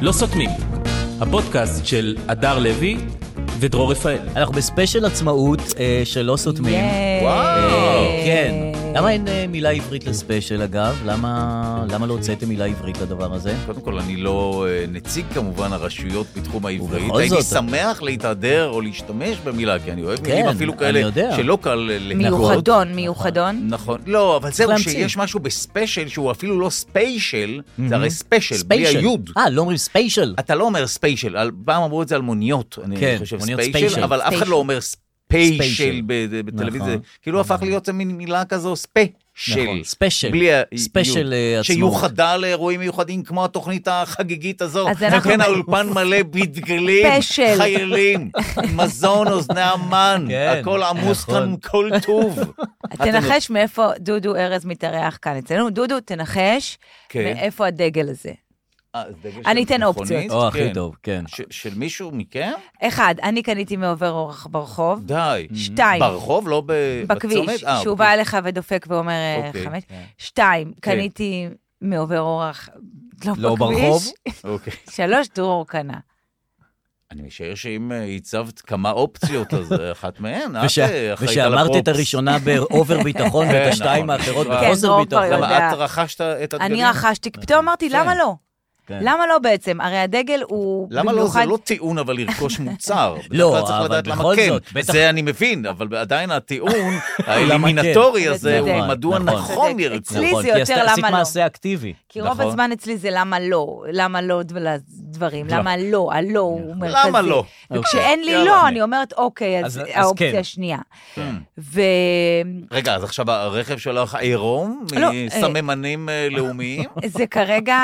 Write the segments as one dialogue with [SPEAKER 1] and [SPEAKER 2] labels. [SPEAKER 1] לא סותמים, הפודקאסט של הדר לוי ודרור רפאל.
[SPEAKER 2] אנחנו בספיישל עצמאות אה, שלא סותמים. אה,
[SPEAKER 3] ייי.
[SPEAKER 1] וואו,
[SPEAKER 4] אה,
[SPEAKER 1] כן.
[SPEAKER 2] למה אין אה, מילה עברית לספיישל, אגב? למה, למה לא הוצאתם מילה עברית לדבר הזה?
[SPEAKER 4] קודם כל, אני לא אה, נציג כמובן הרשויות בתחום העברית.
[SPEAKER 2] ובכל
[SPEAKER 4] הייתי
[SPEAKER 2] זאת-
[SPEAKER 4] שמח להתהדר או להשתמש במילה, כי אני אוהב מילים
[SPEAKER 2] כן,
[SPEAKER 4] אפילו
[SPEAKER 2] אני
[SPEAKER 4] כאלה
[SPEAKER 2] יודע.
[SPEAKER 4] שלא קל אה, ל- להכות.
[SPEAKER 3] מיוחדון, מיוחדון.
[SPEAKER 4] נכון. לא, אבל זהו
[SPEAKER 2] להמציא.
[SPEAKER 4] שיש משהו בספיישל שהוא אפילו לא ספיישל, זה הרי ספיישל, בלי
[SPEAKER 2] ספיישל.
[SPEAKER 4] היוד.
[SPEAKER 2] אה, לא אומרים ספיישל.
[SPEAKER 4] אתה לא אומר ספיישל, על- פעם אמרו את זה על מוניות,
[SPEAKER 2] כן,
[SPEAKER 4] אני חושב
[SPEAKER 2] מוניות
[SPEAKER 4] ספיישל,
[SPEAKER 2] ספיישל.
[SPEAKER 4] אבל אף אחד
[SPEAKER 3] ספיישל.
[SPEAKER 4] לא אומר ספיישל
[SPEAKER 2] ספיישל.
[SPEAKER 4] ב- בטלוויזיה.
[SPEAKER 2] נכון.
[SPEAKER 4] כאילו הפך להיות מין מילה כזו, ספיישל.
[SPEAKER 2] נכון, ספיישל.
[SPEAKER 4] בלי ה-
[SPEAKER 2] ספיישל אה,
[SPEAKER 4] יוד,
[SPEAKER 2] עצמאות.
[SPEAKER 4] שיוחדה לאירועים מיוחדים כמו התוכנית החגיגית הזו.
[SPEAKER 3] אז אנחנו-
[SPEAKER 4] וכן האולפן מלא בדגלים,
[SPEAKER 3] ספיישל.
[SPEAKER 4] חיילים, מזון, אוזני המן,
[SPEAKER 2] כן,
[SPEAKER 4] הכל עמוס
[SPEAKER 2] נכון.
[SPEAKER 4] כאן כל טוב. לא-
[SPEAKER 3] תנחש מאיפה דודו ארז מתארח כאן אצלנו. דודו, תנחש
[SPEAKER 4] כן.
[SPEAKER 3] מאיפה הדגל הזה.
[SPEAKER 4] אה, זה דגל
[SPEAKER 3] אני
[SPEAKER 4] של
[SPEAKER 3] אתן
[SPEAKER 4] מכונית?
[SPEAKER 3] אופציות.
[SPEAKER 2] או, הכי
[SPEAKER 4] כן.
[SPEAKER 2] טוב, כן.
[SPEAKER 4] ש- של מישהו מכם?
[SPEAKER 3] אחד, אני קניתי מעובר אורח ברחוב.
[SPEAKER 4] די.
[SPEAKER 3] שתיים,
[SPEAKER 4] ברחוב, לא ב-
[SPEAKER 3] בכביש,
[SPEAKER 4] בצומת? אה,
[SPEAKER 3] שהוא
[SPEAKER 4] בכביש.
[SPEAKER 3] בא אליך ודופק ואומר אה,
[SPEAKER 4] אוקיי. כן.
[SPEAKER 3] חמש. שתיים, קניתי מעובר אורח,
[SPEAKER 2] לא
[SPEAKER 3] לא
[SPEAKER 2] ברחוב?
[SPEAKER 3] בכביש.
[SPEAKER 4] אוקיי.
[SPEAKER 3] שלוש, דרור קנה.
[SPEAKER 4] אני משער שאם אה, הצבת כמה אופציות, אז אה, אחת מהן, את
[SPEAKER 2] וש-
[SPEAKER 4] אה, אחראית על הפרופס.
[SPEAKER 2] ושאמרת את הראשונה באובר ביטחון
[SPEAKER 4] כן,
[SPEAKER 2] ואת השתיים
[SPEAKER 4] נכון.
[SPEAKER 2] האחרות
[SPEAKER 4] כן,
[SPEAKER 2] בחוסר
[SPEAKER 3] דרור כבר
[SPEAKER 2] ביטחון.
[SPEAKER 3] לא יודע.
[SPEAKER 4] למה את רכשת את הדגלים?
[SPEAKER 3] אני רכשתי,
[SPEAKER 4] אה.
[SPEAKER 3] פתאום אמרתי, למה לא?
[SPEAKER 2] כן.
[SPEAKER 3] למה לא בעצם? הרי הדגל הוא
[SPEAKER 4] למה לא? זה
[SPEAKER 3] במיוחד...
[SPEAKER 4] לא טיעון, אבל לרכוש מוצר. בדרך
[SPEAKER 2] לא,
[SPEAKER 4] כלל צריך
[SPEAKER 2] אבל
[SPEAKER 4] לדעת למה
[SPEAKER 2] בכל
[SPEAKER 4] כן.
[SPEAKER 2] זאת, בטח-
[SPEAKER 4] זה אני מבין, אבל עדיין הטיעון
[SPEAKER 2] למה
[SPEAKER 4] האלימינטורי
[SPEAKER 3] כן.
[SPEAKER 4] הזה הוא
[SPEAKER 2] נכון,
[SPEAKER 4] מדוע
[SPEAKER 2] נכון.
[SPEAKER 4] נכון
[SPEAKER 3] צודק.
[SPEAKER 4] לרצות.
[SPEAKER 3] אצלי-
[SPEAKER 2] נכון,
[SPEAKER 3] זה
[SPEAKER 2] כי
[SPEAKER 3] יותר
[SPEAKER 2] עשית-
[SPEAKER 3] למה
[SPEAKER 2] עשית
[SPEAKER 3] לא.
[SPEAKER 2] מעשה אקטיבי.
[SPEAKER 3] כי רוב
[SPEAKER 4] נכון.
[SPEAKER 3] הזמן אצלי זה למה לא, למה לא ולדברים, למה לא, הלא הוא מרכזי.
[SPEAKER 4] למה לא?
[SPEAKER 3] כשאין לי
[SPEAKER 4] יאללה.
[SPEAKER 3] לא, אני אומרת, אוקיי,
[SPEAKER 2] אז-
[SPEAKER 3] אז
[SPEAKER 2] אז כן.
[SPEAKER 3] האופציה השנייה.
[SPEAKER 4] כן.
[SPEAKER 3] וזה
[SPEAKER 4] רגע, אז עכשיו הרכב שלך עירום?
[SPEAKER 3] לא, אה,
[SPEAKER 4] מסממנים אה, לאומיים?
[SPEAKER 3] כרגע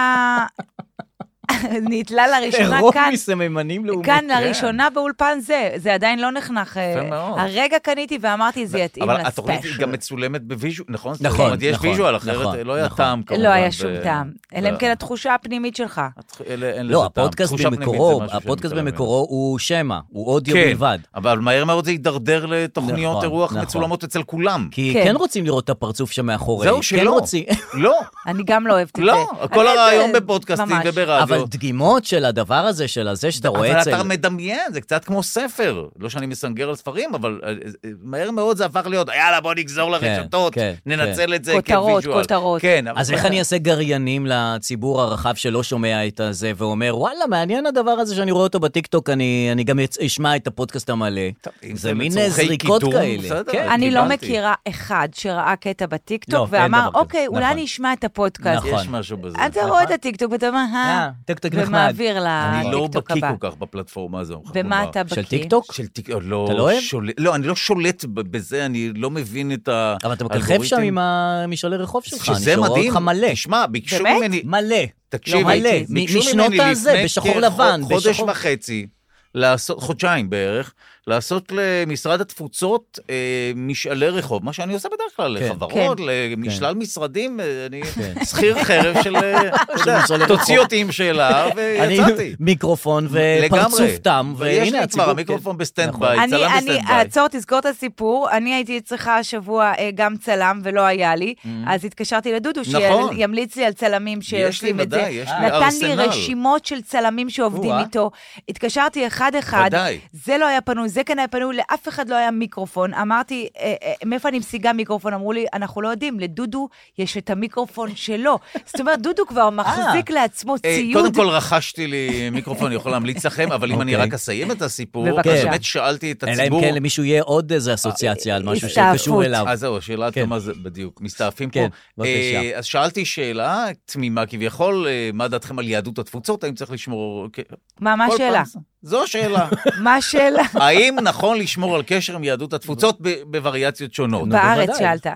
[SPEAKER 3] נתלה לראשונה
[SPEAKER 2] רוב
[SPEAKER 3] כאן.
[SPEAKER 2] מסממנים לאומיים.
[SPEAKER 3] כאן לראשונה באולפן זה, זה עדיין לא נחנך. אה,
[SPEAKER 4] כן. יפה מאוד.
[SPEAKER 3] הרגע קניתי ואמרתי, זה יתאים
[SPEAKER 4] אבל התוכנית היא
[SPEAKER 3] לספיישל.
[SPEAKER 4] גם מצולמת בוויז'ואל, נכון? זאת
[SPEAKER 2] נכון,
[SPEAKER 4] אומרת, יש
[SPEAKER 2] נכון,
[SPEAKER 4] ויז'ואל, אחרת
[SPEAKER 2] נכון,
[SPEAKER 4] אה, לא היה
[SPEAKER 2] נכון.
[SPEAKER 4] טעם כמובן.
[SPEAKER 3] לא היה
[SPEAKER 4] ב- לא.
[SPEAKER 3] שום טעם, אלא אם כן התחושה הפנימית שלך.
[SPEAKER 4] התח- אלה- אין
[SPEAKER 2] לא,
[SPEAKER 4] לזה טעם.
[SPEAKER 2] הפודקאסט
[SPEAKER 4] תחושה פנימית זה
[SPEAKER 2] במקורו,
[SPEAKER 4] משהו
[SPEAKER 2] הפודקאסט
[SPEAKER 4] שמתעלם ממנו.
[SPEAKER 2] במקורו הוא שמע, הוא אודיו
[SPEAKER 4] כן,
[SPEAKER 2] בלבד.
[SPEAKER 4] אבל מהר מאוד זה יידרדר לתוכניות
[SPEAKER 2] נכון,
[SPEAKER 4] אירוח
[SPEAKER 2] נכון.
[SPEAKER 4] מצולמות אצל כולם.
[SPEAKER 2] כי
[SPEAKER 3] כן.
[SPEAKER 2] כן רוצים לראות את הפרצוף שמאחורי.
[SPEAKER 4] זהו, שלא.
[SPEAKER 2] כן רוצים.
[SPEAKER 4] לא,
[SPEAKER 3] אני גם לא אוהבת את זה.
[SPEAKER 4] לא, כל
[SPEAKER 3] אני-
[SPEAKER 4] הרעיון
[SPEAKER 3] זה-
[SPEAKER 4] בפודקאסטים
[SPEAKER 3] ממש.
[SPEAKER 4] וברדיו.
[SPEAKER 2] אבל דגימות של הדבר הזה, של הזה שאתה רואה
[SPEAKER 4] אה, לא. אבל
[SPEAKER 2] אצל...
[SPEAKER 4] אתה מדמיין, זה קצת כמו ספר. לא שאני מסנגר על ספרים, אבל אה, אה, מהר מאוד זה הפך להיות, יאללה, בוא נגזור לרשתות,
[SPEAKER 2] כן,
[SPEAKER 4] ננצל את זה
[SPEAKER 3] כותרות,
[SPEAKER 4] כוויז'ואל.
[SPEAKER 3] כותרות.
[SPEAKER 4] כן, אבל-
[SPEAKER 2] אז איך אני אעשה גריינים לציבור הרחב שלא שומע את הזה ואומר, וואלה, מעניין הדבר הזה שאני רואה אותו בטיקטוק, אני, אני גם אצ- אשמע את הפודקאסט המלא.
[SPEAKER 4] טוב, אם
[SPEAKER 2] זה
[SPEAKER 4] זה
[SPEAKER 2] מין
[SPEAKER 4] לצורכי
[SPEAKER 2] זריקות
[SPEAKER 4] קידום,
[SPEAKER 2] כאלה.
[SPEAKER 4] בסדר.
[SPEAKER 2] כן.
[SPEAKER 3] אני לא
[SPEAKER 4] קיבלתי.
[SPEAKER 3] מכירה אחד שראה קטע
[SPEAKER 2] לא,
[SPEAKER 3] בטיקטוק
[SPEAKER 2] אין
[SPEAKER 3] ואמר,
[SPEAKER 2] דבר כזה.
[SPEAKER 3] אוקיי, אולי
[SPEAKER 2] נכון.
[SPEAKER 3] אני אשמע את הפודקאסט.
[SPEAKER 2] נכון.
[SPEAKER 4] יש משהו בזה.
[SPEAKER 3] אתה רואה את הטיקטוק ואתה אומר, אה,
[SPEAKER 2] אה, טיקטוק נחמד.
[SPEAKER 3] ומעביר
[SPEAKER 2] אה,
[SPEAKER 4] אני לא
[SPEAKER 3] לטיקטוק
[SPEAKER 4] בקיא
[SPEAKER 3] הבא.
[SPEAKER 4] כל כך בפלטפורמה הזו. אני חייב
[SPEAKER 3] במה
[SPEAKER 4] לומר.
[SPEAKER 3] אתה בקיא?
[SPEAKER 2] של טיקטוק?
[SPEAKER 4] של טיק... לא
[SPEAKER 2] אתה לא אוהב?
[SPEAKER 4] שולט, לא, אני לא שולט ב- בזה, אני לא מבין את ה...
[SPEAKER 2] אבל אתה מככב
[SPEAKER 4] האלגוריתם.
[SPEAKER 2] שם עם המשעולי רחוב שלך,
[SPEAKER 4] שזה
[SPEAKER 2] אני שרואה
[SPEAKER 4] מדהים.
[SPEAKER 2] אותך מלא.
[SPEAKER 4] תשמע, ביקשו
[SPEAKER 3] באמת?
[SPEAKER 4] ממני...
[SPEAKER 2] מלא.
[SPEAKER 4] תקשיבי,
[SPEAKER 2] לא, מלא.
[SPEAKER 4] ביקשו
[SPEAKER 2] מ-
[SPEAKER 4] ממני
[SPEAKER 2] משנות
[SPEAKER 4] לפני
[SPEAKER 2] הזה, בשחור
[SPEAKER 4] כחו-
[SPEAKER 2] לבן.
[SPEAKER 4] חודש
[SPEAKER 2] בשחור-
[SPEAKER 4] וחצי, לעשות, חודשיים בערך, לעשות למשרד התפוצות אה, משאלי רחוב, מה שאני עושה בדרך כלל,
[SPEAKER 2] כן.
[SPEAKER 4] לחברות,
[SPEAKER 3] כן.
[SPEAKER 4] לשלל משרדים, אה, אני
[SPEAKER 2] כן.
[SPEAKER 4] שכיר חרב של... אה, אתה יודע,
[SPEAKER 2] משאלי רחוב.
[SPEAKER 4] תוציא אותי עם שאלה,
[SPEAKER 2] אני
[SPEAKER 4] ויצאתי.
[SPEAKER 2] מיקרופון ופרצוף אה, תם,
[SPEAKER 4] ויש
[SPEAKER 2] והנה
[SPEAKER 4] לי כבר
[SPEAKER 2] הציבור...
[SPEAKER 4] המיקרופון בסטנד
[SPEAKER 2] נכון.
[SPEAKER 4] ביי, צלם
[SPEAKER 3] אני, אני, אה,
[SPEAKER 4] בסטנד ביי.
[SPEAKER 3] עצור, תזכור את הסיפור. אני הייתי אצלך השבוע אה, גם צלם ולא היה לי, אז התקשרתי לדודו
[SPEAKER 4] Mm-hmm. נכון.
[SPEAKER 3] שימליץ לי על צלמים שעושים
[SPEAKER 4] לי,
[SPEAKER 3] את זה.
[SPEAKER 4] ודאי, יש לי
[SPEAKER 3] נתן לי
[SPEAKER 4] ארסנל.
[SPEAKER 3] רשימות של צלמים שעובדים
[SPEAKER 4] או-אה.
[SPEAKER 3] איתו. התקשרתי אחד-אחד,
[SPEAKER 4] ודאי.
[SPEAKER 3] זה לא היה פנוי, זה כן היה פנוי, לאף אחד לא היה מיקרופון. אמרתי, אה, אה, מאיפה אני משיגה מיקרופון? אמרו לי, אנחנו לא יודעים, לדודו יש את המיקרופון שלו. זאת אומרת, דודו כבר מחזיק לעצמו
[SPEAKER 4] אה,
[SPEAKER 3] ציוד.
[SPEAKER 4] קודם כל רכשתי לי מיקרופון, אני יכול להמליץ לכם, אבל אם אני
[SPEAKER 2] אוקיי.
[SPEAKER 4] רק אסיים את הסיפור,
[SPEAKER 3] בבקשה.
[SPEAKER 4] אז באמת שאלתי את
[SPEAKER 2] אלא
[SPEAKER 4] הציבור,
[SPEAKER 2] אם כן למישהו יהיה עוד איזה אסוציאציה על משהו שקשור
[SPEAKER 3] הסתעפות.
[SPEAKER 2] אליו.
[SPEAKER 4] אז זהו, השאלה עד
[SPEAKER 2] כן.
[SPEAKER 4] כמה זה, בדיוק, מסתעפים פה.
[SPEAKER 2] כן, בבקשה.
[SPEAKER 4] אה, אז שאלתי שאלה תמימה כביכול, אה, מה דעתכם על יהדות התפוצות, האם צריך לשמור... כ-
[SPEAKER 3] מה, מה
[SPEAKER 4] כל
[SPEAKER 3] השאלה?
[SPEAKER 4] פעם זה- זו השאלה.
[SPEAKER 3] מה השאלה?
[SPEAKER 4] האם נכון לשמור על קשר עם יהדות התפוצות ב- בווריאציות שונות?
[SPEAKER 3] בארץ
[SPEAKER 2] בוודאי.
[SPEAKER 3] שאלת.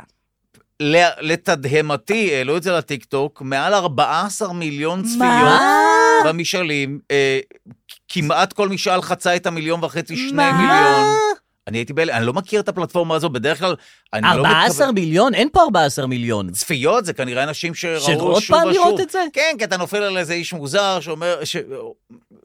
[SPEAKER 4] ל- לתדהמתי, העלו את זה לטיקטוק, מעל 14 מיליון צפיות
[SPEAKER 3] מה?
[SPEAKER 4] במשאלים. אה, כמעט כל משאל חצה את המיליון וחצי, שני
[SPEAKER 3] מה?
[SPEAKER 4] מיליון. אני הייתי בהלם, אני לא מכיר את הפלטפורמה הזו, בדרך כלל... אני לא
[SPEAKER 2] 14 מיליון? אין פה 14 מיליון.
[SPEAKER 4] צפיות זה כנראה אנשים שראו שוב
[SPEAKER 2] שעוד
[SPEAKER 4] ושוב.
[SPEAKER 2] פעם לראות את זה?
[SPEAKER 4] כן, כי אתה נופל על איזה איש מוזר שאומר, ש...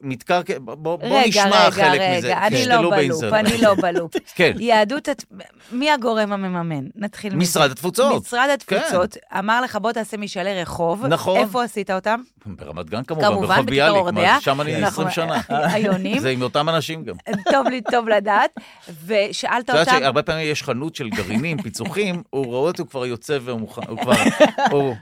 [SPEAKER 4] מתקרקע, בוא, בוא
[SPEAKER 3] רגע,
[SPEAKER 4] נשמע
[SPEAKER 3] רגע,
[SPEAKER 4] חלק
[SPEAKER 3] רגע,
[SPEAKER 4] מזה. כן.
[SPEAKER 3] אני
[SPEAKER 4] תשתלו
[SPEAKER 3] לא בלופ,
[SPEAKER 4] באינסטנט.
[SPEAKER 3] אני לא בלופ.
[SPEAKER 4] כן.
[SPEAKER 3] יהדות, הת- מי הגורם המממן? נתחיל מזה.
[SPEAKER 4] משרד התפוצות. כן.
[SPEAKER 3] משרד התפוצות אמר לך, בוא תעשה משאלי רחוב.
[SPEAKER 4] נכון.
[SPEAKER 3] איפה עשית אותם?
[SPEAKER 4] ברמת גן כמובן,
[SPEAKER 3] כמובן,
[SPEAKER 4] ברחוב
[SPEAKER 3] בכיכר
[SPEAKER 4] ביאליק,
[SPEAKER 3] אורדיה.
[SPEAKER 4] מה, שם אני 20 שנה.
[SPEAKER 3] היונים.
[SPEAKER 4] זה עם אותם אנשים גם.
[SPEAKER 3] טוב לי, טוב לדעת. ושאלת
[SPEAKER 4] את יודעת
[SPEAKER 3] אותם,
[SPEAKER 4] שהרבה פעמים יש חנות של גרעינים, פיצוחים, הוא רואה אותו, הוא כבר יוצא ומוכן, הוא כבר, הוא-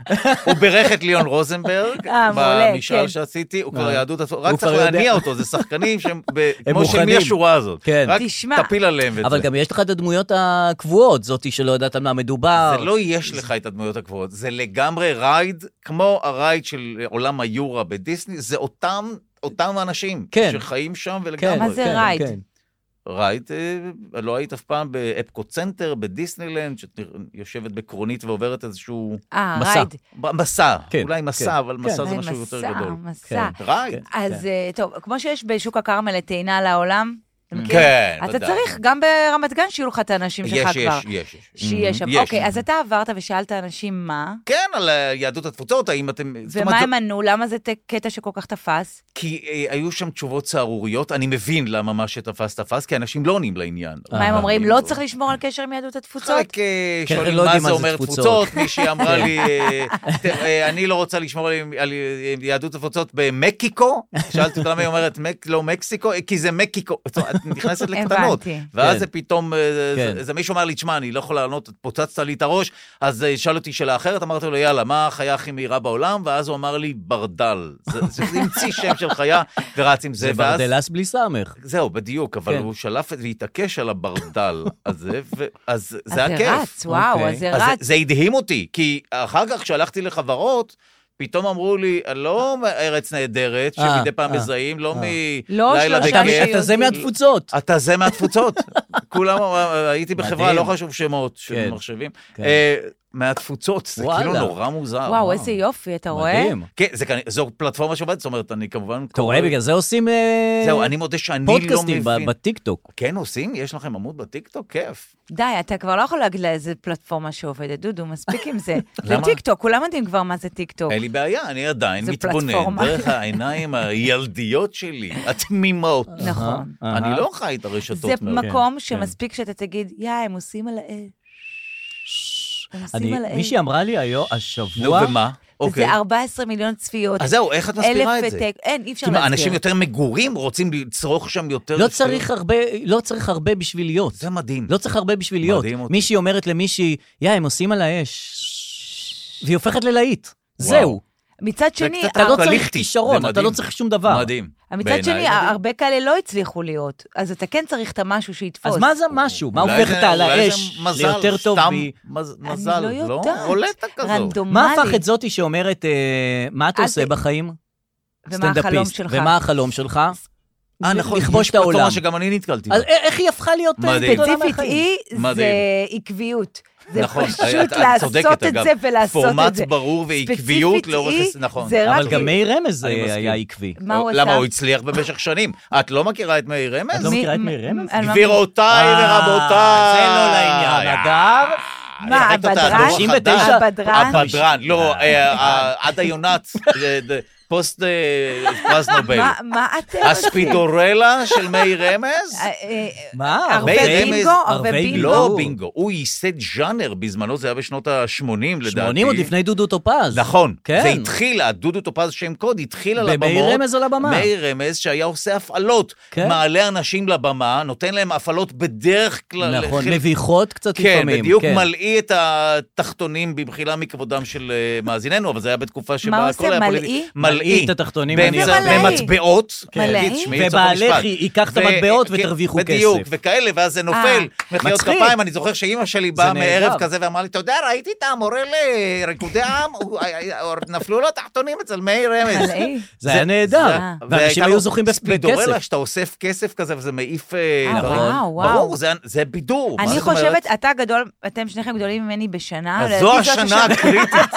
[SPEAKER 4] הוא בירך את ליאון רוזנברג,
[SPEAKER 3] אה, מעולה, כן.
[SPEAKER 4] במשאל שעשיתי, הוא כבר
[SPEAKER 2] אה.
[SPEAKER 4] יהדות, התפוצות,
[SPEAKER 2] הוא
[SPEAKER 4] רק צריך
[SPEAKER 2] כבר יודע.
[SPEAKER 4] להניע אותו, זה שחקנים שהם, ב- כמו של מי
[SPEAKER 2] מוכנים.
[SPEAKER 4] השורה הזאת.
[SPEAKER 2] כן.
[SPEAKER 4] רק
[SPEAKER 3] תשמע.
[SPEAKER 4] תפיל עליהם את
[SPEAKER 2] אבל
[SPEAKER 4] זה.
[SPEAKER 2] גם יש לך את הדמויות הקבועות, זאתי שלא יודעת על מה מדובר.
[SPEAKER 4] זה לא יש לך את הדמויות הקבועות, זה לגמרי רייד, כמו הרייד של עולם היורה בדיסני, זה אותם, אותם האנשים
[SPEAKER 2] כן.
[SPEAKER 4] שחיים שם
[SPEAKER 2] כן,
[SPEAKER 4] ולגמרי.
[SPEAKER 3] מה זה
[SPEAKER 2] כן,
[SPEAKER 3] רייד?
[SPEAKER 2] כן.
[SPEAKER 4] רייט, אה, לא היית אף פעם באפקו צנטר, בדיסנילנד, שאת נר- יושבת בקרונית ועוברת איזשהו
[SPEAKER 3] אה,
[SPEAKER 2] מסע.
[SPEAKER 3] רייד.
[SPEAKER 4] ב- מסע,
[SPEAKER 2] כן,
[SPEAKER 4] אולי
[SPEAKER 2] כן.
[SPEAKER 4] מסע, אבל מסע זה
[SPEAKER 3] אה,
[SPEAKER 4] משהו יותר
[SPEAKER 3] מסע, כן.
[SPEAKER 4] גדול. כן.
[SPEAKER 3] מסע.
[SPEAKER 4] רייט.
[SPEAKER 3] אז אה, טוב, כמו שיש בשוק הכרמל את טעינה לעולם, אתה מכיר?
[SPEAKER 4] כן,
[SPEAKER 3] אתה
[SPEAKER 4] ודאי.
[SPEAKER 3] צריך, גם ברמת גן שיהיו לך את האנשים שלך
[SPEAKER 4] יש,
[SPEAKER 3] כבר.
[SPEAKER 4] יש, יש, יש.
[SPEAKER 3] שיהיה
[SPEAKER 4] Mhm,
[SPEAKER 3] שם.
[SPEAKER 4] יש.
[SPEAKER 3] אוקיי, אז אתה עברת ושאלת אנשים מה,
[SPEAKER 4] כן, על אה, יהדות התפוצות, האם אתם... זאת אומרת,
[SPEAKER 3] ומה
[SPEAKER 4] זה-
[SPEAKER 3] הם ענו? למה זה ת- קטע שכל כך תפס?
[SPEAKER 4] כי אה, היו שם תשובות סהרוריות, אני מבין למה מה שתפס תפס, כי אנשים לא עונים לעניין. אה,
[SPEAKER 3] מה הם אומרים?
[SPEAKER 4] אני-
[SPEAKER 3] לא צריך לשמור על קשר עם יהדות התפוצות?
[SPEAKER 4] רק אה,
[SPEAKER 2] כן,
[SPEAKER 4] שואלים
[SPEAKER 2] לא
[SPEAKER 4] מה
[SPEAKER 2] יודעים
[SPEAKER 4] זה
[SPEAKER 2] מה זה
[SPEAKER 4] אומר
[SPEAKER 2] תפוצות. כן.
[SPEAKER 4] תפוצות, מישהי אמרה לי, אה, ת- אה, אני לא רוצה לשמור על על יהדות התפוצות במקיקו, שאלתי אותה למה היא אומרת "מק- לא מקסיקו, "אה, כי זה מקיקו, זאת אומרת, את נכנסת לקטנות,
[SPEAKER 3] הבנתי.
[SPEAKER 4] ואז
[SPEAKER 2] כן.
[SPEAKER 4] זה פתאום, אה, זה-
[SPEAKER 2] כן.
[SPEAKER 4] זה מישהו אמר לי, תשמע, אני לא יכול לענות, את פוצצת לי את הראש, אז אה, שאל אותי שאלה אחרת, אמרתי לו, יאללה, מה החיה הכי מהירה בעולם, ואז הוא אמר לי, ברדל, זה זה המציא שם של חיה, ורץ עם זה,
[SPEAKER 2] זה
[SPEAKER 4] ואז...
[SPEAKER 2] ברדלס בלי סמך.
[SPEAKER 4] זהו, בדיוק, אבל
[SPEAKER 2] כן.
[SPEAKER 4] הוא שלף את- והתעקש על הברדל הזה, ו- אז
[SPEAKER 3] אז
[SPEAKER 4] זה היה כיף.
[SPEAKER 3] רץ, וואו,
[SPEAKER 2] אוקיי.
[SPEAKER 3] אז זה
[SPEAKER 4] אז
[SPEAKER 3] רץ.
[SPEAKER 4] זה, זה הדהים אותי, כי אחר כך כשהלכתי לחברות, פתאום אמרו לי, לא מארץ נהדרת,
[SPEAKER 2] אה,
[SPEAKER 4] שמדי פעם
[SPEAKER 2] אה,
[SPEAKER 4] מזהים, לא
[SPEAKER 3] לא
[SPEAKER 4] מלילה
[SPEAKER 3] שלושה
[SPEAKER 2] אתה
[SPEAKER 3] שיהודי.
[SPEAKER 4] בכיף.
[SPEAKER 2] אתה זה מהתפוצות.
[SPEAKER 4] אתה זה מהתפוצות. כולם, אמרו, הייתי בחברה,
[SPEAKER 2] מדהים.
[SPEAKER 4] לא חשוב שמות של
[SPEAKER 2] כן.
[SPEAKER 4] מחשבים.
[SPEAKER 2] כן.
[SPEAKER 4] אה, מהתפוצות, זה
[SPEAKER 2] וואלה.
[SPEAKER 4] כאילו נורא מוזר.
[SPEAKER 3] וואו, איזה יופי, אתה רואה?
[SPEAKER 2] מדהים.
[SPEAKER 4] כן, זה כנראה- זו פלטפורמה שעובדת, זאת אומרת, אני כמובן...
[SPEAKER 2] אתה רואה, בגלל זה עושים אה,
[SPEAKER 4] זהו, אני מודה שאני לא מבין.
[SPEAKER 2] פודקאסטים ב- בטיקטוק.
[SPEAKER 4] כן, עושים? יש לכם עמוד בטיקטוק? כיף.
[SPEAKER 3] די, אתה כבר לא יכול להגיד לאיזה פלטפורמה שעובדת, דודו, מספיק עם זה. זה
[SPEAKER 4] למה?
[SPEAKER 3] טיקטוק, כולם יודעים כבר מה זה טיקטוק.
[SPEAKER 4] אין לי בעיה, אני עדיין
[SPEAKER 3] זה
[SPEAKER 4] מתבונן
[SPEAKER 3] פלטפורמה.
[SPEAKER 4] דרך העיניים הילדיות שלי, התמימות.
[SPEAKER 3] נכון.
[SPEAKER 2] אהה.
[SPEAKER 4] אני לא חי את כן,
[SPEAKER 3] זה
[SPEAKER 4] הרשתות מאוד.
[SPEAKER 3] מקום שמספיק שאתה תגיד, יא, הם עושים על האש. הם עושים
[SPEAKER 2] אני-
[SPEAKER 3] על האש.
[SPEAKER 2] מישהי אמרה לי היום, השבוע...
[SPEAKER 4] נו, ומה? אוקיי.
[SPEAKER 3] וזה 14 מיליון צפיות.
[SPEAKER 4] אז זהו, איך את מסבירה
[SPEAKER 3] אלף
[SPEAKER 4] את זה?
[SPEAKER 3] ותק- אין, אי אפשר
[SPEAKER 4] כי מה,
[SPEAKER 3] להסביר.
[SPEAKER 4] אנשים יותר מגורים רוצים לצרוך שם יותר...
[SPEAKER 2] לא
[SPEAKER 4] שטויות?
[SPEAKER 2] צריך הרבה, לא צריך הרבה בשביל להיות.
[SPEAKER 4] זה מדהים.
[SPEAKER 2] לא צריך הרבה בשביל להיות.
[SPEAKER 4] מדהים אותי.
[SPEAKER 2] מישהי אומרת למישהי, יא, הם עושים על האש. והיא הופכת ללהיט. זהו.
[SPEAKER 3] מצד שני,
[SPEAKER 4] קצת
[SPEAKER 3] ה-
[SPEAKER 2] אתה לא צריך
[SPEAKER 4] אקוואליסטי.
[SPEAKER 2] כישרון,
[SPEAKER 4] זה
[SPEAKER 2] אתה לא
[SPEAKER 4] מדהים.
[SPEAKER 2] צריך שום דבר.
[SPEAKER 4] מדהים.
[SPEAKER 3] מצד
[SPEAKER 4] בעיניי
[SPEAKER 3] שני,
[SPEAKER 4] מדהים.
[SPEAKER 3] הרבה כאלה לא הצליחו להיות. אז אתה כן צריך את המשהו שיתפוס.
[SPEAKER 2] אז מה זה משהו? מה
[SPEAKER 4] אולי
[SPEAKER 2] הופך
[SPEAKER 4] זה-
[SPEAKER 2] את על
[SPEAKER 4] אולי זה
[SPEAKER 2] האש
[SPEAKER 4] מזל,
[SPEAKER 2] ליותר טוב
[SPEAKER 4] סתם
[SPEAKER 2] מ...
[SPEAKER 4] מז-
[SPEAKER 3] אני
[SPEAKER 4] מזל,
[SPEAKER 3] לא
[SPEAKER 4] לא?
[SPEAKER 3] יודעת.
[SPEAKER 4] רולטה כזו.
[SPEAKER 3] רנדומלי.
[SPEAKER 2] מה הפך את זאתי שאומרת, אה, מה אתה
[SPEAKER 3] אל
[SPEAKER 2] עושה
[SPEAKER 3] ת-
[SPEAKER 2] בחיים?
[SPEAKER 3] ומה החלום
[SPEAKER 2] סטנדאפיסט.
[SPEAKER 3] שלך?
[SPEAKER 2] ומה החלום שלך?
[SPEAKER 4] אה, נכון,
[SPEAKER 2] לכבוש
[SPEAKER 4] יש
[SPEAKER 2] את העולם.
[SPEAKER 4] פלטפורמה שגם אני נתקלתי בה.
[SPEAKER 2] אז א- איך היא הפכה להיות אה,
[SPEAKER 4] מדהים.
[SPEAKER 2] גדולה
[SPEAKER 3] ספציפית
[SPEAKER 2] מהחיים?
[SPEAKER 3] היא, זה
[SPEAKER 4] מדהים.
[SPEAKER 3] עקביות. זה
[SPEAKER 4] נכון, את-
[SPEAKER 3] פשוט
[SPEAKER 4] את
[SPEAKER 3] לעשות
[SPEAKER 4] צודקת,
[SPEAKER 3] את
[SPEAKER 4] אגב.
[SPEAKER 3] זה ולעשות את
[SPEAKER 4] פורמט
[SPEAKER 3] זה.
[SPEAKER 4] ברור ועקביות
[SPEAKER 3] ספציפית
[SPEAKER 4] לאורך...
[SPEAKER 3] היא,
[SPEAKER 4] הס- נכון.
[SPEAKER 3] זה רק
[SPEAKER 2] אבל גם מאיר רמז
[SPEAKER 4] אני
[SPEAKER 2] אה,
[SPEAKER 4] מסכים.
[SPEAKER 2] היה עקבי.
[SPEAKER 3] מה הוא עשה?
[SPEAKER 4] למה הוא הצליח במשך שנים? את לא מכירה את מאיר רמז?
[SPEAKER 2] לא
[SPEAKER 3] מי-
[SPEAKER 2] מכירה את
[SPEAKER 3] מ-
[SPEAKER 2] מאיר רמז?
[SPEAKER 3] על מה-
[SPEAKER 4] גבירותיי
[SPEAKER 2] אה,
[SPEAKER 4] ורבותיי. אה,
[SPEAKER 2] זה לא לעניין, אדר.
[SPEAKER 3] מה,
[SPEAKER 4] זרקת אותה,
[SPEAKER 3] הבדרן?
[SPEAKER 4] הדור החדש.
[SPEAKER 2] 99?
[SPEAKER 3] הבדרן?
[SPEAKER 4] הבדרן, לא, אה, אה, עדה יונת, אה, ד- פוסט אה, פרס נובל.
[SPEAKER 3] מה- מה אתם עושים?
[SPEAKER 4] הספידורלה של מאיר רמז?
[SPEAKER 3] אה, אה,
[SPEAKER 2] מה?
[SPEAKER 3] הרבה
[SPEAKER 4] מאיר רמז,
[SPEAKER 3] בינגו, הרבה
[SPEAKER 2] הרבה
[SPEAKER 3] בינגו.
[SPEAKER 4] לא
[SPEAKER 2] בינגו.
[SPEAKER 4] בינגו, הוא ייסד ז'אנר בזמנו, זה היה בשנות ה-80 לדעתי.
[SPEAKER 2] 80 עוד לפני דודו טופז.
[SPEAKER 4] נכון,
[SPEAKER 2] כן.
[SPEAKER 4] זה התחיל, הדודו טופז שם קוד, התחיל על הבמות.
[SPEAKER 2] במאיר רמז על הבמה.
[SPEAKER 4] מאיר רמז שהיה עושה הפעלות.
[SPEAKER 2] כן.
[SPEAKER 4] מעלה אנשים לבמה, נותן להם הפעלות בדרך כלל.
[SPEAKER 2] נכון,
[SPEAKER 4] לחלק-
[SPEAKER 2] מביכות קצת
[SPEAKER 4] כן,
[SPEAKER 2] לפעמים.
[SPEAKER 4] בדיוק מלאי את התחתונים במחילה מכבודם של אה, מאזיננו, אבל זה היה בתקופה שבה...
[SPEAKER 3] הוא עושה,
[SPEAKER 4] הכל היה פוליטי.
[SPEAKER 3] מלאי?
[SPEAKER 2] מלאי את התחתונים.
[SPEAKER 4] באמצע-
[SPEAKER 3] אני- מלאי.
[SPEAKER 4] במטבעות.
[SPEAKER 3] כן.
[SPEAKER 4] תגיד,
[SPEAKER 3] מלאי?
[SPEAKER 4] שמעי את סוף המשפט.
[SPEAKER 2] ובעלך ייקח את
[SPEAKER 4] ו-
[SPEAKER 2] המטבעות
[SPEAKER 4] כן,
[SPEAKER 2] ותרוויחו כסף.
[SPEAKER 4] בדיוק, וכאלה, ואז זה
[SPEAKER 3] אה.
[SPEAKER 4] נופל. מחיאות
[SPEAKER 2] מצחיק.
[SPEAKER 4] כפיים, אני זוכר שאימא שלי באה
[SPEAKER 2] זה נהדר.
[SPEAKER 4] מערב כזה ואמרה לי, אתה יודע, ראיתי את המורה לריקודי עם, הוא- נפלו לו תחתונים אצל מאיר רמז.
[SPEAKER 3] מלאי.
[SPEAKER 2] זה היה נהדר.
[SPEAKER 3] אה.
[SPEAKER 2] ואנשים
[SPEAKER 4] והייתה
[SPEAKER 2] היו
[SPEAKER 4] לו
[SPEAKER 2] זוכים בכסף.
[SPEAKER 4] ספידורלה, שאתה אוסף כסף כזה וזה מעיף... אה,
[SPEAKER 3] אה,
[SPEAKER 4] דברים.
[SPEAKER 3] וואו, וואו.
[SPEAKER 4] ברור, זה- זה בידור. מה
[SPEAKER 3] אני
[SPEAKER 4] זאת אומרת?
[SPEAKER 2] אה,
[SPEAKER 3] חושבת, אתה גדול, אתם שניכם גדולים ממני בשנה.
[SPEAKER 4] אז
[SPEAKER 3] לדעתי
[SPEAKER 4] זו
[SPEAKER 3] זאת
[SPEAKER 4] השנה הקריטית.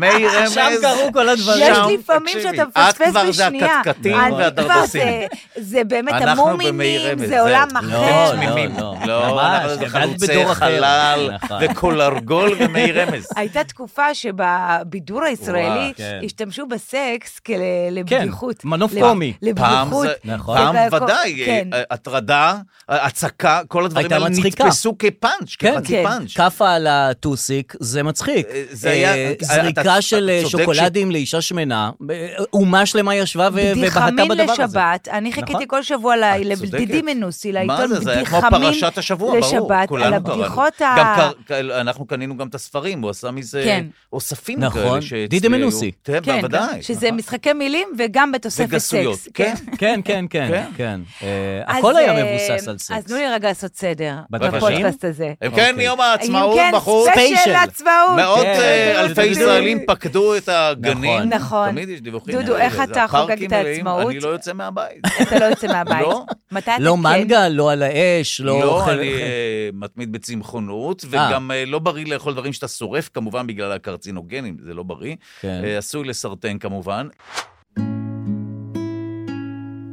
[SPEAKER 4] מי רמז.
[SPEAKER 2] שם קרו כל הדברים.
[SPEAKER 3] יש
[SPEAKER 4] שם,
[SPEAKER 3] לפעמים
[SPEAKER 4] תקשיבי,
[SPEAKER 3] שאתה מפספס
[SPEAKER 4] את כבר זה
[SPEAKER 3] בשנייה.
[SPEAKER 4] הקטקטים
[SPEAKER 3] את כבר
[SPEAKER 4] והדרדסים.
[SPEAKER 3] זה- זה באמת
[SPEAKER 4] אנחנו במאי
[SPEAKER 3] המומינים,
[SPEAKER 4] רמז,
[SPEAKER 3] זה
[SPEAKER 4] זהו.
[SPEAKER 3] עולם
[SPEAKER 4] לא,
[SPEAKER 3] אחר.
[SPEAKER 4] לא, תמימים.
[SPEAKER 2] לא,
[SPEAKER 4] לא,
[SPEAKER 2] ממש,
[SPEAKER 4] אנחנו זה
[SPEAKER 2] גדלת
[SPEAKER 4] חלוצי
[SPEAKER 2] בדור אחר.
[SPEAKER 4] חלל
[SPEAKER 2] נכון.
[SPEAKER 4] וקולרגול ומי רמז.
[SPEAKER 3] הייתה תקופה שבבידור הישראלי
[SPEAKER 4] וואו, כן,
[SPEAKER 2] כן.
[SPEAKER 3] השתמשו בסקס כלבדיחות.
[SPEAKER 2] מנוף קומי.
[SPEAKER 4] פעם
[SPEAKER 3] לבדיחות.
[SPEAKER 4] זה,
[SPEAKER 2] נכון.
[SPEAKER 4] פעם
[SPEAKER 3] זה-
[SPEAKER 4] ודאי,
[SPEAKER 3] כן.
[SPEAKER 4] אה, הטרדה, אה, הצקה, כל הדברים
[SPEAKER 2] הייתה
[SPEAKER 4] האלה
[SPEAKER 2] מצחיקה.
[SPEAKER 4] נתפסו כפאנץ',
[SPEAKER 2] כן,
[SPEAKER 4] כחצי
[SPEAKER 3] כן.
[SPEAKER 4] פאנץ'.
[SPEAKER 2] כאפה על הטוסיק, זה מצחיק.
[SPEAKER 4] אה, זה
[SPEAKER 2] אה,
[SPEAKER 4] היה-
[SPEAKER 2] זריקה
[SPEAKER 4] אתה-
[SPEAKER 2] של אה,
[SPEAKER 4] אתה צודק
[SPEAKER 2] שוקולדים לאישה שמנה, אה, אומה שלמה ישבה ו- ובהתה
[SPEAKER 3] בדיחמין
[SPEAKER 2] בדבר הזה.
[SPEAKER 3] לשבת, אני חיכיתי כל שבוע ל-
[SPEAKER 4] נכון. את צודקת.
[SPEAKER 3] לבדידי אה, מנוסי,
[SPEAKER 4] מה
[SPEAKER 3] לעיתון
[SPEAKER 4] זה, זה היה כמו
[SPEAKER 3] בדיחמין
[SPEAKER 4] פרשת השבוע, ברור,
[SPEAKER 3] לשבת, על
[SPEAKER 4] כולנו קראנו.
[SPEAKER 3] הבדיחות ה...
[SPEAKER 4] גם קר- קר- אנחנו קנינו גם את הספרים, הוא עשה מזה
[SPEAKER 3] כן.
[SPEAKER 4] אוספים
[SPEAKER 2] נכון.
[SPEAKER 4] כאלה שהצביעו.
[SPEAKER 2] דידי מנוסי.
[SPEAKER 4] כן,
[SPEAKER 3] כן,
[SPEAKER 4] בוודאי.
[SPEAKER 3] שזה משחקי מילים וגם בתוספת
[SPEAKER 4] וגסויות,
[SPEAKER 3] סקס.
[SPEAKER 4] כן.
[SPEAKER 2] כן, כן, כן,
[SPEAKER 4] כן.
[SPEAKER 2] כן. אה,
[SPEAKER 3] אז,
[SPEAKER 2] הכל היה
[SPEAKER 3] אה,
[SPEAKER 2] מבוסס על
[SPEAKER 3] אז
[SPEAKER 2] סקס.
[SPEAKER 3] תנו לי רגע לעשות סדר
[SPEAKER 2] בבקשה.
[SPEAKER 3] בפודקאסט הזה.
[SPEAKER 4] אם כן,
[SPEAKER 2] אוקיי.
[SPEAKER 4] יום העצמאות
[SPEAKER 3] אם כן,
[SPEAKER 4] בחוץ.
[SPEAKER 3] ספיישל
[SPEAKER 2] ספיישל.
[SPEAKER 3] עצמאות.
[SPEAKER 4] מאות
[SPEAKER 2] כן.
[SPEAKER 4] אה,
[SPEAKER 2] דודו,
[SPEAKER 4] אלפי
[SPEAKER 2] דודו.
[SPEAKER 4] ישראלים פקדו את הגנים.
[SPEAKER 3] נכון.
[SPEAKER 4] תמיד יש דיווחים.
[SPEAKER 3] דודו,
[SPEAKER 4] כאלה,
[SPEAKER 3] איך
[SPEAKER 4] זה
[SPEAKER 3] אתה
[SPEAKER 4] הפארקים
[SPEAKER 3] חוגג את
[SPEAKER 4] מלאים,
[SPEAKER 3] העצמאות?
[SPEAKER 4] אני לא יוצא מהבית.
[SPEAKER 3] אתה לא יוצא מהבית.
[SPEAKER 4] לא.
[SPEAKER 3] מתי אתה
[SPEAKER 2] לא
[SPEAKER 3] כן?
[SPEAKER 2] מנגה, לא על האש, לא
[SPEAKER 4] לא,
[SPEAKER 2] אוכל-
[SPEAKER 4] אני אה, מתמיד בצמחונות, וגם אה, לא בריא לאכול דברים שאתה שורף, כמובן בגלל הקרצינוגנים, זה לא בריא.
[SPEAKER 2] כן.
[SPEAKER 4] אה, עשוי לסרטן כמובן.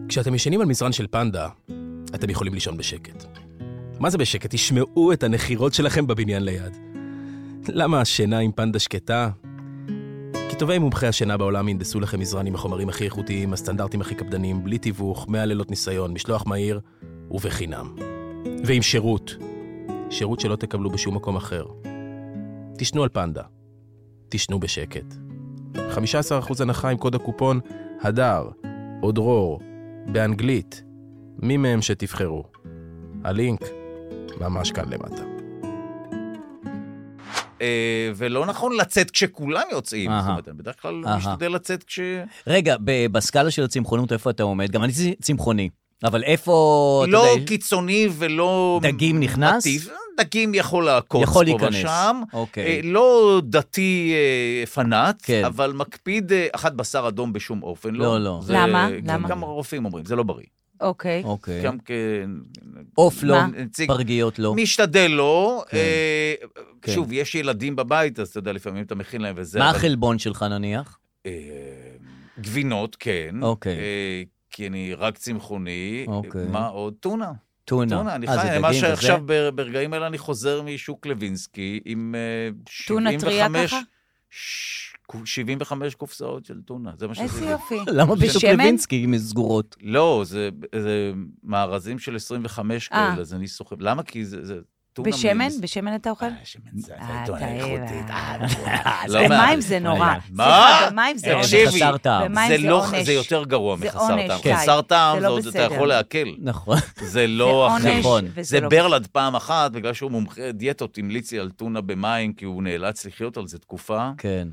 [SPEAKER 5] כשאתם ישנים על מזרן של פנדה, אתם יכולים לישון בשקט. מה זה בשקט? תשמעו את הנחירות שלכם בבניין ליד. למה השינה עם פנדה שקטה? כי טובי מומחי השינה בעולם ינדסו לכם מזרן עם החומרים הכי איכותיים, הסטנדרטים הכי קפדניים, בלי תיווך, 100 לילות ניסיון, משלוח מהיר ובחינם. ועם שירות. שירות שלא תקבלו בשום מקום אחר. תשנו על פנדה. תשנו בשקט. 15% הנחה עם קוד הקופון הדר, או דרור, באנגלית, מי מהם שתבחרו. הלינק ממש כאן למטה.
[SPEAKER 4] אה, ולא נכון לצאת כשכולם יוצאים.
[SPEAKER 2] אהה.
[SPEAKER 4] זאת אומרת, אני בדרך כלל לא
[SPEAKER 2] אהה.
[SPEAKER 4] משתדל לצאת כש...
[SPEAKER 2] רגע, ב- בסקאלה של הצמחונות, איפה אתה עומד? גם אני צ- צמחוני, אבל איפה, אתה
[SPEAKER 4] לא
[SPEAKER 2] יודע,
[SPEAKER 4] קיצוני ולא...
[SPEAKER 2] דגים נכנס?
[SPEAKER 4] מטיף. דגים יכול לעקוץ
[SPEAKER 2] יכול
[SPEAKER 4] פה
[SPEAKER 2] להיכנס.
[SPEAKER 4] ושם. אה,
[SPEAKER 2] אוקיי.
[SPEAKER 4] לא דתי אה, פנאט,
[SPEAKER 2] כן.
[SPEAKER 4] אבל מקפיד אה, אחת בשר אדום בשום אופן.
[SPEAKER 2] לא, לא.
[SPEAKER 4] זה-
[SPEAKER 3] למה?
[SPEAKER 4] גם-
[SPEAKER 3] למה?
[SPEAKER 4] גם הרופאים אומרים, זה לא בריא.
[SPEAKER 3] אוקיי.
[SPEAKER 2] אוקיי.
[SPEAKER 4] גם כ...
[SPEAKER 2] עוף לא,
[SPEAKER 3] מה?
[SPEAKER 4] נציג
[SPEAKER 2] פרגיות לא.
[SPEAKER 4] משתדל לא.
[SPEAKER 2] כן.
[SPEAKER 4] אה,
[SPEAKER 2] כן.
[SPEAKER 4] שוב, יש ילדים בבית, אז אתה יודע, לפעמים אתה מכין להם וזה.
[SPEAKER 2] מה
[SPEAKER 4] אבל-
[SPEAKER 2] החלבון שלך נניח?
[SPEAKER 4] אה, גבינות, כן.
[SPEAKER 2] אוקיי.
[SPEAKER 4] אה, כי אני רק צמחוני.
[SPEAKER 2] אוקיי.
[SPEAKER 4] מה עוד? טונה.
[SPEAKER 2] טונה.
[SPEAKER 4] טונה, אני
[SPEAKER 2] אה, זה
[SPEAKER 4] חי, אני ממש
[SPEAKER 2] דגים וזה?
[SPEAKER 4] עכשיו, בר- ברגעים אלה אני חוזר משוק לוינסקי עם אה,
[SPEAKER 3] טונה טריה
[SPEAKER 4] 75
[SPEAKER 3] ככה?
[SPEAKER 4] ש- 75 קופסאות של טונה, זה מה שזה.
[SPEAKER 3] איזה יופי.
[SPEAKER 2] למה בשוק
[SPEAKER 3] בשמן?
[SPEAKER 2] לוינסקי מסגורות?
[SPEAKER 4] לא, זה זה מארזים של 25
[SPEAKER 3] אה.
[SPEAKER 4] כאלה, אז אני סוחב. למה? כי זה זה טונה.
[SPEAKER 3] בשמן?
[SPEAKER 4] מ-
[SPEAKER 3] בשמן אתה אוכל?
[SPEAKER 4] אה, שמן זית,
[SPEAKER 3] אה,
[SPEAKER 4] טונה
[SPEAKER 3] תאי,
[SPEAKER 4] איכותית.
[SPEAKER 3] אה.
[SPEAKER 4] אה, נכון. לא
[SPEAKER 3] במים
[SPEAKER 4] מעל.
[SPEAKER 3] זה נורא.
[SPEAKER 2] מה?
[SPEAKER 3] סליחה, במים זה
[SPEAKER 4] אה,
[SPEAKER 3] עונש.
[SPEAKER 4] תקשיבי.
[SPEAKER 2] חסר טעם.
[SPEAKER 3] במים
[SPEAKER 4] זה
[SPEAKER 3] זה
[SPEAKER 4] לא,
[SPEAKER 3] עונש.
[SPEAKER 4] זה יותר גרוע
[SPEAKER 3] זה
[SPEAKER 4] מחסר
[SPEAKER 3] עונש,
[SPEAKER 4] טעם.
[SPEAKER 3] כן.
[SPEAKER 4] חסר טעם,
[SPEAKER 3] זה לא
[SPEAKER 4] זה עוד אתה
[SPEAKER 3] בסדר.
[SPEAKER 4] יכול לעכל.
[SPEAKER 2] נכון.
[SPEAKER 4] זה
[SPEAKER 3] זה
[SPEAKER 4] לא
[SPEAKER 3] עונש,
[SPEAKER 4] הכי
[SPEAKER 2] נכון.
[SPEAKER 3] וזה
[SPEAKER 4] זה
[SPEAKER 3] לא...
[SPEAKER 4] ברלד פעם אחת, בגלל שהוא מומחה דיאטות, המליץ לי על טונה במים, כי הוא נאלץ לחיות על זה תקופה.
[SPEAKER 2] כן.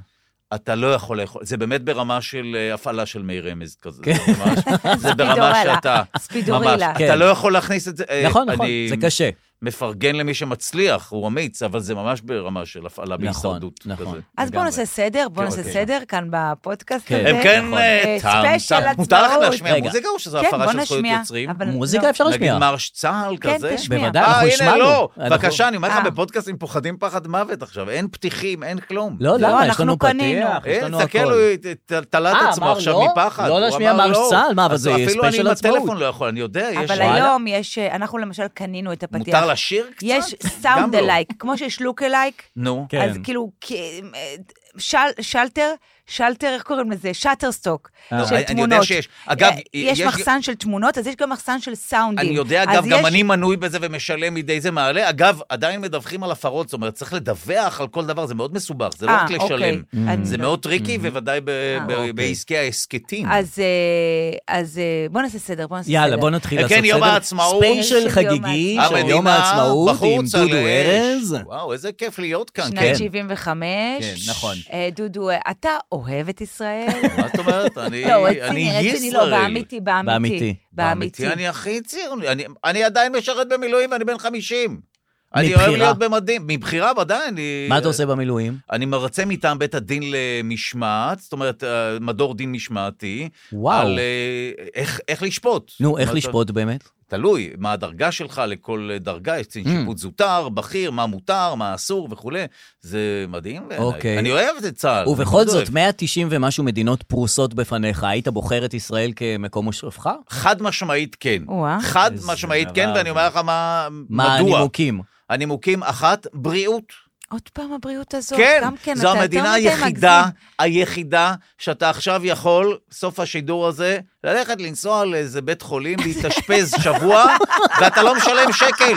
[SPEAKER 4] אתה לא יכול לאכול, זה באמת ברמה של אה, הפעלה של מי רמז כזה.
[SPEAKER 2] כן.
[SPEAKER 4] זה ממש- זה ברמה
[SPEAKER 3] ספידורלה.
[SPEAKER 4] שאתה... ממש,
[SPEAKER 3] ספידורילה.
[SPEAKER 2] כן.
[SPEAKER 4] אתה לא יכול להכניס את זה. אה,
[SPEAKER 2] נכון, נכון,
[SPEAKER 4] אני
[SPEAKER 2] זה קשה.
[SPEAKER 4] מפרגן למי שמצליח, הוא אמיץ, אבל זה ממש ברמה של הפעלה
[SPEAKER 2] נכון,
[SPEAKER 4] בהישרדות.
[SPEAKER 2] נכון.
[SPEAKER 4] כזה.
[SPEAKER 3] אז בואו
[SPEAKER 2] לגמרי.
[SPEAKER 3] נעשה סדר, בואו
[SPEAKER 4] כן,
[SPEAKER 3] נעשה
[SPEAKER 4] אוקיי.
[SPEAKER 3] סדר כאן בפודקאסט
[SPEAKER 2] כן.
[SPEAKER 3] הזה.
[SPEAKER 4] הם כן... אה,
[SPEAKER 3] אה,
[SPEAKER 4] טעם,
[SPEAKER 3] ספיישל
[SPEAKER 4] טעם. מותר לך
[SPEAKER 3] עצמאות.
[SPEAKER 4] להשמיע
[SPEAKER 2] רגע.
[SPEAKER 4] מוזיקה או שזו
[SPEAKER 3] כן,
[SPEAKER 4] הפרה
[SPEAKER 3] בוא
[SPEAKER 4] של זכויות
[SPEAKER 3] נשמיע.
[SPEAKER 4] יוצרים?
[SPEAKER 3] אבל
[SPEAKER 2] מוזיקה
[SPEAKER 3] לא.
[SPEAKER 2] אפשר
[SPEAKER 4] נגיד
[SPEAKER 2] להשמיע.
[SPEAKER 4] מרש צה"ל
[SPEAKER 3] כן,
[SPEAKER 4] כזה?
[SPEAKER 3] תשמיע.
[SPEAKER 2] בוודאי,
[SPEAKER 4] אה,
[SPEAKER 2] אנחנו
[SPEAKER 4] הנה,
[SPEAKER 2] השמענו. נכון.
[SPEAKER 4] לא.
[SPEAKER 2] אנחנו-
[SPEAKER 4] בבקשה, אני אומר לך,
[SPEAKER 3] אה.
[SPEAKER 4] בפודקאסטים פוחדים פחד מוות עכשיו. אין פתיחים, אין כלום.
[SPEAKER 2] לא, למה? יש
[SPEAKER 3] אנחנו
[SPEAKER 2] לנו
[SPEAKER 3] קנינו.
[SPEAKER 2] פתיח, יש
[SPEAKER 4] אין,
[SPEAKER 2] לנו
[SPEAKER 4] אה, תסתכל,
[SPEAKER 2] הכל.
[SPEAKER 4] הוא ת- ת- תלת
[SPEAKER 2] אה,
[SPEAKER 4] עצמו
[SPEAKER 2] אמר
[SPEAKER 4] עכשיו
[SPEAKER 2] לא?
[SPEAKER 4] מפחד.
[SPEAKER 2] לא
[SPEAKER 4] הוא
[SPEAKER 2] להשמיע
[SPEAKER 4] אמר
[SPEAKER 2] מרש
[SPEAKER 4] לא.
[SPEAKER 2] צה"ל, מה, אבל
[SPEAKER 4] אז
[SPEAKER 2] זה
[SPEAKER 4] אפילו אני
[SPEAKER 2] ספיישל
[SPEAKER 4] עם
[SPEAKER 2] עצמאות.
[SPEAKER 4] הטלפון לא יכול, אני יודע, יש...
[SPEAKER 3] אבל היום יש, אה, אנחנו למשל קנינו את הפתיח.
[SPEAKER 4] מותר לשיר קצת?
[SPEAKER 3] יש
[SPEAKER 4] גם
[SPEAKER 3] סאונד
[SPEAKER 4] לא.
[SPEAKER 3] אלייק, כמו שיש לוק אלייק,
[SPEAKER 4] נו.
[SPEAKER 2] כן.
[SPEAKER 3] אז כאילו, כ- אה, של, שלטר, שלטר, איך קוראים לזה? שאטר סטוק, של
[SPEAKER 4] לא, אני-
[SPEAKER 3] תמונות.
[SPEAKER 4] אני יודע שיש. אגב,
[SPEAKER 3] אה, יש מחסן של תמונות, אז יש גם מחסן של סאונדים.
[SPEAKER 4] אני יודע,
[SPEAKER 3] אז
[SPEAKER 4] אגב, גם
[SPEAKER 3] יש-
[SPEAKER 4] אני מנוי בזה ומשלם מדי זה מעלה. אגב, עדיין מדווחים על הפרות, זאת אומרת, צריך לדווח על כל דבר, זה מאוד מסובך, זה לא
[SPEAKER 3] אה,
[SPEAKER 4] רק לשלם.
[SPEAKER 3] אוקיי.
[SPEAKER 2] Mm.
[SPEAKER 3] אני-
[SPEAKER 4] זה מאוד טריקי, ובוודאי ב- ב-
[SPEAKER 3] אוקיי.
[SPEAKER 4] בעסקי ההסכתים.
[SPEAKER 3] אז, אה, אז אה, בוא נעשה סדר, בוא נעשה סדר.
[SPEAKER 2] יאללה, בוא נתחיל
[SPEAKER 4] כן,
[SPEAKER 2] לעשות סדר.
[SPEAKER 4] יום העצמאות.
[SPEAKER 2] ספיישל
[SPEAKER 3] יום
[SPEAKER 2] חגיגי
[SPEAKER 3] העצמאות.
[SPEAKER 2] של יום העצמאות עם
[SPEAKER 4] אה, בחוץ על
[SPEAKER 2] דודו
[SPEAKER 4] האש.
[SPEAKER 2] ארז.
[SPEAKER 4] וואו, איזה כיף להיות כאן.
[SPEAKER 3] שנת
[SPEAKER 4] כן.
[SPEAKER 3] 75.
[SPEAKER 2] כן, נכון.
[SPEAKER 3] אה, דודו, אה, אתה אוהב את ישראל?
[SPEAKER 4] מה את אומרת? אני
[SPEAKER 3] לא,
[SPEAKER 4] אה, אני
[SPEAKER 3] רציני, רציני, לא,
[SPEAKER 4] ישראל.
[SPEAKER 3] באמיתי, באמיתי.
[SPEAKER 2] באמיתי.
[SPEAKER 4] באמיתי אני הכי ציוני. אני- אני עדיין משרת במילואים ואני בן 50. אני
[SPEAKER 2] מבחירה.
[SPEAKER 4] אוהב להיות במדים. מבחירה, ודאי. אני-
[SPEAKER 2] מה אתה עושה במילואים?
[SPEAKER 4] אני מרצה מטעם בית הדין למשמעת, זאת אומרת, אה, מדור דין משמעתי.
[SPEAKER 2] וואו.
[SPEAKER 4] על אה, איך, איך לשפוט.
[SPEAKER 2] נו,
[SPEAKER 4] זאת
[SPEAKER 2] איך
[SPEAKER 4] אומרת,
[SPEAKER 2] לשפוט באמת?
[SPEAKER 4] תלוי מה הדרגה שלך, לכל דרגה יש קצין
[SPEAKER 2] Mm.
[SPEAKER 4] שיפוט זוטר, בכיר, מה מותר, מה אסור וכולי. זה מדהים בעיניי.
[SPEAKER 2] אוקיי.
[SPEAKER 4] אני אוהב את צה"ל.
[SPEAKER 2] ובכל
[SPEAKER 4] אני
[SPEAKER 2] זאת,
[SPEAKER 4] אוהב.
[SPEAKER 2] 190 ומשהו מדינות פרוסות בפניך, היית בוחר את ישראל כמקום מושבך?
[SPEAKER 4] חד משמעית כן.
[SPEAKER 3] וואה.
[SPEAKER 4] חד
[SPEAKER 2] איזה
[SPEAKER 4] משמעית
[SPEAKER 2] דבר.
[SPEAKER 4] כן, ואני אומר לך מה,
[SPEAKER 2] מה
[SPEAKER 4] מדוע.
[SPEAKER 2] הנימוקים?
[SPEAKER 4] הנימוקים, אחת, בריאות.
[SPEAKER 3] עוד פעם הבריאות הזאת,
[SPEAKER 4] כן,
[SPEAKER 3] גם כן,
[SPEAKER 4] זו
[SPEAKER 3] אתה יותר
[SPEAKER 4] המדינה
[SPEAKER 3] מדי
[SPEAKER 4] היחידה,
[SPEAKER 3] מגזים.
[SPEAKER 4] היחידה, שאתה עכשיו יכול, סוף השידור הזה, ללכת לנסוע לאיזה בית חולים, להתאשפז שבוע, ואתה לא משלם שקל.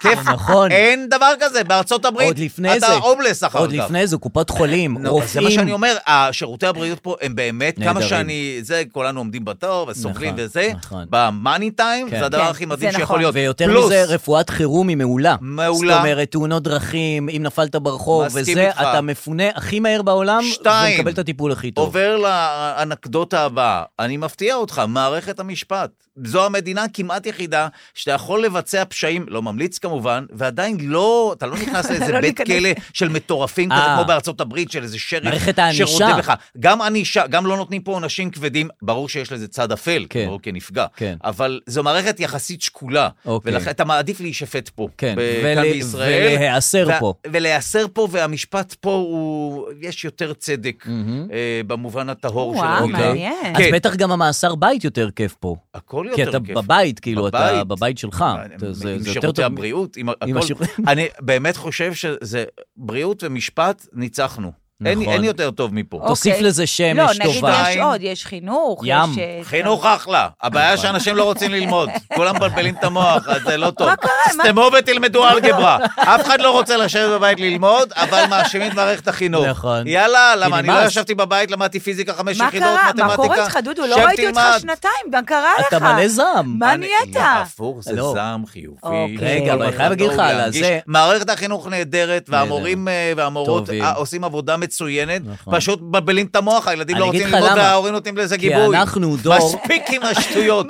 [SPEAKER 4] כיף.
[SPEAKER 2] נכון.
[SPEAKER 4] אין דבר כזה, בארצות הברית.
[SPEAKER 2] עוד לפני זה.
[SPEAKER 4] אתה הומלס אחר כך.
[SPEAKER 2] עוד לפני זה, קופות חולים,
[SPEAKER 4] נו, אבל זה מה
[SPEAKER 2] רופאים.
[SPEAKER 4] שאני אומר, השירותי הבריאות פה הם באמת, כמה
[SPEAKER 2] נהדרים.
[SPEAKER 4] שאני, זה, כולנו עומדים בתור וסובלים
[SPEAKER 2] נכון,
[SPEAKER 4] וזה,
[SPEAKER 2] נכון.
[SPEAKER 4] במאני טיים,
[SPEAKER 2] כן.
[SPEAKER 4] זה הדבר
[SPEAKER 3] כן,
[SPEAKER 4] הכי
[SPEAKER 3] זה
[SPEAKER 4] מדהים שיכול
[SPEAKER 3] נכון.
[SPEAKER 4] להיות.
[SPEAKER 2] ויותר
[SPEAKER 4] פלוס,
[SPEAKER 2] מזה, רפואת חירום היא מעולה.
[SPEAKER 4] מעולה.
[SPEAKER 2] זאת אומרת, תאונות דרכים, אם נפלת ברחוב,
[SPEAKER 4] מסכים
[SPEAKER 2] וזה,
[SPEAKER 4] איתך.
[SPEAKER 2] אתה מפונה הכי מהר בעולם,
[SPEAKER 4] שתיים.
[SPEAKER 2] ומקבל את הטיפול הכי טוב.
[SPEAKER 4] עובר לאנקדוטה הבאה, אני מפתיע אותך, מערכת המשפט. זו המדינה כמעט יחידה שאתה יכול לבצע פשעים, לא ממליץ כמובן, ועדיין לא, אתה לא נכנס לאיזה
[SPEAKER 3] לא
[SPEAKER 4] בית
[SPEAKER 3] ניכנס.
[SPEAKER 4] כלא של מטורפים כזה,
[SPEAKER 2] אה.
[SPEAKER 4] כמו בארצות הברית, של איזה שריף.
[SPEAKER 2] מערכת הענישה.
[SPEAKER 4] שרודף לך. גם ענישה, גם לא נותנים פה עונשים כבדים, ברור שיש לזה צד אפל,
[SPEAKER 2] כן.
[SPEAKER 4] ברור כנפגע,
[SPEAKER 2] כן.
[SPEAKER 4] אבל זו מערכת יחסית שקולה,
[SPEAKER 2] אוקיי.
[SPEAKER 4] ולכן אתה מעדיף להישפט פה,
[SPEAKER 2] כן,
[SPEAKER 4] ב-
[SPEAKER 2] ול-
[SPEAKER 4] כאן בישראל.
[SPEAKER 2] ולהיאסר
[SPEAKER 4] וה-
[SPEAKER 2] פה.
[SPEAKER 4] ולהיאסר פה, והמשפט פה הוא, יש יותר צדק אה, במובן הטהור של
[SPEAKER 3] וואו,
[SPEAKER 4] המילה.
[SPEAKER 3] מעניין.
[SPEAKER 2] אז
[SPEAKER 4] כן.
[SPEAKER 2] בטח גם המאסר בית יותר כיף פה.
[SPEAKER 4] הכל יותר
[SPEAKER 2] כי
[SPEAKER 4] כיף.
[SPEAKER 2] אתה בבית, כאילו, אתה
[SPEAKER 4] בבית. אה,
[SPEAKER 2] בבית שלך. אתה- זה-
[SPEAKER 4] עם
[SPEAKER 2] זה יותר
[SPEAKER 4] שירותי
[SPEAKER 2] טוב.
[SPEAKER 4] הבריאות, עם
[SPEAKER 2] עם
[SPEAKER 4] הכל.
[SPEAKER 2] השירות-
[SPEAKER 4] אני באמת חושב שזה בריאות ומשפט, ניצחנו. אין-
[SPEAKER 2] נכון.
[SPEAKER 4] אין יותר טוב מפה.
[SPEAKER 3] אוקיי.
[SPEAKER 2] תוסיף לזה שמש טובה.
[SPEAKER 3] לא, נגיד יש
[SPEAKER 4] שתיים.
[SPEAKER 3] עוד, יש חינוך,
[SPEAKER 2] ים.
[SPEAKER 3] יש... אה,
[SPEAKER 4] חינוך אחלה, הבעיה שאנשים לא רוצים ללמוד, כולם מבלבלים את המוח, אז זה לא טוב.
[SPEAKER 3] מה קרה? מה-
[SPEAKER 4] סתמו ותלמדו אלגברה, אף אחד לא רוצה לשבת בבית ללמוד, אבל מאשימים את מערכת החינוך.
[SPEAKER 2] נכון.
[SPEAKER 4] יאללה,
[SPEAKER 2] כי
[SPEAKER 4] למה, אני
[SPEAKER 2] נמאס.
[SPEAKER 4] לא ישבתי בבית, למדתי פיזיקה חמש
[SPEAKER 3] מה
[SPEAKER 4] יחידות,
[SPEAKER 3] קרה?
[SPEAKER 4] מתמטיקה.
[SPEAKER 3] מה קורה איתך, דודו? לא
[SPEAKER 4] שב,
[SPEAKER 3] ראיתי אותך
[SPEAKER 4] תלמד.
[SPEAKER 3] שנתיים, גם קרה לך.
[SPEAKER 2] אתה מלא זעם.
[SPEAKER 3] מה
[SPEAKER 4] אני-
[SPEAKER 3] נהיית?
[SPEAKER 4] לא, הפוך, זה
[SPEAKER 2] לא.
[SPEAKER 4] זעם חיובי. לא
[SPEAKER 3] אוקיי.
[SPEAKER 2] רגע, אבל אני חייב להגיד לך על
[SPEAKER 4] להרגיש-
[SPEAKER 2] הזה-
[SPEAKER 4] מערכת החינוך נהדרת, והמורים אה, והמורות
[SPEAKER 2] טובים.
[SPEAKER 4] אה, עושים עבודה מצוינת,
[SPEAKER 2] נכון.
[SPEAKER 4] פשוט מבלבלים את המוח, הילדים
[SPEAKER 2] אני
[SPEAKER 4] לא
[SPEAKER 2] אגיד
[SPEAKER 4] רוצים
[SPEAKER 2] לך
[SPEAKER 4] ללמוד,
[SPEAKER 2] למה.
[SPEAKER 4] וההורים נותנים לזה
[SPEAKER 2] כי
[SPEAKER 4] גיבוי.
[SPEAKER 2] אנחנו דור-
[SPEAKER 4] מספיק עם השטויות.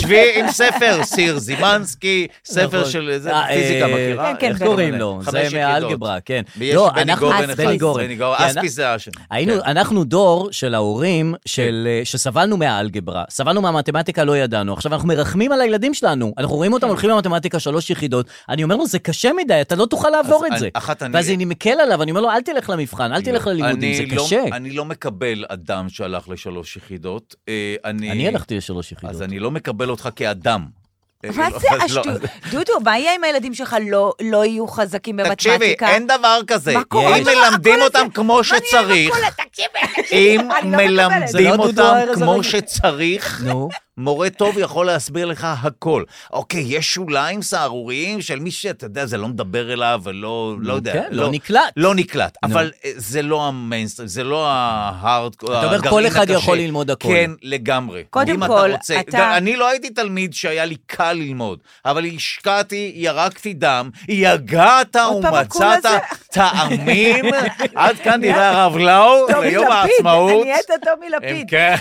[SPEAKER 4] שבי עם ספר, סיר זימנסקי, ספר
[SPEAKER 2] נכון.
[SPEAKER 4] של איזה
[SPEAKER 2] אה,
[SPEAKER 4] פיזיקה,
[SPEAKER 2] אה,
[SPEAKER 4] מכירה?
[SPEAKER 3] כן, כן,
[SPEAKER 2] איך
[SPEAKER 3] בן
[SPEAKER 2] קוראים
[SPEAKER 4] גורן.
[SPEAKER 2] לו?
[SPEAKER 4] חמש
[SPEAKER 2] זה
[SPEAKER 4] יחידות.
[SPEAKER 2] מהאלגברה, כן.
[SPEAKER 4] ויש
[SPEAKER 2] לא,
[SPEAKER 4] בני
[SPEAKER 2] אנחנו-
[SPEAKER 4] גורן אחד.
[SPEAKER 2] בני גורן.
[SPEAKER 4] בני גורן,
[SPEAKER 2] כי אנחנו-
[SPEAKER 4] אספיס זה השם.
[SPEAKER 2] היינו,
[SPEAKER 4] כן.
[SPEAKER 2] אנחנו דור של ההורים של, אה, שסבלנו מהאלגברה, סבלנו מהמתמטיקה, לא ידענו. עכשיו, אנחנו מרחמים על הילדים שלנו. אנחנו רואים
[SPEAKER 4] כן.
[SPEAKER 2] אותם הולכים למתמטיקה שלוש יחידות. אני אומר לו, זה קשה מדי, אתה לא תוכל לעבור
[SPEAKER 4] אז
[SPEAKER 2] את זה.
[SPEAKER 4] אני- אחת אני-
[SPEAKER 2] ואז אני מקל עליו, אני אומר לו, אל תלך למבחן, אל תלך ללימודים,
[SPEAKER 4] אני
[SPEAKER 2] זה
[SPEAKER 4] לא-
[SPEAKER 2] קשה.
[SPEAKER 4] אני לא מקבל אדם שהלך לשלוש יחידות. אה,
[SPEAKER 2] אני הלכתי לשלוש יחידות.
[SPEAKER 4] אז אני לא מקבל אותך כאדם.
[SPEAKER 3] מה
[SPEAKER 4] אה,
[SPEAKER 3] זה
[SPEAKER 4] אז לא,
[SPEAKER 3] השטות? דודו, מה יהיה אם הילדים שלך לא- לא יהיו חזקים במתמטיקה?
[SPEAKER 4] תקשיבי, אין דבר כזה.
[SPEAKER 3] מה קורה לא
[SPEAKER 4] אם
[SPEAKER 3] שם?
[SPEAKER 4] מלמדים
[SPEAKER 3] הכל
[SPEAKER 4] אותם
[SPEAKER 3] הזה-
[SPEAKER 4] כמו שצריך, אם
[SPEAKER 3] לא אני לא מקבלת. זה
[SPEAKER 4] מלמדים
[SPEAKER 2] לא דודו
[SPEAKER 4] אותם
[SPEAKER 2] ארז
[SPEAKER 4] כמו
[SPEAKER 2] הרגע.
[SPEAKER 4] שצריך,
[SPEAKER 2] נו,
[SPEAKER 4] מורה טוב יכול להסביר לך הכל. אוקיי, יש שוליים סהרוריים של מי שאתה יודע, זה לא מדבר אליו ולא, לא יודע.
[SPEAKER 2] כן, לא נקלט.
[SPEAKER 4] לא נקלט,
[SPEAKER 2] נו.
[SPEAKER 4] אבל אה, זה לא המיינסטרים, זה לא ההארד,
[SPEAKER 2] אומר,
[SPEAKER 4] הגרעין
[SPEAKER 2] כל אחד
[SPEAKER 4] הקשה.
[SPEAKER 2] יכול ללמוד הכל.
[SPEAKER 4] כן, לגמרי.
[SPEAKER 3] קודם
[SPEAKER 4] אם
[SPEAKER 3] כל,
[SPEAKER 4] אתה... רוצה-
[SPEAKER 3] אתה-
[SPEAKER 4] גם- אני לא הייתי תלמיד שהיה לי קל ללמוד, אבל השקעתי, ירקתי דם, יגעת
[SPEAKER 3] עוד פעם הקול
[SPEAKER 4] ומצאת
[SPEAKER 3] הזה?
[SPEAKER 4] טעמים, עד כאן דברי הרב לאו,
[SPEAKER 3] טומי
[SPEAKER 4] ליום
[SPEAKER 3] לפיד,
[SPEAKER 4] העצמאות.
[SPEAKER 3] אני נהיית טומי
[SPEAKER 4] הם
[SPEAKER 3] לפיד.
[SPEAKER 4] כן.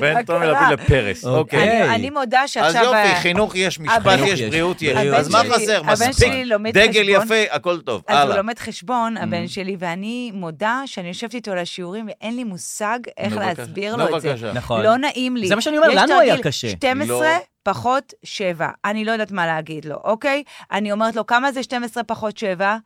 [SPEAKER 4] בין
[SPEAKER 3] מה
[SPEAKER 4] תומר
[SPEAKER 3] קרה?
[SPEAKER 4] לפיד לפרס, אוקיי.
[SPEAKER 2] אוקיי.
[SPEAKER 3] אני אני מודה
[SPEAKER 4] אז
[SPEAKER 3] שעכשיו...
[SPEAKER 4] יופי,
[SPEAKER 3] ה-
[SPEAKER 4] חינוך יש, משפט
[SPEAKER 3] אה, הבן-
[SPEAKER 4] יש, בריאות יש.
[SPEAKER 2] הבן
[SPEAKER 4] אז מה
[SPEAKER 2] שלי-
[SPEAKER 4] חסר?
[SPEAKER 3] הבן
[SPEAKER 4] מספיק.
[SPEAKER 3] שלי לומד
[SPEAKER 4] דגל
[SPEAKER 3] חשבון.
[SPEAKER 4] יפה, הכל טוב.
[SPEAKER 3] אז הוא
[SPEAKER 4] הלאה. Mm.
[SPEAKER 3] לומד חשבון, הבן שלי, ואני מודה שאני יושבת איתו על השיעורים ואין לי מושג איך
[SPEAKER 4] נו, בבקשה.
[SPEAKER 3] להסביר
[SPEAKER 4] נו,
[SPEAKER 3] לו את זה.
[SPEAKER 4] בבקשה.
[SPEAKER 2] נכון.
[SPEAKER 3] לא נעים לי.
[SPEAKER 2] זה מה שאני אומר,
[SPEAKER 3] יש
[SPEAKER 2] לנו
[SPEAKER 3] תרגיל
[SPEAKER 2] היה קשה.
[SPEAKER 3] 12
[SPEAKER 4] לא.
[SPEAKER 3] פחות 7, אני לא יודעת מה להגיד לו, אוקיי? אני אומרת לו, כמה זה 12 פחות 7?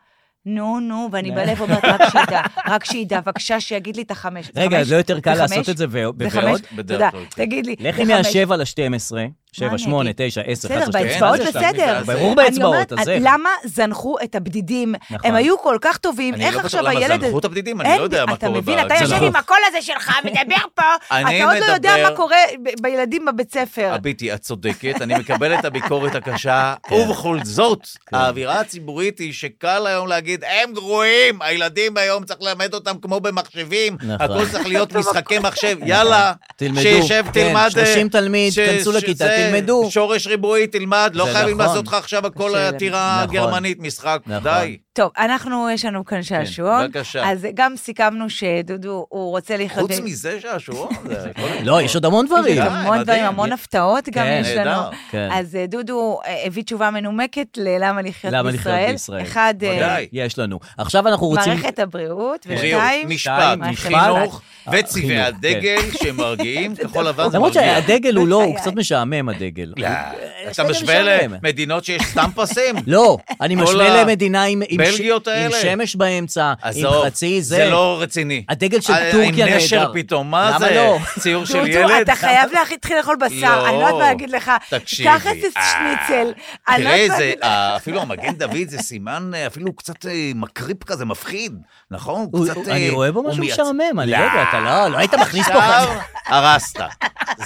[SPEAKER 3] נו, נו, ואני בלב אומרת, רק שידע, רק שידע, בבקשה שיגיד לי את החמש. זה
[SPEAKER 2] רגע,
[SPEAKER 3] חמש?
[SPEAKER 2] אז לא יותר קל
[SPEAKER 3] זה
[SPEAKER 2] לעשות
[SPEAKER 3] חמש?
[SPEAKER 2] את זה ו-
[SPEAKER 3] זה
[SPEAKER 2] בוועוד?
[SPEAKER 3] חמש?
[SPEAKER 4] בדרך
[SPEAKER 3] תודה,
[SPEAKER 4] כלל, כן.
[SPEAKER 3] תגיד לי.
[SPEAKER 2] לכי
[SPEAKER 3] זה חמש.
[SPEAKER 2] מה-7 ל-12, 7,
[SPEAKER 3] אני
[SPEAKER 2] 8,
[SPEAKER 3] אגיד?
[SPEAKER 2] 9, 10,
[SPEAKER 3] בסדר,
[SPEAKER 2] 11, 12.
[SPEAKER 3] באצבעות
[SPEAKER 4] כן, זה
[SPEAKER 3] בסדר.
[SPEAKER 4] שלב,
[SPEAKER 2] ברור
[SPEAKER 3] אני
[SPEAKER 2] באצבעות,
[SPEAKER 3] אומרת,
[SPEAKER 2] אז זה.
[SPEAKER 3] למה זנחו את הבדידים?
[SPEAKER 2] נכון.
[SPEAKER 3] הם היו כל כך טובים,
[SPEAKER 4] אני
[SPEAKER 3] איך
[SPEAKER 4] לא בטוח
[SPEAKER 3] עכשיו
[SPEAKER 4] למה
[SPEAKER 3] הילד...
[SPEAKER 4] זנחו את הבדידים, אני
[SPEAKER 3] אין-
[SPEAKER 4] לא יודע מה קורה נכון.
[SPEAKER 3] אתה מבין, אתה
[SPEAKER 4] בארץ. לא-
[SPEAKER 3] יושב
[SPEAKER 2] זנחו.
[SPEAKER 3] עם הקול הזה שלך, מדבר פה,
[SPEAKER 4] אני
[SPEAKER 3] אתה עוד לא יודע
[SPEAKER 4] מדבר-
[SPEAKER 3] מה קורה ב- בילדים בבית
[SPEAKER 2] אה,
[SPEAKER 3] ספר.
[SPEAKER 4] הביטי, את צודקת, אני מקבל את הביקורת הקשה,
[SPEAKER 2] כן.
[SPEAKER 4] ובכל זאת, האווירה הציבורית היא שקל היום להגיד, הם גרועים, הילדים היום צריך ללמד אותם כמו במחשבים,
[SPEAKER 2] נכון.
[SPEAKER 4] הכל צריך להיות משחקי מחשב, יאללה,
[SPEAKER 2] תלמדו,
[SPEAKER 4] שישב,
[SPEAKER 2] כן,
[SPEAKER 4] תלמד. אה,
[SPEAKER 2] 30 תלמיד,
[SPEAKER 4] ש-
[SPEAKER 2] כנסו
[SPEAKER 4] ש-
[SPEAKER 2] לכיתה,
[SPEAKER 4] זה,
[SPEAKER 2] תלמדו.
[SPEAKER 4] שורש ריבועי, תלמד, לא
[SPEAKER 2] זה
[SPEAKER 4] חייבים
[SPEAKER 2] נכון.
[SPEAKER 4] לעשות לך עכשיו הכל
[SPEAKER 2] זה-
[SPEAKER 4] עתירה
[SPEAKER 2] נכון.
[SPEAKER 4] גרמנית, משחק,
[SPEAKER 2] נכון.
[SPEAKER 4] די.
[SPEAKER 3] טוב, אנחנו, יש לנו כאן שעשועון.
[SPEAKER 4] כן, בבקשה.
[SPEAKER 3] אז גם סיכמנו שדודו, הוא רוצה לחיות...
[SPEAKER 4] חוץ מזה שהשעון, זה הכל- נכון.
[SPEAKER 2] לא, יש עוד המון
[SPEAKER 3] יש
[SPEAKER 2] דברים.
[SPEAKER 4] אה,
[SPEAKER 3] המון דברים,
[SPEAKER 4] מדהים.
[SPEAKER 3] המון הפתעות גם
[SPEAKER 2] כן,
[SPEAKER 3] יש לנו.
[SPEAKER 4] נהדר.
[SPEAKER 2] כן.
[SPEAKER 3] אז אה, דודו אה, הביא תשובה מנומקת ללמה לחיות
[SPEAKER 2] למה לחיות
[SPEAKER 3] בישראל.
[SPEAKER 2] בישראל.
[SPEAKER 3] אחד, אה,
[SPEAKER 4] ודאי.
[SPEAKER 2] יש לנו. עכשיו אנחנו רוצים...
[SPEAKER 3] מערכת הבריאות,
[SPEAKER 4] בריאות,
[SPEAKER 3] ושתיים,
[SPEAKER 4] משפט,
[SPEAKER 3] שתיים,
[SPEAKER 4] חינוך וצבעי
[SPEAKER 2] אה, חינוך, כן.
[SPEAKER 4] הדגל שמרגיעים, כחול לבן זה
[SPEAKER 2] למרות
[SPEAKER 4] מרגיע.
[SPEAKER 2] שהדגל הוא לא, הוא
[SPEAKER 3] בחיי.
[SPEAKER 2] קצת משעמם, הדגל.
[SPEAKER 4] לא, אתה
[SPEAKER 2] בסדר,
[SPEAKER 4] משווה
[SPEAKER 2] משעמם.
[SPEAKER 4] למדינות שיש סתם פסים?
[SPEAKER 2] לא, אני
[SPEAKER 4] כל
[SPEAKER 2] משווה
[SPEAKER 4] ה-
[SPEAKER 2] למדינה עם, עם,
[SPEAKER 4] בלגיות
[SPEAKER 2] עם
[SPEAKER 4] האלה.
[SPEAKER 2] שמש באמצע, עם
[SPEAKER 4] עזוב,
[SPEAKER 2] חצי זה.
[SPEAKER 4] זה לא רציני.
[SPEAKER 2] הדגל של
[SPEAKER 4] אה,
[SPEAKER 2] טורקיה
[SPEAKER 4] עם
[SPEAKER 2] נהדר.
[SPEAKER 4] נשר פתאום,
[SPEAKER 2] למה
[SPEAKER 4] מה זה?
[SPEAKER 2] לא?
[SPEAKER 4] ציור של
[SPEAKER 3] דודו,
[SPEAKER 4] ילד?
[SPEAKER 3] אתה חייב להתחיל לאכול בשר, אני לא יודעת מה להגיד לך.
[SPEAKER 4] תקשיבי,
[SPEAKER 3] קח איזה
[SPEAKER 4] אה,
[SPEAKER 3] שניצל. אני לא
[SPEAKER 4] תראה,
[SPEAKER 3] יודעת מה
[SPEAKER 4] זה,
[SPEAKER 3] להגיד לך.
[SPEAKER 4] אה, אפילו המגן דוד זה סימן אה, אפילו קצת אה, מקריפ כזה, מפחיד, נכון? הוא
[SPEAKER 2] הוא-
[SPEAKER 4] קצת,
[SPEAKER 2] הוא-
[SPEAKER 4] אה,
[SPEAKER 2] אני רואה בו
[SPEAKER 4] הוא
[SPEAKER 2] משהו
[SPEAKER 4] מייצ-
[SPEAKER 2] משעמם, אני לא יודע, אתה לא, לא היית מכניס פה
[SPEAKER 4] עכשיו
[SPEAKER 2] חצי.
[SPEAKER 4] הרסת.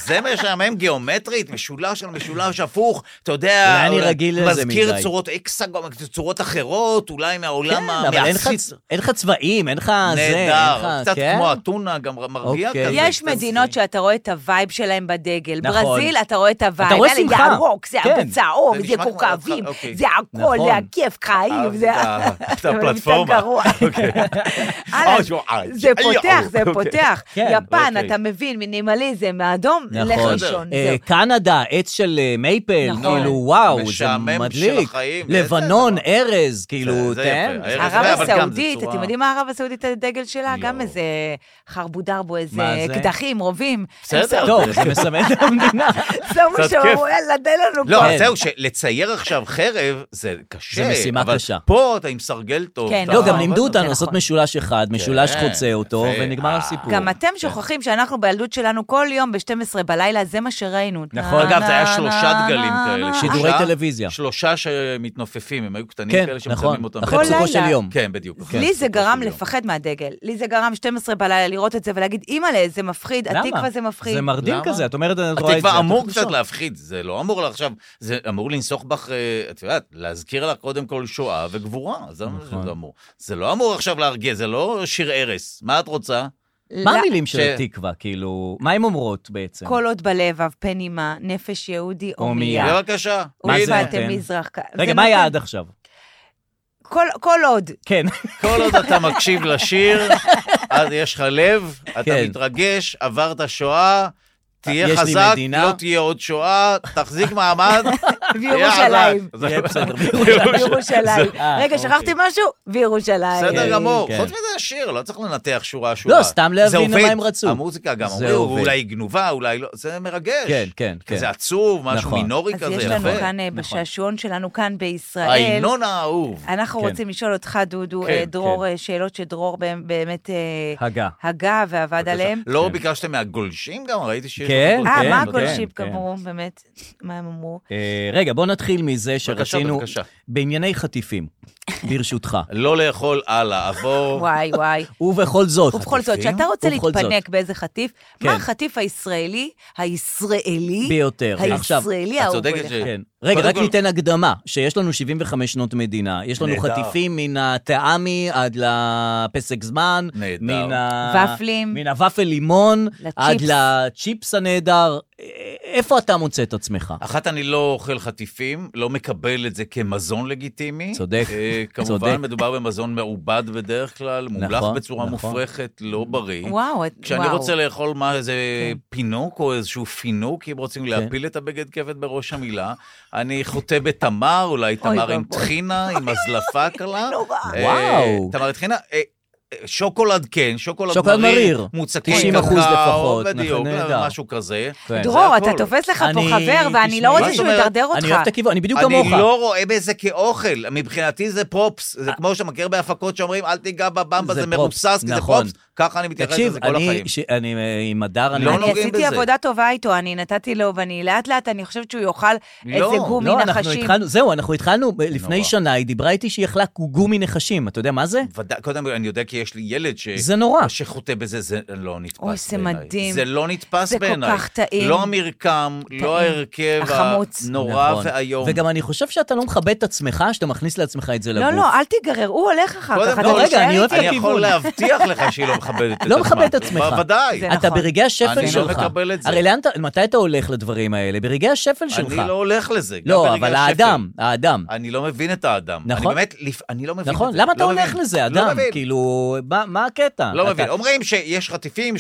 [SPEAKER 4] זה משעמם גיאומטרית, משולש על משולש הפוך, אתה יודע,
[SPEAKER 2] אולי אני
[SPEAKER 4] אולי
[SPEAKER 2] רגיל לזה
[SPEAKER 4] מזכיר
[SPEAKER 2] מדי.
[SPEAKER 4] צורות אקסגון, צורות אחרות, אולי
[SPEAKER 2] כן,
[SPEAKER 4] מהעולם
[SPEAKER 2] אבל אין לך-
[SPEAKER 4] המאפסיס.
[SPEAKER 2] אין לך צבעים, אין לך זה, אין לך...
[SPEAKER 4] נהדר, קצת
[SPEAKER 2] כן?
[SPEAKER 4] כמו אתונה, גם מרגיע
[SPEAKER 2] אוקיי.
[SPEAKER 4] כזה.
[SPEAKER 3] יש
[SPEAKER 4] קצת
[SPEAKER 3] מדינות
[SPEAKER 4] זה.
[SPEAKER 3] שאתה רואה את הווייב שלהם בדגל.
[SPEAKER 2] נכון.
[SPEAKER 3] ברזיל, אתה רואה את הווייב.
[SPEAKER 2] רואה
[SPEAKER 3] אלה
[SPEAKER 2] שמחה.
[SPEAKER 3] ירוק, זה
[SPEAKER 2] כן.
[SPEAKER 3] הבצע אור,
[SPEAKER 4] זה
[SPEAKER 3] זה
[SPEAKER 4] נשמע כמו
[SPEAKER 3] כוכבים,
[SPEAKER 4] אותך, אוקיי. אה,
[SPEAKER 3] זה הכל,
[SPEAKER 2] נכון.
[SPEAKER 3] זה הכיף חיים.
[SPEAKER 4] אהבתי
[SPEAKER 3] זה-
[SPEAKER 4] את ה- את
[SPEAKER 3] אבל
[SPEAKER 4] הפלטפורמה.
[SPEAKER 3] אתה גרוע. הלאה,
[SPEAKER 4] אוקיי. אה, שואו, אה,
[SPEAKER 3] זה
[SPEAKER 4] אה,
[SPEAKER 3] פותח, זה
[SPEAKER 4] אוקיי.
[SPEAKER 3] פותח.
[SPEAKER 2] כן,
[SPEAKER 3] יפן,
[SPEAKER 4] אוקיי.
[SPEAKER 3] אתה מבין, מינימליזם, מאדום, לך
[SPEAKER 2] נכון.
[SPEAKER 3] ראשון.
[SPEAKER 2] אה,
[SPEAKER 3] זהו.
[SPEAKER 2] קנדה, עץ של אה, מייפל,
[SPEAKER 3] נכון.
[SPEAKER 2] כאילו, וואו, זה
[SPEAKER 4] משעמם של
[SPEAKER 2] מדליק.
[SPEAKER 4] החיים, איזה
[SPEAKER 2] לבנון,
[SPEAKER 4] דבר.
[SPEAKER 2] ארז, כאילו,
[SPEAKER 4] זה
[SPEAKER 2] תן.
[SPEAKER 4] יפה, ארז,
[SPEAKER 3] ערב
[SPEAKER 4] אבל גם זה
[SPEAKER 3] הסעודית,
[SPEAKER 4] צורה-
[SPEAKER 3] אתם יודעים מה ערב הסעודית הדגל שלה?
[SPEAKER 4] לא.
[SPEAKER 3] גם איזה חרבודרבו, איזה
[SPEAKER 2] מה זה?
[SPEAKER 3] אקדחים, רובים.
[SPEAKER 4] בסדר.
[SPEAKER 2] טוב, זה מסמן את המדינה.
[SPEAKER 3] שמו
[SPEAKER 4] קצת
[SPEAKER 3] שם,
[SPEAKER 4] כיף.
[SPEAKER 3] יאללה, תן לנו
[SPEAKER 4] לא,
[SPEAKER 3] פה.
[SPEAKER 4] אבל זהו, שלצייר עכשיו חרב זה קשה.
[SPEAKER 2] כן. זה משימה
[SPEAKER 4] אבל
[SPEAKER 2] קשה.
[SPEAKER 4] פה אתה עם סרגל טוב.
[SPEAKER 3] כן,
[SPEAKER 4] אתה-
[SPEAKER 2] לא, גם
[SPEAKER 3] נכון,
[SPEAKER 2] לימדו אותנו
[SPEAKER 3] זה
[SPEAKER 2] לעשות
[SPEAKER 3] נכון.
[SPEAKER 2] משולש אחד, משולש
[SPEAKER 4] כן,
[SPEAKER 2] חוצה אותו,
[SPEAKER 4] יפה.
[SPEAKER 2] ונגמר
[SPEAKER 4] אה.
[SPEAKER 2] הסיפור.
[SPEAKER 3] גם אתם שוכחים שאנחנו בילדות שלנו כל יום ב-12 בלילה, זה מה שראינו.
[SPEAKER 2] נכון.
[SPEAKER 4] אגב, זה היה
[SPEAKER 3] נה,
[SPEAKER 4] שלושה
[SPEAKER 3] נה,
[SPEAKER 4] דגלים
[SPEAKER 3] נה,
[SPEAKER 4] כאלה.
[SPEAKER 3] נה.
[SPEAKER 4] שלושה-
[SPEAKER 2] שידורי טלוויזיה.
[SPEAKER 4] שלושה שמתנופפים, הם היו קטנים
[SPEAKER 2] כן,
[SPEAKER 4] כאלה שמתאמים
[SPEAKER 2] נכון,
[SPEAKER 4] אותם.
[SPEAKER 2] אחרי
[SPEAKER 3] כל
[SPEAKER 2] פסוקו
[SPEAKER 3] לילה.
[SPEAKER 2] של יום.
[SPEAKER 4] כן, בדיוק. אחרי
[SPEAKER 3] לי זה
[SPEAKER 4] פסוקו
[SPEAKER 3] גרם
[SPEAKER 4] של יום.
[SPEAKER 3] לפחד מהדגל. לי זה גרם 12 בלילה לראות את זה ולהגיד, אימא'לה, זה מפחיד,
[SPEAKER 2] למה?
[SPEAKER 3] התקווה זה מפחיד.
[SPEAKER 2] זה מרדים
[SPEAKER 4] למה?
[SPEAKER 2] כזה, את אומרת, את רואה את זה.
[SPEAKER 4] התקווה אמור
[SPEAKER 2] את
[SPEAKER 4] קצת
[SPEAKER 2] יודעת,
[SPEAKER 4] להפחיד, זה לא אמור לה עכשיו, זה אמור לנסוח בך, אה, את יודעת, להזכיר לך קודם כל שואה וגבורה, זה מה
[SPEAKER 2] נכון.
[SPEAKER 4] שזה אמור. זה לא אמור עכשיו להרגיע, זה לא שיר ערס. מה את רוצה?
[SPEAKER 2] מה
[SPEAKER 3] לא-
[SPEAKER 2] המילים של
[SPEAKER 4] ש-
[SPEAKER 2] התקווה, כאילו, מה הן אומרות בעצם?
[SPEAKER 3] כל עוד בלב, אב פן אימה, נפש יהודי
[SPEAKER 2] הומייה.
[SPEAKER 3] הומייה.
[SPEAKER 4] בבקשה.
[SPEAKER 2] מה זה
[SPEAKER 4] הנה,
[SPEAKER 3] ובאתם
[SPEAKER 2] נותן?
[SPEAKER 3] מזרח. כ- זה
[SPEAKER 2] רגע, מה היה
[SPEAKER 3] נותן-
[SPEAKER 2] עד עכשיו?
[SPEAKER 3] כל- כל עוד.
[SPEAKER 2] כן.
[SPEAKER 4] כל עוד אתה מקשיב לשיר, אז יש לך לב, אתה
[SPEAKER 2] כן.
[SPEAKER 4] מתרגש, עברת שואה,
[SPEAKER 2] יש
[SPEAKER 4] תהיה
[SPEAKER 2] לי
[SPEAKER 4] חזק,
[SPEAKER 2] מדינה.
[SPEAKER 4] לא תהיה עוד שואה, תחזיק מעמד, תהיה
[SPEAKER 3] בירושלים.
[SPEAKER 4] חזק. זה-
[SPEAKER 2] יהיה בסדר,
[SPEAKER 3] בירושלים.
[SPEAKER 2] אה,
[SPEAKER 3] רגע, שכחתי משהו? בירושלים.
[SPEAKER 4] בסדר גמור,
[SPEAKER 2] כן.
[SPEAKER 4] חוץ מזה השיר, לא צריך לנתח שורה-שורה.
[SPEAKER 2] לא, סתם להבין
[SPEAKER 4] זה
[SPEAKER 2] מה
[SPEAKER 4] עובד.
[SPEAKER 2] הם רצו.
[SPEAKER 4] המוזיקה גם,
[SPEAKER 2] זה
[SPEAKER 4] אומרים,
[SPEAKER 2] עובד.
[SPEAKER 4] אולי היא גנובה, אולי לא, זה מרגש.
[SPEAKER 2] כן, כן, כן.
[SPEAKER 4] זה עצוב, משהו
[SPEAKER 2] נכון.
[SPEAKER 4] מינורי
[SPEAKER 3] אז
[SPEAKER 4] כזה,
[SPEAKER 3] יש
[SPEAKER 4] יפה.
[SPEAKER 3] לנו כאן, אה, בשעשועון שלנו כאן בישראל,
[SPEAKER 4] ההמנון האהוב.
[SPEAKER 3] אנחנו
[SPEAKER 2] כן.
[SPEAKER 3] רוצים לשאול אותך, דודו,
[SPEAKER 4] כן,
[SPEAKER 3] אה, דרור, אה, שאלות שדרור באמ- באמת אה,
[SPEAKER 2] הגה.
[SPEAKER 3] הגה ועבד עליהן.
[SPEAKER 4] לא ביקשתם מהגולשים גם? ראיתי שיש...
[SPEAKER 2] כן,
[SPEAKER 4] לך
[SPEAKER 3] אה,
[SPEAKER 4] גולשים.
[SPEAKER 3] מה
[SPEAKER 2] כן,
[SPEAKER 3] הגולשים
[SPEAKER 2] כן.
[SPEAKER 3] אמרו, באמת? מה הם אמרו?
[SPEAKER 2] אה, רגע, בוא נתחיל מזה שרצינו...
[SPEAKER 4] בבקשה.
[SPEAKER 2] בענייני חטיפים, ברשותך.
[SPEAKER 4] לא לאכול הלאה, עבור...
[SPEAKER 3] וואי, וואי.
[SPEAKER 2] ובכל זאת...
[SPEAKER 3] ובכל זאת,
[SPEAKER 4] חטיפים?
[SPEAKER 3] כשאתה רוצה
[SPEAKER 2] ובכל זאת.
[SPEAKER 3] להתפנק באיזה חטיף,
[SPEAKER 2] כן.
[SPEAKER 3] מה החטיף הישראלי, הישראלי,
[SPEAKER 2] ביותר. עכשיו,
[SPEAKER 3] הישראלי
[SPEAKER 4] את
[SPEAKER 3] האהוב
[SPEAKER 4] צודקת
[SPEAKER 3] עליך?
[SPEAKER 4] ש-
[SPEAKER 2] כן. רגע,
[SPEAKER 4] קודם
[SPEAKER 2] רק
[SPEAKER 4] כל-
[SPEAKER 2] ניתן הקדמה, שיש לנו 75 שנות מדינה, יש לנו
[SPEAKER 4] נהדר.
[SPEAKER 2] חטיפים מן הטעמי עד לפסק זמן,
[SPEAKER 4] נהדר.
[SPEAKER 2] מן ה...
[SPEAKER 3] ופלים.
[SPEAKER 2] מן הוואפל לימון,
[SPEAKER 3] לצ'יפס.
[SPEAKER 2] עד לצ'יפס הנהדר. א- איפה אתה מוצא את עצמך?
[SPEAKER 4] אחת, אני לא אוכל חטיפים, לא מקבל את זה כמזון לגיטימי.
[SPEAKER 2] צודק,
[SPEAKER 4] אה,
[SPEAKER 2] צודק.
[SPEAKER 4] כמובן, מדובר במזון מעובד בדרך כלל, מומלח
[SPEAKER 2] נכון,
[SPEAKER 4] בצורה
[SPEAKER 2] נכון.
[SPEAKER 4] מופרכת, לא בריא.
[SPEAKER 3] וואו, את-
[SPEAKER 4] כשאני
[SPEAKER 3] וואו.
[SPEAKER 4] רוצה לאכול מה, איזה
[SPEAKER 3] כן.
[SPEAKER 4] פינוק או איזשהו פינוק, אם
[SPEAKER 2] כן.
[SPEAKER 4] רוצים להפיל את הבגד כבד בראש המילה, אני חוטא בתמר, אולי תמר עם
[SPEAKER 3] ואבוי.
[SPEAKER 4] טחינה, עם הזלפה קלה.
[SPEAKER 3] נורא.
[SPEAKER 4] אה,
[SPEAKER 2] וואו.
[SPEAKER 4] תמר עם טחינה. אה, אה, שוקולד כן, שוקולד,
[SPEAKER 2] שוקולד מריר.
[SPEAKER 4] מוצקים
[SPEAKER 2] 90%
[SPEAKER 4] קקאו,
[SPEAKER 2] לפחות, נכון,
[SPEAKER 4] בדיוק, אה,
[SPEAKER 2] נהדר.
[SPEAKER 4] משהו כזה.
[SPEAKER 2] כן.
[SPEAKER 4] זה
[SPEAKER 3] דרור, אתה
[SPEAKER 4] הכל.
[SPEAKER 3] תופס לך פה
[SPEAKER 2] אני-
[SPEAKER 3] חבר, ואני
[SPEAKER 2] תשמעי,
[SPEAKER 3] לא
[SPEAKER 4] מה
[SPEAKER 3] רוצה
[SPEAKER 4] זאת
[SPEAKER 3] שהוא
[SPEAKER 4] אומרת?
[SPEAKER 3] ידרדר אותך.
[SPEAKER 2] אני אוהב את הכיוון, אני בדיוק כמוך.
[SPEAKER 4] אני לא רואה בזה כאוכל, מבחינתי זה פרופס. זה כמו שאתה מכיר בהפקות שאומרים, אל תיגע בבמבה,
[SPEAKER 2] אה. זה
[SPEAKER 4] זה
[SPEAKER 2] פרופס,
[SPEAKER 4] מרוסס, כי זה
[SPEAKER 2] נכון.
[SPEAKER 4] פרופס. ככה אני מתייחס
[SPEAKER 2] תקשיב,
[SPEAKER 4] לזה כל
[SPEAKER 2] אני
[SPEAKER 4] החיים.
[SPEAKER 2] ש- אני, אה, עם הדר, אני...
[SPEAKER 4] לא
[SPEAKER 3] אני
[SPEAKER 4] נוגעים
[SPEAKER 3] עשיתי
[SPEAKER 4] בזה.
[SPEAKER 3] עבודה טובה איתו, אני נתתי לו, ואני לאט לאט, אני חושבת שהוא יאכל
[SPEAKER 4] לא,
[SPEAKER 3] איזה גומי
[SPEAKER 2] לא, אנחנו
[SPEAKER 3] נחשים.
[SPEAKER 2] התחלנו, זהו, אנחנו התחלנו, ב- לפני
[SPEAKER 4] נורא.
[SPEAKER 2] שנה היא דיברה איתי שהיא אכלה גומי נחשים, אתה יודע מה זה?
[SPEAKER 4] אוקיי. ודאי, קודם כל, אני יודע כי יש לי ילד ש...
[SPEAKER 2] זה נורא.
[SPEAKER 4] שחוטא בזה, זה לא נתפס בעיניי.
[SPEAKER 3] אוי, זה מדהים.
[SPEAKER 4] זה לא נתפס
[SPEAKER 3] זה כל
[SPEAKER 4] בעיניי.
[SPEAKER 3] כך טעים.
[SPEAKER 4] לא המרקם, לא ההרכב
[SPEAKER 3] החמוץ.
[SPEAKER 4] הנורא
[SPEAKER 2] נכון.
[SPEAKER 4] ואיום.
[SPEAKER 2] וגם אני חושב שאתה לא מכבד את עצמך, שאתה מכניס לעצמך את זה לגוף.
[SPEAKER 3] לא, לא, אל תיגרר, הוא הולך אחר כך.
[SPEAKER 4] קודם
[SPEAKER 3] אתה
[SPEAKER 4] כל,
[SPEAKER 2] רגע,
[SPEAKER 3] תישאר
[SPEAKER 2] אני לא אוהב את
[SPEAKER 4] אני
[SPEAKER 2] הכיוון.
[SPEAKER 4] יכול להבטיח לך שהיא לא מכבדת את עצמה.
[SPEAKER 2] לא מכבדת את עצמך.
[SPEAKER 4] בוודאי.
[SPEAKER 3] זה
[SPEAKER 2] אתה
[SPEAKER 3] נכון.
[SPEAKER 2] ברגעי השפל
[SPEAKER 4] אני
[SPEAKER 2] שלך.
[SPEAKER 4] לא מקבל את זה.
[SPEAKER 2] הרי לאן אתה, מתי אתה הולך לדברים האלה? ברגעי השפל שלך.
[SPEAKER 4] אני לא הולך לזה. גם
[SPEAKER 2] לא,
[SPEAKER 4] ברגע
[SPEAKER 2] אבל
[SPEAKER 4] השפל.
[SPEAKER 2] האדם, האדם.
[SPEAKER 4] אני לא מבין את האדם.
[SPEAKER 2] נכון.
[SPEAKER 4] אני באמת, לפ- אני לא מבין את
[SPEAKER 2] נכון,
[SPEAKER 4] זה.
[SPEAKER 2] למה אתה
[SPEAKER 4] לא
[SPEAKER 2] הולך
[SPEAKER 4] מבין.
[SPEAKER 2] לזה,
[SPEAKER 4] לא
[SPEAKER 2] אדם?
[SPEAKER 4] מבין.
[SPEAKER 2] כאילו, מה מה הקטע?
[SPEAKER 4] לא
[SPEAKER 2] אתה-
[SPEAKER 4] מבין. אומרים שיש חטיפים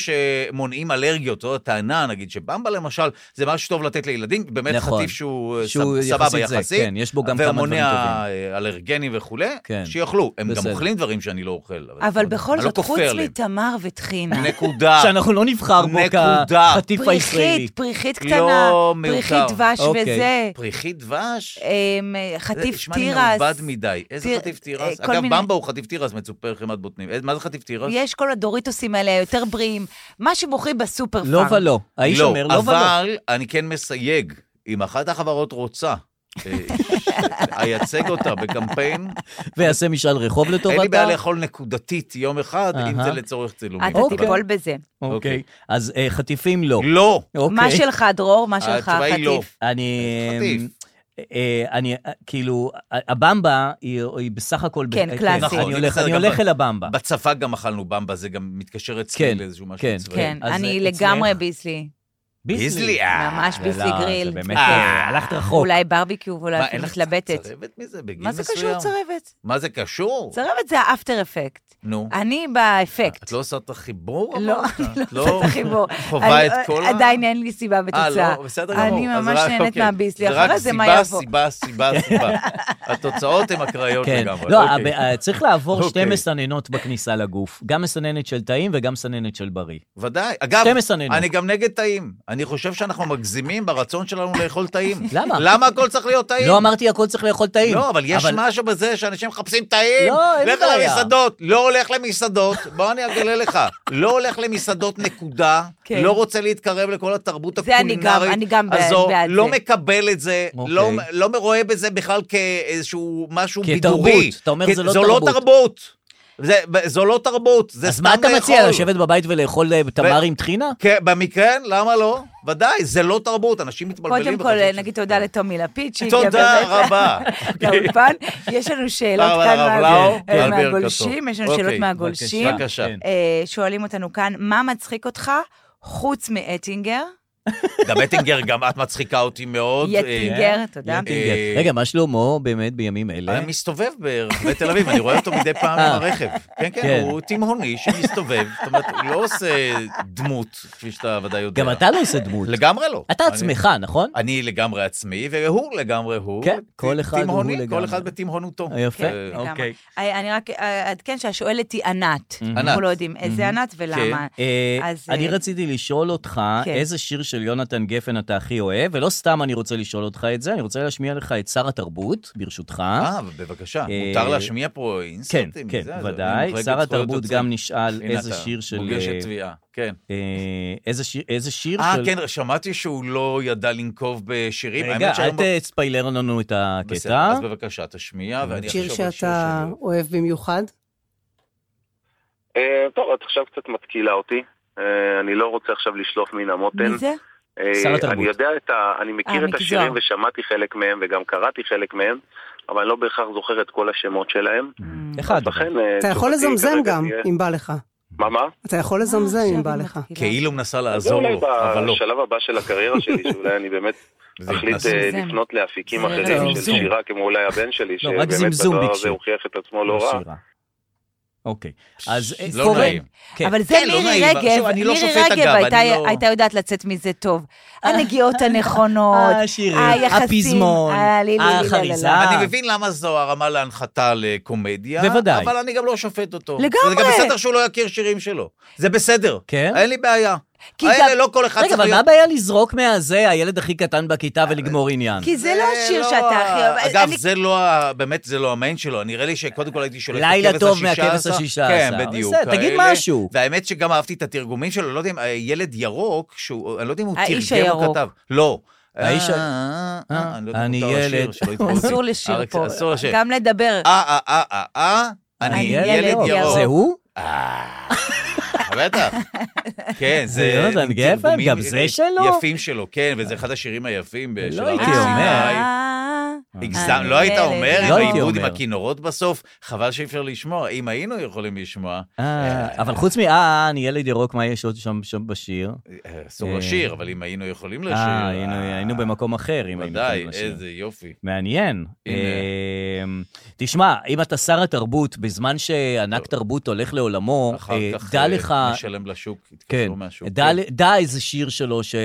[SPEAKER 4] שמונעים אלרגיות, זו הטענה, נגיד, שבמבה למשל, זה משהו שטוב לתת לילדים, באמת
[SPEAKER 2] נכון.
[SPEAKER 4] חטיף שהוא אה,
[SPEAKER 2] שהוא
[SPEAKER 4] סב- סבבה
[SPEAKER 2] יחסית זה,
[SPEAKER 4] יחסית.
[SPEAKER 2] כן, יש בו גם כמה דברים
[SPEAKER 4] ומונע
[SPEAKER 2] טובים.
[SPEAKER 4] אה, אלרגנים וכולי,
[SPEAKER 2] כן.
[SPEAKER 4] שיאכלו. הם גם
[SPEAKER 2] בסדר.
[SPEAKER 4] אוכלים דברים שאני לא אוכל.
[SPEAKER 3] אבל
[SPEAKER 4] אני
[SPEAKER 3] בכל
[SPEAKER 4] לא
[SPEAKER 3] זאת,
[SPEAKER 4] כופר
[SPEAKER 3] חוץ
[SPEAKER 4] עליהם.
[SPEAKER 3] מתמר וטחינה.
[SPEAKER 4] נקודה.
[SPEAKER 2] שאנחנו לא נבחר בו
[SPEAKER 4] נקודה.
[SPEAKER 2] כחטיף הישראלי.
[SPEAKER 3] פריחית, פריחית
[SPEAKER 4] לא
[SPEAKER 3] קטנה,
[SPEAKER 4] מיותר.
[SPEAKER 3] פריחית דבש
[SPEAKER 2] אוקיי.
[SPEAKER 3] וזה,
[SPEAKER 4] פריחית דבש?
[SPEAKER 3] אמ,
[SPEAKER 4] זה
[SPEAKER 3] חטיף
[SPEAKER 4] נשמע לי מעובד
[SPEAKER 3] תירס.
[SPEAKER 4] מדי. איזה
[SPEAKER 3] תיר-
[SPEAKER 4] חטיף
[SPEAKER 3] אה,
[SPEAKER 4] תירס?
[SPEAKER 3] כל
[SPEAKER 4] אגב,
[SPEAKER 3] מיני-
[SPEAKER 4] במבה הוא חטיף תירס, מצופה חמת בוטנים. אה, מה זה חטיף תירס?
[SPEAKER 3] יש כל הדוריטוסים האלה, היותר בריאים. מה שמוכרים בסופר פארם.
[SPEAKER 2] לא ולא. האיש
[SPEAKER 4] לא,
[SPEAKER 2] אומר לא ולא.
[SPEAKER 4] אבל אני כן מסייג, אם אחת החברות רוצה, אה, ש- אייצג אותה בקמפיין,
[SPEAKER 2] ויעשה משאל רחוב לטובתה.
[SPEAKER 4] אין לי בעיה לאכול נקודתית יום אחד, אם
[SPEAKER 2] אהה.
[SPEAKER 4] זה לצורך צילומים.
[SPEAKER 3] אתה
[SPEAKER 2] אוקיי.
[SPEAKER 3] תיפול בזה.
[SPEAKER 2] אוקיי.
[SPEAKER 4] אוקיי.
[SPEAKER 2] אז אה, חטיפים לא.
[SPEAKER 4] לא.
[SPEAKER 2] אוקיי.
[SPEAKER 3] מה שלך, דרור? מה שלך,
[SPEAKER 4] התשובה היא לא.
[SPEAKER 3] חטיף?
[SPEAKER 2] אני...
[SPEAKER 4] חטיף.
[SPEAKER 2] אה, אני, אה, כאילו, הבמבה היא היא בסך הכל... ב-
[SPEAKER 3] כן,
[SPEAKER 2] אה,
[SPEAKER 3] קלאסי. נכון,
[SPEAKER 2] אני
[SPEAKER 4] זה
[SPEAKER 2] הולך-
[SPEAKER 4] בסדר,
[SPEAKER 2] אני
[SPEAKER 4] גם
[SPEAKER 2] הולך
[SPEAKER 4] ב-
[SPEAKER 2] אל הבמבה.
[SPEAKER 4] בצבא גם אכלנו במבה, זה גם מתקשר אצלי
[SPEAKER 2] כן,
[SPEAKER 4] לאיזשהו משהו
[SPEAKER 2] כן,
[SPEAKER 4] צבאי.
[SPEAKER 3] כן,
[SPEAKER 2] אז,
[SPEAKER 3] אני
[SPEAKER 2] אה,
[SPEAKER 3] לגמרי
[SPEAKER 2] אצלך?
[SPEAKER 3] ביסלי.
[SPEAKER 4] ביזלי, אה.
[SPEAKER 3] ממש
[SPEAKER 2] זה
[SPEAKER 3] ביסלי
[SPEAKER 2] לא,
[SPEAKER 3] גריל.
[SPEAKER 2] זה באמת,
[SPEAKER 3] כן.
[SPEAKER 2] אה, הלכת רחוק.
[SPEAKER 3] אולי ברביקיו, ואולי
[SPEAKER 4] אוקיי.
[SPEAKER 3] אפילו
[SPEAKER 4] מה, אין לך
[SPEAKER 3] מתלבטת.
[SPEAKER 4] צרבת מזה בגיל מסוים?
[SPEAKER 3] מה זה קשור צרבת?
[SPEAKER 4] מה זה קשור?
[SPEAKER 3] צרבת זה האפטר אפקט.
[SPEAKER 4] נו.
[SPEAKER 3] אני באפקט.
[SPEAKER 4] את לא עושה את החיבור?
[SPEAKER 3] לא,
[SPEAKER 4] אמרת?
[SPEAKER 3] אני
[SPEAKER 4] את
[SPEAKER 3] לא עושה את החיבור.
[SPEAKER 4] חווה
[SPEAKER 3] אני-
[SPEAKER 4] את כל ה...
[SPEAKER 3] עדיין אין לי סיבה
[SPEAKER 4] אה,
[SPEAKER 3] ותוצאה.
[SPEAKER 4] לא, בסדר גמור.
[SPEAKER 3] אני
[SPEAKER 4] אז
[SPEAKER 3] ממש
[SPEAKER 4] רק-
[SPEAKER 3] נהנית
[SPEAKER 4] אוקיי.
[SPEAKER 3] מהביסלי, אחרי זה מה יבוא.
[SPEAKER 4] רק סיבה, סיבה, סיבה, סיבה. התוצאות הן אקראיות
[SPEAKER 2] כן.
[SPEAKER 4] לגמרי.
[SPEAKER 2] לא,
[SPEAKER 4] אוקיי.
[SPEAKER 2] הב- אה, צריך לעבור שתי
[SPEAKER 4] אוקיי.
[SPEAKER 2] מסננות בכניסה לגוף. גם מסננת של טעים וגם מסננת של בריא.
[SPEAKER 4] ודאי. אגב,
[SPEAKER 2] שתי מסננות.
[SPEAKER 4] אני גם נגד טעים. אני חושב שאנחנו מגזימים ברצון שלנו לאכול טעים.
[SPEAKER 2] למה?
[SPEAKER 4] למה הכל צריך להיות טעים?
[SPEAKER 2] לא אמרתי הכל צריך לאכול טעים.
[SPEAKER 4] לא, אבל יש משהו בזה שאנשים מחפשים טעים.
[SPEAKER 2] לא, אין לי
[SPEAKER 4] לך
[SPEAKER 2] בעיה.
[SPEAKER 4] למסעדות, לא הולך למסעדות, בוא אני אגלה לך. לא הולך למסעדות, נקודה.
[SPEAKER 3] כן.
[SPEAKER 4] לא רוצה להתקרב לכל התרבות
[SPEAKER 3] זה אני גם-
[SPEAKER 4] הקולינרית
[SPEAKER 3] אני גם בעד-
[SPEAKER 4] הזו.
[SPEAKER 3] בעד
[SPEAKER 4] לא
[SPEAKER 3] זה.
[SPEAKER 4] מקבל את זה,
[SPEAKER 2] אוקיי.
[SPEAKER 4] לא- לא רואה בזה בכלל כאיזשהו משהו
[SPEAKER 2] כתרבות.
[SPEAKER 4] בידורי.
[SPEAKER 2] אתה אומר,
[SPEAKER 4] כי-
[SPEAKER 2] זה לא
[SPEAKER 4] זו לא
[SPEAKER 2] תרבות.
[SPEAKER 4] תרבות. זה- זו לא תרבות, זה
[SPEAKER 2] אז
[SPEAKER 4] סתם
[SPEAKER 2] מה
[SPEAKER 4] לאכול.
[SPEAKER 2] אתה מציע, לשבת בבית ולאכול אה, תמר עם טחינה?
[SPEAKER 4] כן, במקרה, למה לא? ודאי, זה לא תרבות, אנשים מתבלבלים.
[SPEAKER 3] קודם
[SPEAKER 4] וחושבים
[SPEAKER 3] כל,
[SPEAKER 4] ש-
[SPEAKER 3] נגיד תודה לטומי לפיד, שהגיע
[SPEAKER 4] תודה
[SPEAKER 3] באמת
[SPEAKER 4] רבה.
[SPEAKER 3] לאולפן. יש לנו שאלות
[SPEAKER 4] תודה
[SPEAKER 3] כאן
[SPEAKER 4] רבה,
[SPEAKER 3] מה-
[SPEAKER 4] לאו,
[SPEAKER 3] אה,
[SPEAKER 4] על ברכתו.
[SPEAKER 3] מהגולשים, יש לנו
[SPEAKER 4] אוקיי,
[SPEAKER 3] שאלות מהגולשים.
[SPEAKER 4] בבקשה.
[SPEAKER 2] כן.
[SPEAKER 3] אה, שואלים אותנו כאן, מה מצחיק אותך חוץ מאטינגר?
[SPEAKER 4] גם אטינגר, גם את מצחיקה אותי מאוד. אה,
[SPEAKER 3] יטינגר, תודה.
[SPEAKER 4] יטינגר.
[SPEAKER 2] טינגר.
[SPEAKER 4] אה,
[SPEAKER 2] רגע, מה שלמה באמת בימים אלה?
[SPEAKER 4] אני אה, מסתובב ברחבי תל אביב, אני רואה אותו מדי פעם
[SPEAKER 2] אה.
[SPEAKER 4] עם הרכב. כן,
[SPEAKER 2] כן.
[SPEAKER 4] כן, הוא תימהוני שמסתובב, זאת אומרת, הוא לא עושה דמות, כפי שאתה ודאי יודע.
[SPEAKER 2] גם אתה לא עושה דמות.
[SPEAKER 4] לגמרי לא.
[SPEAKER 2] אתה
[SPEAKER 4] אני-
[SPEAKER 2] עצמך, נכון?
[SPEAKER 4] אני לגמרי עצמי, והוא לגמרי הוא.
[SPEAKER 2] כן, כל אחד הוא
[SPEAKER 4] תימהוני,
[SPEAKER 2] לגמרי.
[SPEAKER 4] כל אחד בתימהונותו.
[SPEAKER 2] יפה.
[SPEAKER 4] אה,
[SPEAKER 3] לגמרי.
[SPEAKER 2] אוקיי.
[SPEAKER 3] אה, אני רק אה, אעדכן שהשואלת היא ענת. אנחנו
[SPEAKER 4] אה, ענת.
[SPEAKER 3] לא יודעים איזה ענת ולמה.
[SPEAKER 2] אה,
[SPEAKER 3] אז,
[SPEAKER 2] אני
[SPEAKER 3] אה,
[SPEAKER 2] רציתי לשאול אותך,
[SPEAKER 3] כן.
[SPEAKER 2] איזה שיר של יונתן גפן אתה הכי אוהב, ולא סתם אני רוצה לשאול אותך את זה, אני רוצה להשמיע לך את שר התרבות, ברשותך.
[SPEAKER 4] אה, בבקשה,
[SPEAKER 2] אה,
[SPEAKER 4] מותר להשמיע פה
[SPEAKER 2] כן,
[SPEAKER 4] אינסטנטים?
[SPEAKER 2] כן,
[SPEAKER 4] זה, זה,
[SPEAKER 2] ודאי.
[SPEAKER 4] ממחלקת
[SPEAKER 2] שר
[SPEAKER 4] אה, זכויות
[SPEAKER 2] התרבות
[SPEAKER 4] יוצרים.
[SPEAKER 2] גם נשאל
[SPEAKER 4] הנה
[SPEAKER 2] איזה
[SPEAKER 4] אתה,
[SPEAKER 2] שיר של...
[SPEAKER 4] מוגשת
[SPEAKER 2] אה,
[SPEAKER 4] תביעה, כן.
[SPEAKER 2] אה, איזה שיר- איזה שיר
[SPEAKER 4] אה,
[SPEAKER 2] של...
[SPEAKER 4] כן, שמעתי שהוא לא ידע לנקוב בשירים.
[SPEAKER 2] רגע,
[SPEAKER 4] האמת שהיום-
[SPEAKER 2] אל תספיילר לנו את
[SPEAKER 4] בסדר,
[SPEAKER 2] הקטע.
[SPEAKER 4] אז בבקשה, תשמיע,
[SPEAKER 2] כן.
[SPEAKER 4] ואני אחשוב
[SPEAKER 6] שיר
[SPEAKER 4] על שיר
[SPEAKER 6] שאתה
[SPEAKER 4] שלי.
[SPEAKER 6] אוהב במיוחד?
[SPEAKER 7] כן, אה, טוב, את עכשיו קצת מתקילה אותי. אה, אני לא רוצה עכשיו לשלוף מן
[SPEAKER 4] כן.
[SPEAKER 7] המותן.
[SPEAKER 3] מי זה?
[SPEAKER 7] אה,
[SPEAKER 2] שר התרבות.
[SPEAKER 7] אני יודע את ה... אני
[SPEAKER 3] אה,
[SPEAKER 7] מכיר את
[SPEAKER 3] מיקי
[SPEAKER 7] השירים
[SPEAKER 3] זוהר.
[SPEAKER 7] ושמעתי חלק מהם וגם קראתי חלק מהם, אבל אני לא בהכרח זוכר את כל השמות שלהם.
[SPEAKER 2] אחד.
[SPEAKER 7] לכן... אה,
[SPEAKER 6] אתה יכול
[SPEAKER 7] תשובתי
[SPEAKER 6] לזמזם
[SPEAKER 7] כרגע
[SPEAKER 6] גם,
[SPEAKER 7] תהיה-
[SPEAKER 6] אם בא לך.
[SPEAKER 7] מה, מה?
[SPEAKER 6] אתה יכול
[SPEAKER 3] אה,
[SPEAKER 6] לזמזם אם בא לך.
[SPEAKER 4] כאילו מנסה
[SPEAKER 7] זה
[SPEAKER 4] לעזור
[SPEAKER 7] אולי
[SPEAKER 4] לו, אבל לא.
[SPEAKER 7] בשלב הבא של הקריירה שלי, שאולי אני באמת
[SPEAKER 4] זה
[SPEAKER 7] אחליט
[SPEAKER 4] התנסות.
[SPEAKER 7] אה,
[SPEAKER 3] זמזם.
[SPEAKER 7] לפנות לאפיקים
[SPEAKER 3] זה
[SPEAKER 7] אחרים של
[SPEAKER 2] זמזום.
[SPEAKER 7] שירה, כמו אולי הבן שלי,
[SPEAKER 2] לא, רק
[SPEAKER 7] שבאמת
[SPEAKER 2] זמזום
[SPEAKER 7] בדבר
[SPEAKER 2] ביקשו.
[SPEAKER 7] הזה הוכיח את עצמו לא רע.
[SPEAKER 2] שירה. אוקיי, אז אה,
[SPEAKER 4] לא
[SPEAKER 2] קורן,
[SPEAKER 4] נעים.
[SPEAKER 2] כן.
[SPEAKER 3] אבל זה
[SPEAKER 4] כן, לא
[SPEAKER 3] מירי
[SPEAKER 4] נעים,
[SPEAKER 3] רגב,
[SPEAKER 4] עכשיו אני לא
[SPEAKER 3] מירי
[SPEAKER 4] שופט,
[SPEAKER 3] רגב
[SPEAKER 4] אגב,
[SPEAKER 3] הייתה-
[SPEAKER 4] אני לא-
[SPEAKER 3] הייתה יודעת לצאת מזה טוב. הנגיעות הנכונות,
[SPEAKER 4] אה,
[SPEAKER 2] השירים,
[SPEAKER 3] היחסים,
[SPEAKER 2] הפזמון,
[SPEAKER 3] ה- לי- לי- לי- לי-
[SPEAKER 2] החריזה.
[SPEAKER 3] לי- לי-
[SPEAKER 4] אני מבין למה זו הרמה להנחתה לקומדיה,
[SPEAKER 2] בוודאי.
[SPEAKER 4] אבל אני גם לא שופט אותו.
[SPEAKER 3] לגמרי.
[SPEAKER 4] זה גם בסדר שהוא לא יכיר שירים שלו. זה בסדר.
[SPEAKER 2] כן?
[SPEAKER 4] אין לי בעיה.
[SPEAKER 3] כי
[SPEAKER 4] האלה
[SPEAKER 3] גם-
[SPEAKER 4] לא כל אחד
[SPEAKER 2] רגע,
[SPEAKER 4] צריך
[SPEAKER 2] אבל מה
[SPEAKER 4] להיות...
[SPEAKER 2] הבעיה לזרוק מהזה, הילד הכי קטן בכיתה, ולגמור עניין?
[SPEAKER 3] כי זה לא השיר
[SPEAKER 4] לא
[SPEAKER 3] שאתה
[SPEAKER 4] ה-
[SPEAKER 3] הכי אוהב.
[SPEAKER 4] אגב,
[SPEAKER 3] אני-
[SPEAKER 4] זה לא, ה- באמת, זה לא המיין שלו. נראה לי שקודם כל הייתי שולף את
[SPEAKER 2] לילה
[SPEAKER 4] הכבש
[SPEAKER 2] טוב
[SPEAKER 4] השישה
[SPEAKER 2] מהכבש
[SPEAKER 4] עשר.
[SPEAKER 2] השישה
[SPEAKER 4] כן,
[SPEAKER 2] עשר.
[SPEAKER 4] בדיוק.
[SPEAKER 2] בסדר, תגיד
[SPEAKER 4] האלה.
[SPEAKER 2] משהו.
[SPEAKER 4] והאמת שגם אהבתי את התרגומים שלו, לא יודע אם אה, ילד ירוק, שהוא, אני לא יודע אם הוא
[SPEAKER 3] האיש
[SPEAKER 4] תרגם או
[SPEAKER 3] הירוק.
[SPEAKER 4] כתב. לא.
[SPEAKER 2] האיש ה-
[SPEAKER 4] אה, אה, אה, אני לא יודע אם
[SPEAKER 2] אני
[SPEAKER 4] מותר לשיר,
[SPEAKER 2] ילד.
[SPEAKER 4] שלא יתבעו אותי.
[SPEAKER 3] אסור לשיר
[SPEAKER 4] אריק,
[SPEAKER 3] פה,
[SPEAKER 4] אסור לשיר.
[SPEAKER 3] גם לדבר.
[SPEAKER 4] אה, אה, אה, אה, אה, אני אה, ילד ירוק.
[SPEAKER 2] זה הוא?
[SPEAKER 4] אה, בטח. כן, זה...
[SPEAKER 2] יונתן גפן?
[SPEAKER 4] תרגומים
[SPEAKER 2] גם זה שלו?
[SPEAKER 4] יפים שלו, כן, וזה אחד השירים היפים של
[SPEAKER 2] לא הייתי
[SPEAKER 4] ערבי
[SPEAKER 2] אומר.
[SPEAKER 4] סיני.
[SPEAKER 3] אה,
[SPEAKER 4] הגזם,
[SPEAKER 3] אני
[SPEAKER 4] לא היית
[SPEAKER 3] ילד.
[SPEAKER 4] אומר עם
[SPEAKER 2] לא הייתי
[SPEAKER 4] העיבוד עם
[SPEAKER 2] אומר.
[SPEAKER 4] הכינורות בסוף? חבל שאי אפשר לשמוע. אם היינו יכולים לשמוע,
[SPEAKER 2] אה, אבל חוץ מ... אה, אני ילד ירוק, מה יש עוד שם שם בשיר?
[SPEAKER 4] אה, אסור
[SPEAKER 2] אה.
[SPEAKER 4] לשיר, אבל אם היינו יכולים לשיר...
[SPEAKER 2] אה, היינו- היינו במקום אחר, אם היינו
[SPEAKER 4] ודאי,
[SPEAKER 2] יכולים לשיר.
[SPEAKER 4] איזה יופי.
[SPEAKER 2] מעניין.
[SPEAKER 4] הנה.
[SPEAKER 2] אמ, תשמע, אם אתה שר התרבות, בזמן שענק תרבות הולך לעולמו,
[SPEAKER 4] לא. אחר
[SPEAKER 2] אה,
[SPEAKER 4] כך
[SPEAKER 2] דע
[SPEAKER 4] אה,
[SPEAKER 2] לך...
[SPEAKER 4] משלם לשוק,
[SPEAKER 2] כן,
[SPEAKER 4] התקשרו מהשוק.
[SPEAKER 2] דע
[SPEAKER 4] כן.
[SPEAKER 2] ל- דע איזה שיר שלו שזה.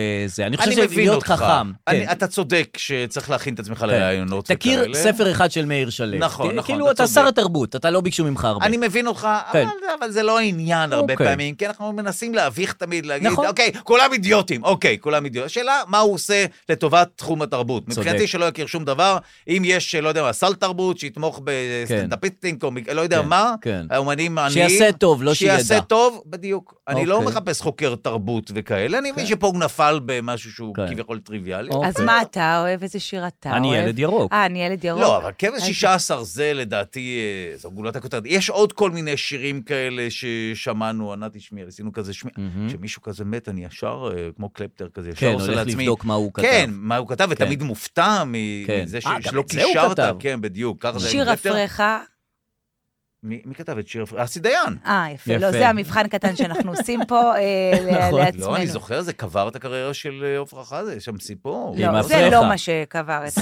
[SPEAKER 2] אני חושב שלהיות חכם.
[SPEAKER 4] אני-
[SPEAKER 2] כן.
[SPEAKER 4] אתה צודק שצריך להכין את עצמך
[SPEAKER 2] כן.
[SPEAKER 4] לרעיונות
[SPEAKER 2] תכיר
[SPEAKER 4] וכאלה.
[SPEAKER 2] ספר אחד של מאיר שלו.
[SPEAKER 4] נכון, נכון,
[SPEAKER 2] כאילו,
[SPEAKER 4] אתה
[SPEAKER 2] אתה
[SPEAKER 4] צודק.
[SPEAKER 2] שר התרבות, אתה לא ביקשו ממך הרבה.
[SPEAKER 4] אני מבין אותך, אבל,
[SPEAKER 2] כן.
[SPEAKER 4] אבל זה לא העניין הרבה
[SPEAKER 2] אוקיי.
[SPEAKER 4] פעמים, כי אנחנו מנסים להביך תמיד, להגיד,
[SPEAKER 2] נכון.
[SPEAKER 4] אוקיי, כולם אידיוטים, אוקיי, כולם אידיוטים. השאלה, מה הוא עושה לטובת תחום התרבות?
[SPEAKER 2] צודק.
[SPEAKER 4] מבחינתי שלא יכיר שום דבר, אם יש, לא יודע מה, סל תרבות, שיתמוך בסטנדאפיסטים, כן. לא יודע
[SPEAKER 2] כן,
[SPEAKER 4] מה,
[SPEAKER 2] כן.
[SPEAKER 4] האומנים עניים.
[SPEAKER 2] שיעשה טוב, לא שידע.
[SPEAKER 4] שיעשה טוב, בדיוק. אני לא
[SPEAKER 2] אוקיי.
[SPEAKER 4] מחפש חוקר תרבות וכאלה, אני מבין שפה הוא נפל במשהו שהוא
[SPEAKER 2] כן.
[SPEAKER 4] כביכול טריוויאלי.
[SPEAKER 2] אוקיי.
[SPEAKER 3] אז מה אתה אוהב? איזה שיר אתה אוהב?
[SPEAKER 2] אני ילד ירוק.
[SPEAKER 3] אה, אני ילד ירוק.
[SPEAKER 4] לא, אבל כבש
[SPEAKER 3] אז-
[SPEAKER 4] 16 זה לדעתי, אה, זו גולת הכותרת. יש עוד כל מיני שירים כאלה ששמענו, ענת תשמעי, עשינו כזה שמי...
[SPEAKER 2] מהמם.
[SPEAKER 4] כשמישהו כזה מת, אני ישר, אה, כמו קלפטר כזה, ישר
[SPEAKER 2] כן,
[SPEAKER 4] עושה
[SPEAKER 2] הולך
[SPEAKER 4] לעצמי...
[SPEAKER 2] לבדוק מה הוא כתב.
[SPEAKER 4] כן, מה הוא כתב, ותמיד מופתע מ-
[SPEAKER 2] כן.
[SPEAKER 4] מזה ש-
[SPEAKER 2] אה, גם
[SPEAKER 4] שלא
[SPEAKER 2] את זה הוא
[SPEAKER 4] קישרת.
[SPEAKER 2] כתב.
[SPEAKER 4] כן, בדיוק. ככה זה עם
[SPEAKER 3] שיר
[SPEAKER 4] קלפטר.
[SPEAKER 3] אפרך.
[SPEAKER 4] מי מי כתב את שיר אפרך? אסי דיין.
[SPEAKER 3] אה, יפה.
[SPEAKER 2] יפה.
[SPEAKER 3] לא, זה המבחן הקטן שאנחנו עושים פה אה, ל-
[SPEAKER 2] נכון.
[SPEAKER 3] לעצמנו.
[SPEAKER 4] לא, אני זוכר, זה קבר את הקריירה של אה, עפרה חזה, יש שם סיפור.
[SPEAKER 2] עם
[SPEAKER 3] לא, זה
[SPEAKER 2] אפרך.
[SPEAKER 3] לא מה שקבר את ה...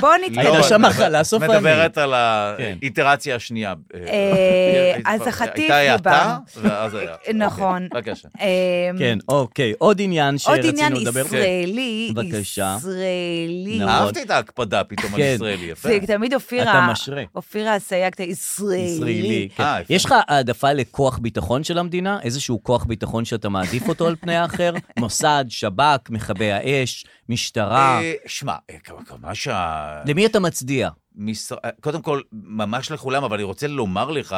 [SPEAKER 3] בוא
[SPEAKER 2] הייתה
[SPEAKER 4] לא,
[SPEAKER 3] נתקדם.
[SPEAKER 4] את
[SPEAKER 2] שם
[SPEAKER 4] מדברת-
[SPEAKER 2] מחלה סופנית.
[SPEAKER 4] מדברת על
[SPEAKER 2] כן.
[SPEAKER 4] האיטרציה השנייה.
[SPEAKER 3] אה,
[SPEAKER 4] אה,
[SPEAKER 3] אז
[SPEAKER 4] כבר-
[SPEAKER 3] החטיף
[SPEAKER 4] הייתה האטה,
[SPEAKER 3] דיברנו.
[SPEAKER 4] ואז היה.
[SPEAKER 3] נכון.
[SPEAKER 4] אוקיי, בבקשה.
[SPEAKER 3] אה,
[SPEAKER 2] כן, אוקיי. עוד עניין
[SPEAKER 3] עוד
[SPEAKER 2] שרצינו
[SPEAKER 3] עניין
[SPEAKER 2] לדבר.
[SPEAKER 3] ישראלי,
[SPEAKER 2] כן. בבקשה.
[SPEAKER 3] ישראלי.
[SPEAKER 2] נכון.
[SPEAKER 4] אהבתי את ההקפדה פתאום על
[SPEAKER 2] כן.
[SPEAKER 4] ישראלי, יפה.
[SPEAKER 3] זה תמיד אופירה,
[SPEAKER 2] אתה משרה.
[SPEAKER 3] אופירה אסייג, אתה ישראלי.
[SPEAKER 2] ישראלי. כן.
[SPEAKER 4] אה, יפה.
[SPEAKER 2] יש לך העדפה לכוח ביטחון של המדינה? איזשהו כוח ביטחון שאתה מעדיף אותו על פני האחר? מוסד, שב"כ, מכבי האש, משטרה.
[SPEAKER 4] אה, שמע, אה, כמה- כמה שה...
[SPEAKER 2] למי אתה מצדיע?
[SPEAKER 4] משר- אה, קודם כל, ממש לכולם, אבל אני רוצה לומר לך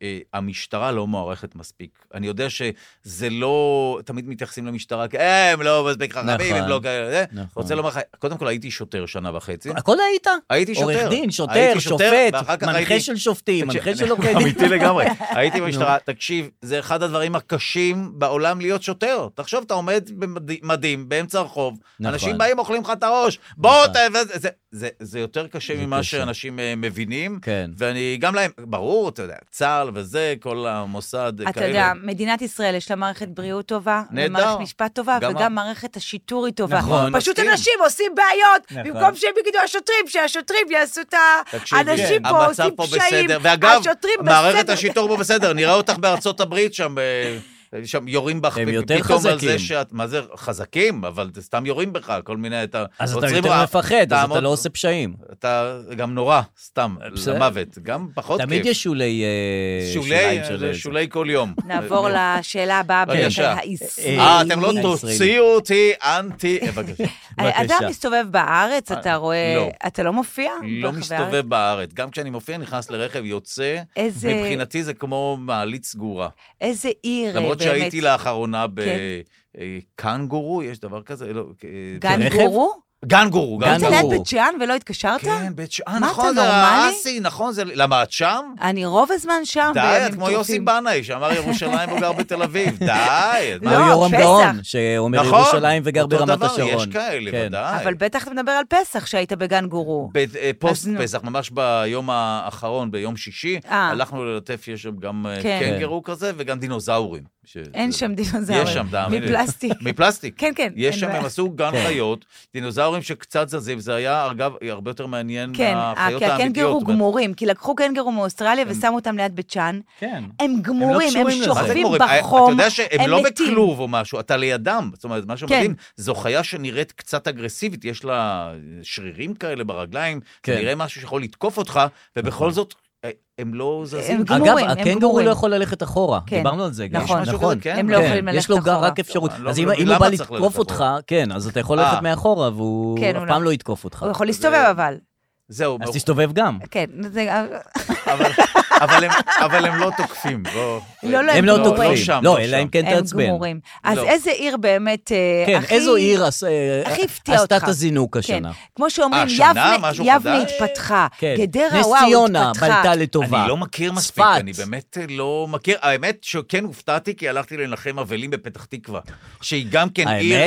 [SPEAKER 4] שהמשטרה לא מוערכת מספיק. אני יודע שזה לא... תמיד מתייחסים למשטרה כ... "אה, הם לא מספיק חכמים,
[SPEAKER 2] נכון.
[SPEAKER 4] הם לא כאלה... זה."
[SPEAKER 2] נכון.
[SPEAKER 4] רוצה לומר לך, קודם כל הייתי שוטר שנה וחצי.
[SPEAKER 2] הכל היית?
[SPEAKER 4] הייתי שוטר.
[SPEAKER 2] עורך דין, שוטר,
[SPEAKER 4] הייתי שוטר, ואחר
[SPEAKER 2] שופט,
[SPEAKER 4] כך
[SPEAKER 2] מנחה
[SPEAKER 4] הייתי-
[SPEAKER 2] של שופטים,
[SPEAKER 4] תקשיב,
[SPEAKER 2] מנחה של
[SPEAKER 4] אני-
[SPEAKER 2] עורכי דין.
[SPEAKER 4] אמיתי לגמרי. הייתי במשטרה, תקשיב, זה אחד הדברים הקשים בעולם להיות שוטר. תחשוב, אתה עומד במדים באמצע הרחוב,
[SPEAKER 2] נכון.
[SPEAKER 4] אנשים באים, אוכלים לך את הראש, בוא,
[SPEAKER 2] נכון.
[SPEAKER 4] ת- וזה- זה- זה- זה יותר קשה
[SPEAKER 2] זה
[SPEAKER 4] ממה
[SPEAKER 2] קשה.
[SPEAKER 4] שאנשים אה, מבינים.
[SPEAKER 2] כן.
[SPEAKER 4] ואני גם להם, ברור, אתה יודע, צה"ל וזה, כל המוסד,
[SPEAKER 3] אתה יודע, מדינת ישראל יש לה מערכת בריאות טובה,
[SPEAKER 4] נהדר.
[SPEAKER 3] ומערכת משפט טובה,
[SPEAKER 4] גם ה-
[SPEAKER 3] וגם מערכת השיטור היא טובה.
[SPEAKER 2] נכון,
[SPEAKER 3] פשוט
[SPEAKER 4] מסכים.
[SPEAKER 3] אנשים עושים בעיות,
[SPEAKER 2] נכון.
[SPEAKER 3] במקום שהם יגידו השוטרים, שהשוטרים יעשו את ה...
[SPEAKER 4] תקשיבי,
[SPEAKER 3] אנשים פה
[SPEAKER 4] המצב
[SPEAKER 3] עושים
[SPEAKER 4] פה
[SPEAKER 3] פשעים,
[SPEAKER 4] בסדר. ואגב,
[SPEAKER 3] השוטרים
[SPEAKER 4] מערכת
[SPEAKER 3] בסדר.
[SPEAKER 4] השיטור פה בסדר, נראה אותך בארצות הברית שם... אה, שם יורים בך
[SPEAKER 2] הם
[SPEAKER 4] פ-
[SPEAKER 2] יותר
[SPEAKER 4] פתאום על
[SPEAKER 2] חזקים.
[SPEAKER 4] זה שאת, מה זה חזקים? אבל סתם יורים בך, כל מיני, אתה...
[SPEAKER 2] אז אתה
[SPEAKER 4] עוצרים
[SPEAKER 2] יותר
[SPEAKER 4] רע,
[SPEAKER 2] מפחד, אז אתה
[SPEAKER 4] תעמוד-
[SPEAKER 2] לא עושה פשעים.
[SPEAKER 4] אתה גם נורא, סתם,
[SPEAKER 2] בסדר.
[SPEAKER 4] למוות, גם פחות כיף.
[SPEAKER 2] תמיד יש שולי... אה,
[SPEAKER 4] שולי,
[SPEAKER 2] שוליים של זה.
[SPEAKER 4] שולי כל יום.
[SPEAKER 3] נעבור לשאלה הבאה,
[SPEAKER 4] בבקשה.
[SPEAKER 3] הישראלי.
[SPEAKER 4] אה, אתם לא
[SPEAKER 2] הישראלי.
[SPEAKER 4] תוציאו אותי אנטי... אה, בבקשה.
[SPEAKER 3] אדם
[SPEAKER 2] בבקשה.
[SPEAKER 3] מסתובב בארץ,
[SPEAKER 4] אה,
[SPEAKER 3] אתה רואה,
[SPEAKER 4] לא.
[SPEAKER 3] אתה לא מופיע?
[SPEAKER 4] לא
[SPEAKER 3] ברחבי
[SPEAKER 4] מסתובב
[SPEAKER 3] הארץ?
[SPEAKER 4] בארץ. גם כשאני מופיע, נכנס לרכב, יוצא.
[SPEAKER 3] איזה-
[SPEAKER 4] מבחינתי זה כמו מעלית סגורה.
[SPEAKER 3] איזה עיר, אה,
[SPEAKER 4] למרות
[SPEAKER 3] באמת. כן.
[SPEAKER 4] שהייתי לאחרונה בקנגורו, יש דבר כזה? לא, אה,
[SPEAKER 3] גן
[SPEAKER 2] ברכב?
[SPEAKER 3] גורו?
[SPEAKER 2] גנגורו.
[SPEAKER 4] גנגורו.
[SPEAKER 3] אתה
[SPEAKER 4] גנגורו.
[SPEAKER 3] ליד
[SPEAKER 2] כן. גורו.
[SPEAKER 3] בית שאן ולא התקשרת?
[SPEAKER 4] כן, בית שאן,
[SPEAKER 3] מה,
[SPEAKER 4] נכון,
[SPEAKER 3] אתה
[SPEAKER 4] זה
[SPEAKER 3] נורמלי?
[SPEAKER 4] האסי, נכון, זה... למה, את שם?
[SPEAKER 3] אני רוב הזמן שם,
[SPEAKER 4] די,
[SPEAKER 3] בימים
[SPEAKER 4] את כמו יוסי
[SPEAKER 3] טרופים.
[SPEAKER 4] בנאי, שאמר ירושלים הוא גר בתל אביב. די, את
[SPEAKER 2] או
[SPEAKER 4] מה-
[SPEAKER 3] לא,
[SPEAKER 2] יורם
[SPEAKER 3] פסח.
[SPEAKER 2] גאון, שאומר
[SPEAKER 4] נכון,
[SPEAKER 2] ירושלים וגר
[SPEAKER 4] אותו
[SPEAKER 2] ברמת
[SPEAKER 4] דבר,
[SPEAKER 2] השרון.
[SPEAKER 4] יש כאלה,
[SPEAKER 2] כן.
[SPEAKER 4] ודאי.
[SPEAKER 3] אבל בטח אתה מדבר על פסח שהיית בגן גורו.
[SPEAKER 4] ב- אה, פוסט
[SPEAKER 3] אז נו.
[SPEAKER 4] פסח, ממש ביום האחרון, ביום שישי,
[SPEAKER 3] אה.
[SPEAKER 4] הלכנו ללטף, יש שם גם אה,
[SPEAKER 3] כן.
[SPEAKER 4] קנגרו כזה וגם דינוזאורים. ש-
[SPEAKER 3] אין
[SPEAKER 4] זה-
[SPEAKER 3] שם דינוזאורים.
[SPEAKER 4] יש שם, תאמין לי.
[SPEAKER 3] מפלסטיק.
[SPEAKER 4] מפלסטיק.
[SPEAKER 3] כן, כן, אין
[SPEAKER 4] יש שם,
[SPEAKER 3] בעיה.
[SPEAKER 4] הם עשו גן
[SPEAKER 2] כן.
[SPEAKER 4] חיות, דינוזאורים שקצת זזים, זה היה, אגב, הרבה יותר מעניין
[SPEAKER 3] כן,
[SPEAKER 4] מהחיות
[SPEAKER 3] כי הקנגרו
[SPEAKER 4] אה, האמיתיות. אבל-
[SPEAKER 3] גמורים, כי לקחו קנגרו מאוסטרליה ושמו אותם ליד בית שאן.
[SPEAKER 2] כן.
[SPEAKER 3] הם גמורים, הם
[SPEAKER 2] קשורים לזה.
[SPEAKER 4] מה זה
[SPEAKER 3] שוכבים
[SPEAKER 4] גמורים? אה,
[SPEAKER 3] בחום,
[SPEAKER 4] אתה יודע שהם
[SPEAKER 3] הם
[SPEAKER 4] לא
[SPEAKER 3] מתים. כן.
[SPEAKER 4] בכלוב או משהו, אתה לידם. זאת אומרת, מה שמדהים, זו חיה שנראית קצת אגרסיבית, יש לה שרירים כאלה ברגליים,
[SPEAKER 2] כן. נכון.
[SPEAKER 4] נראה משהו שיכול לתקוף אותך, ובכל זאת, אה, הם לא זזים.
[SPEAKER 3] גמורים.
[SPEAKER 2] אגב,
[SPEAKER 3] הם
[SPEAKER 2] הקנגורו
[SPEAKER 3] גמורים.
[SPEAKER 2] לא יכול ללכת אחורה,
[SPEAKER 3] כן.
[SPEAKER 2] דיברנו על זה גם.
[SPEAKER 3] נכון.
[SPEAKER 4] משהו
[SPEAKER 2] נכון.
[SPEAKER 4] כזה, כן?
[SPEAKER 3] הם לא
[SPEAKER 2] כן,
[SPEAKER 3] יכולים ללכת
[SPEAKER 2] יש לו גם
[SPEAKER 3] אחורה.
[SPEAKER 2] רק אפשרות.
[SPEAKER 4] אני לא
[SPEAKER 2] אז אם
[SPEAKER 4] מבין
[SPEAKER 2] אם הוא
[SPEAKER 4] למה
[SPEAKER 2] בא
[SPEAKER 4] צריך ללכת
[SPEAKER 2] לתקוף אותך,
[SPEAKER 4] אחורה.
[SPEAKER 2] כן, אז אתה יכול ללכת
[SPEAKER 4] אה.
[SPEAKER 2] מאחורה, והוא אף
[SPEAKER 3] כן, הוא
[SPEAKER 2] פעם
[SPEAKER 3] לא.
[SPEAKER 2] לא יתקוף אותך.
[SPEAKER 3] הוא יכול להסתובב אבל.
[SPEAKER 4] זהו,
[SPEAKER 2] אז תסתובב גם.
[SPEAKER 3] כן, זה-
[SPEAKER 4] אבל- אבל הם- אבל הם לא תוקפים, בוא.
[SPEAKER 3] לא, לא,
[SPEAKER 2] הם לא
[SPEAKER 4] לא
[SPEAKER 2] תוקפים.
[SPEAKER 4] שם,
[SPEAKER 2] לא,
[SPEAKER 4] לא
[SPEAKER 2] אלא
[SPEAKER 4] שם.
[SPEAKER 2] אם כן
[SPEAKER 3] הם
[SPEAKER 2] תעצבן.
[SPEAKER 3] גמורים. אז
[SPEAKER 4] לא.
[SPEAKER 3] איזה עיר באמת אה,
[SPEAKER 2] כן,
[SPEAKER 3] הכי...
[SPEAKER 2] איזו עיר עש- אה,
[SPEAKER 3] הכי הפתיע אותך.
[SPEAKER 2] עשתה את הזינוק השנה?
[SPEAKER 3] כן, כמו שאומרים,
[SPEAKER 4] אה, שנה?
[SPEAKER 3] יבנה,
[SPEAKER 4] משהו
[SPEAKER 3] יבנה
[SPEAKER 4] חדש?
[SPEAKER 3] התפתחה,
[SPEAKER 2] כן.
[SPEAKER 3] גדרה,
[SPEAKER 2] נס
[SPEAKER 3] וואו,
[SPEAKER 2] ציונה
[SPEAKER 3] התפתחה.
[SPEAKER 2] בלטה לטובה.
[SPEAKER 4] אני לא מכיר מספיק,
[SPEAKER 2] צפת.
[SPEAKER 4] אני באמת לא מכיר. האמת שכן הופתעתי, כי הלכתי לנחם אבלים בפתח תקווה, שהיא גם כן
[SPEAKER 2] האמת?
[SPEAKER 4] עיר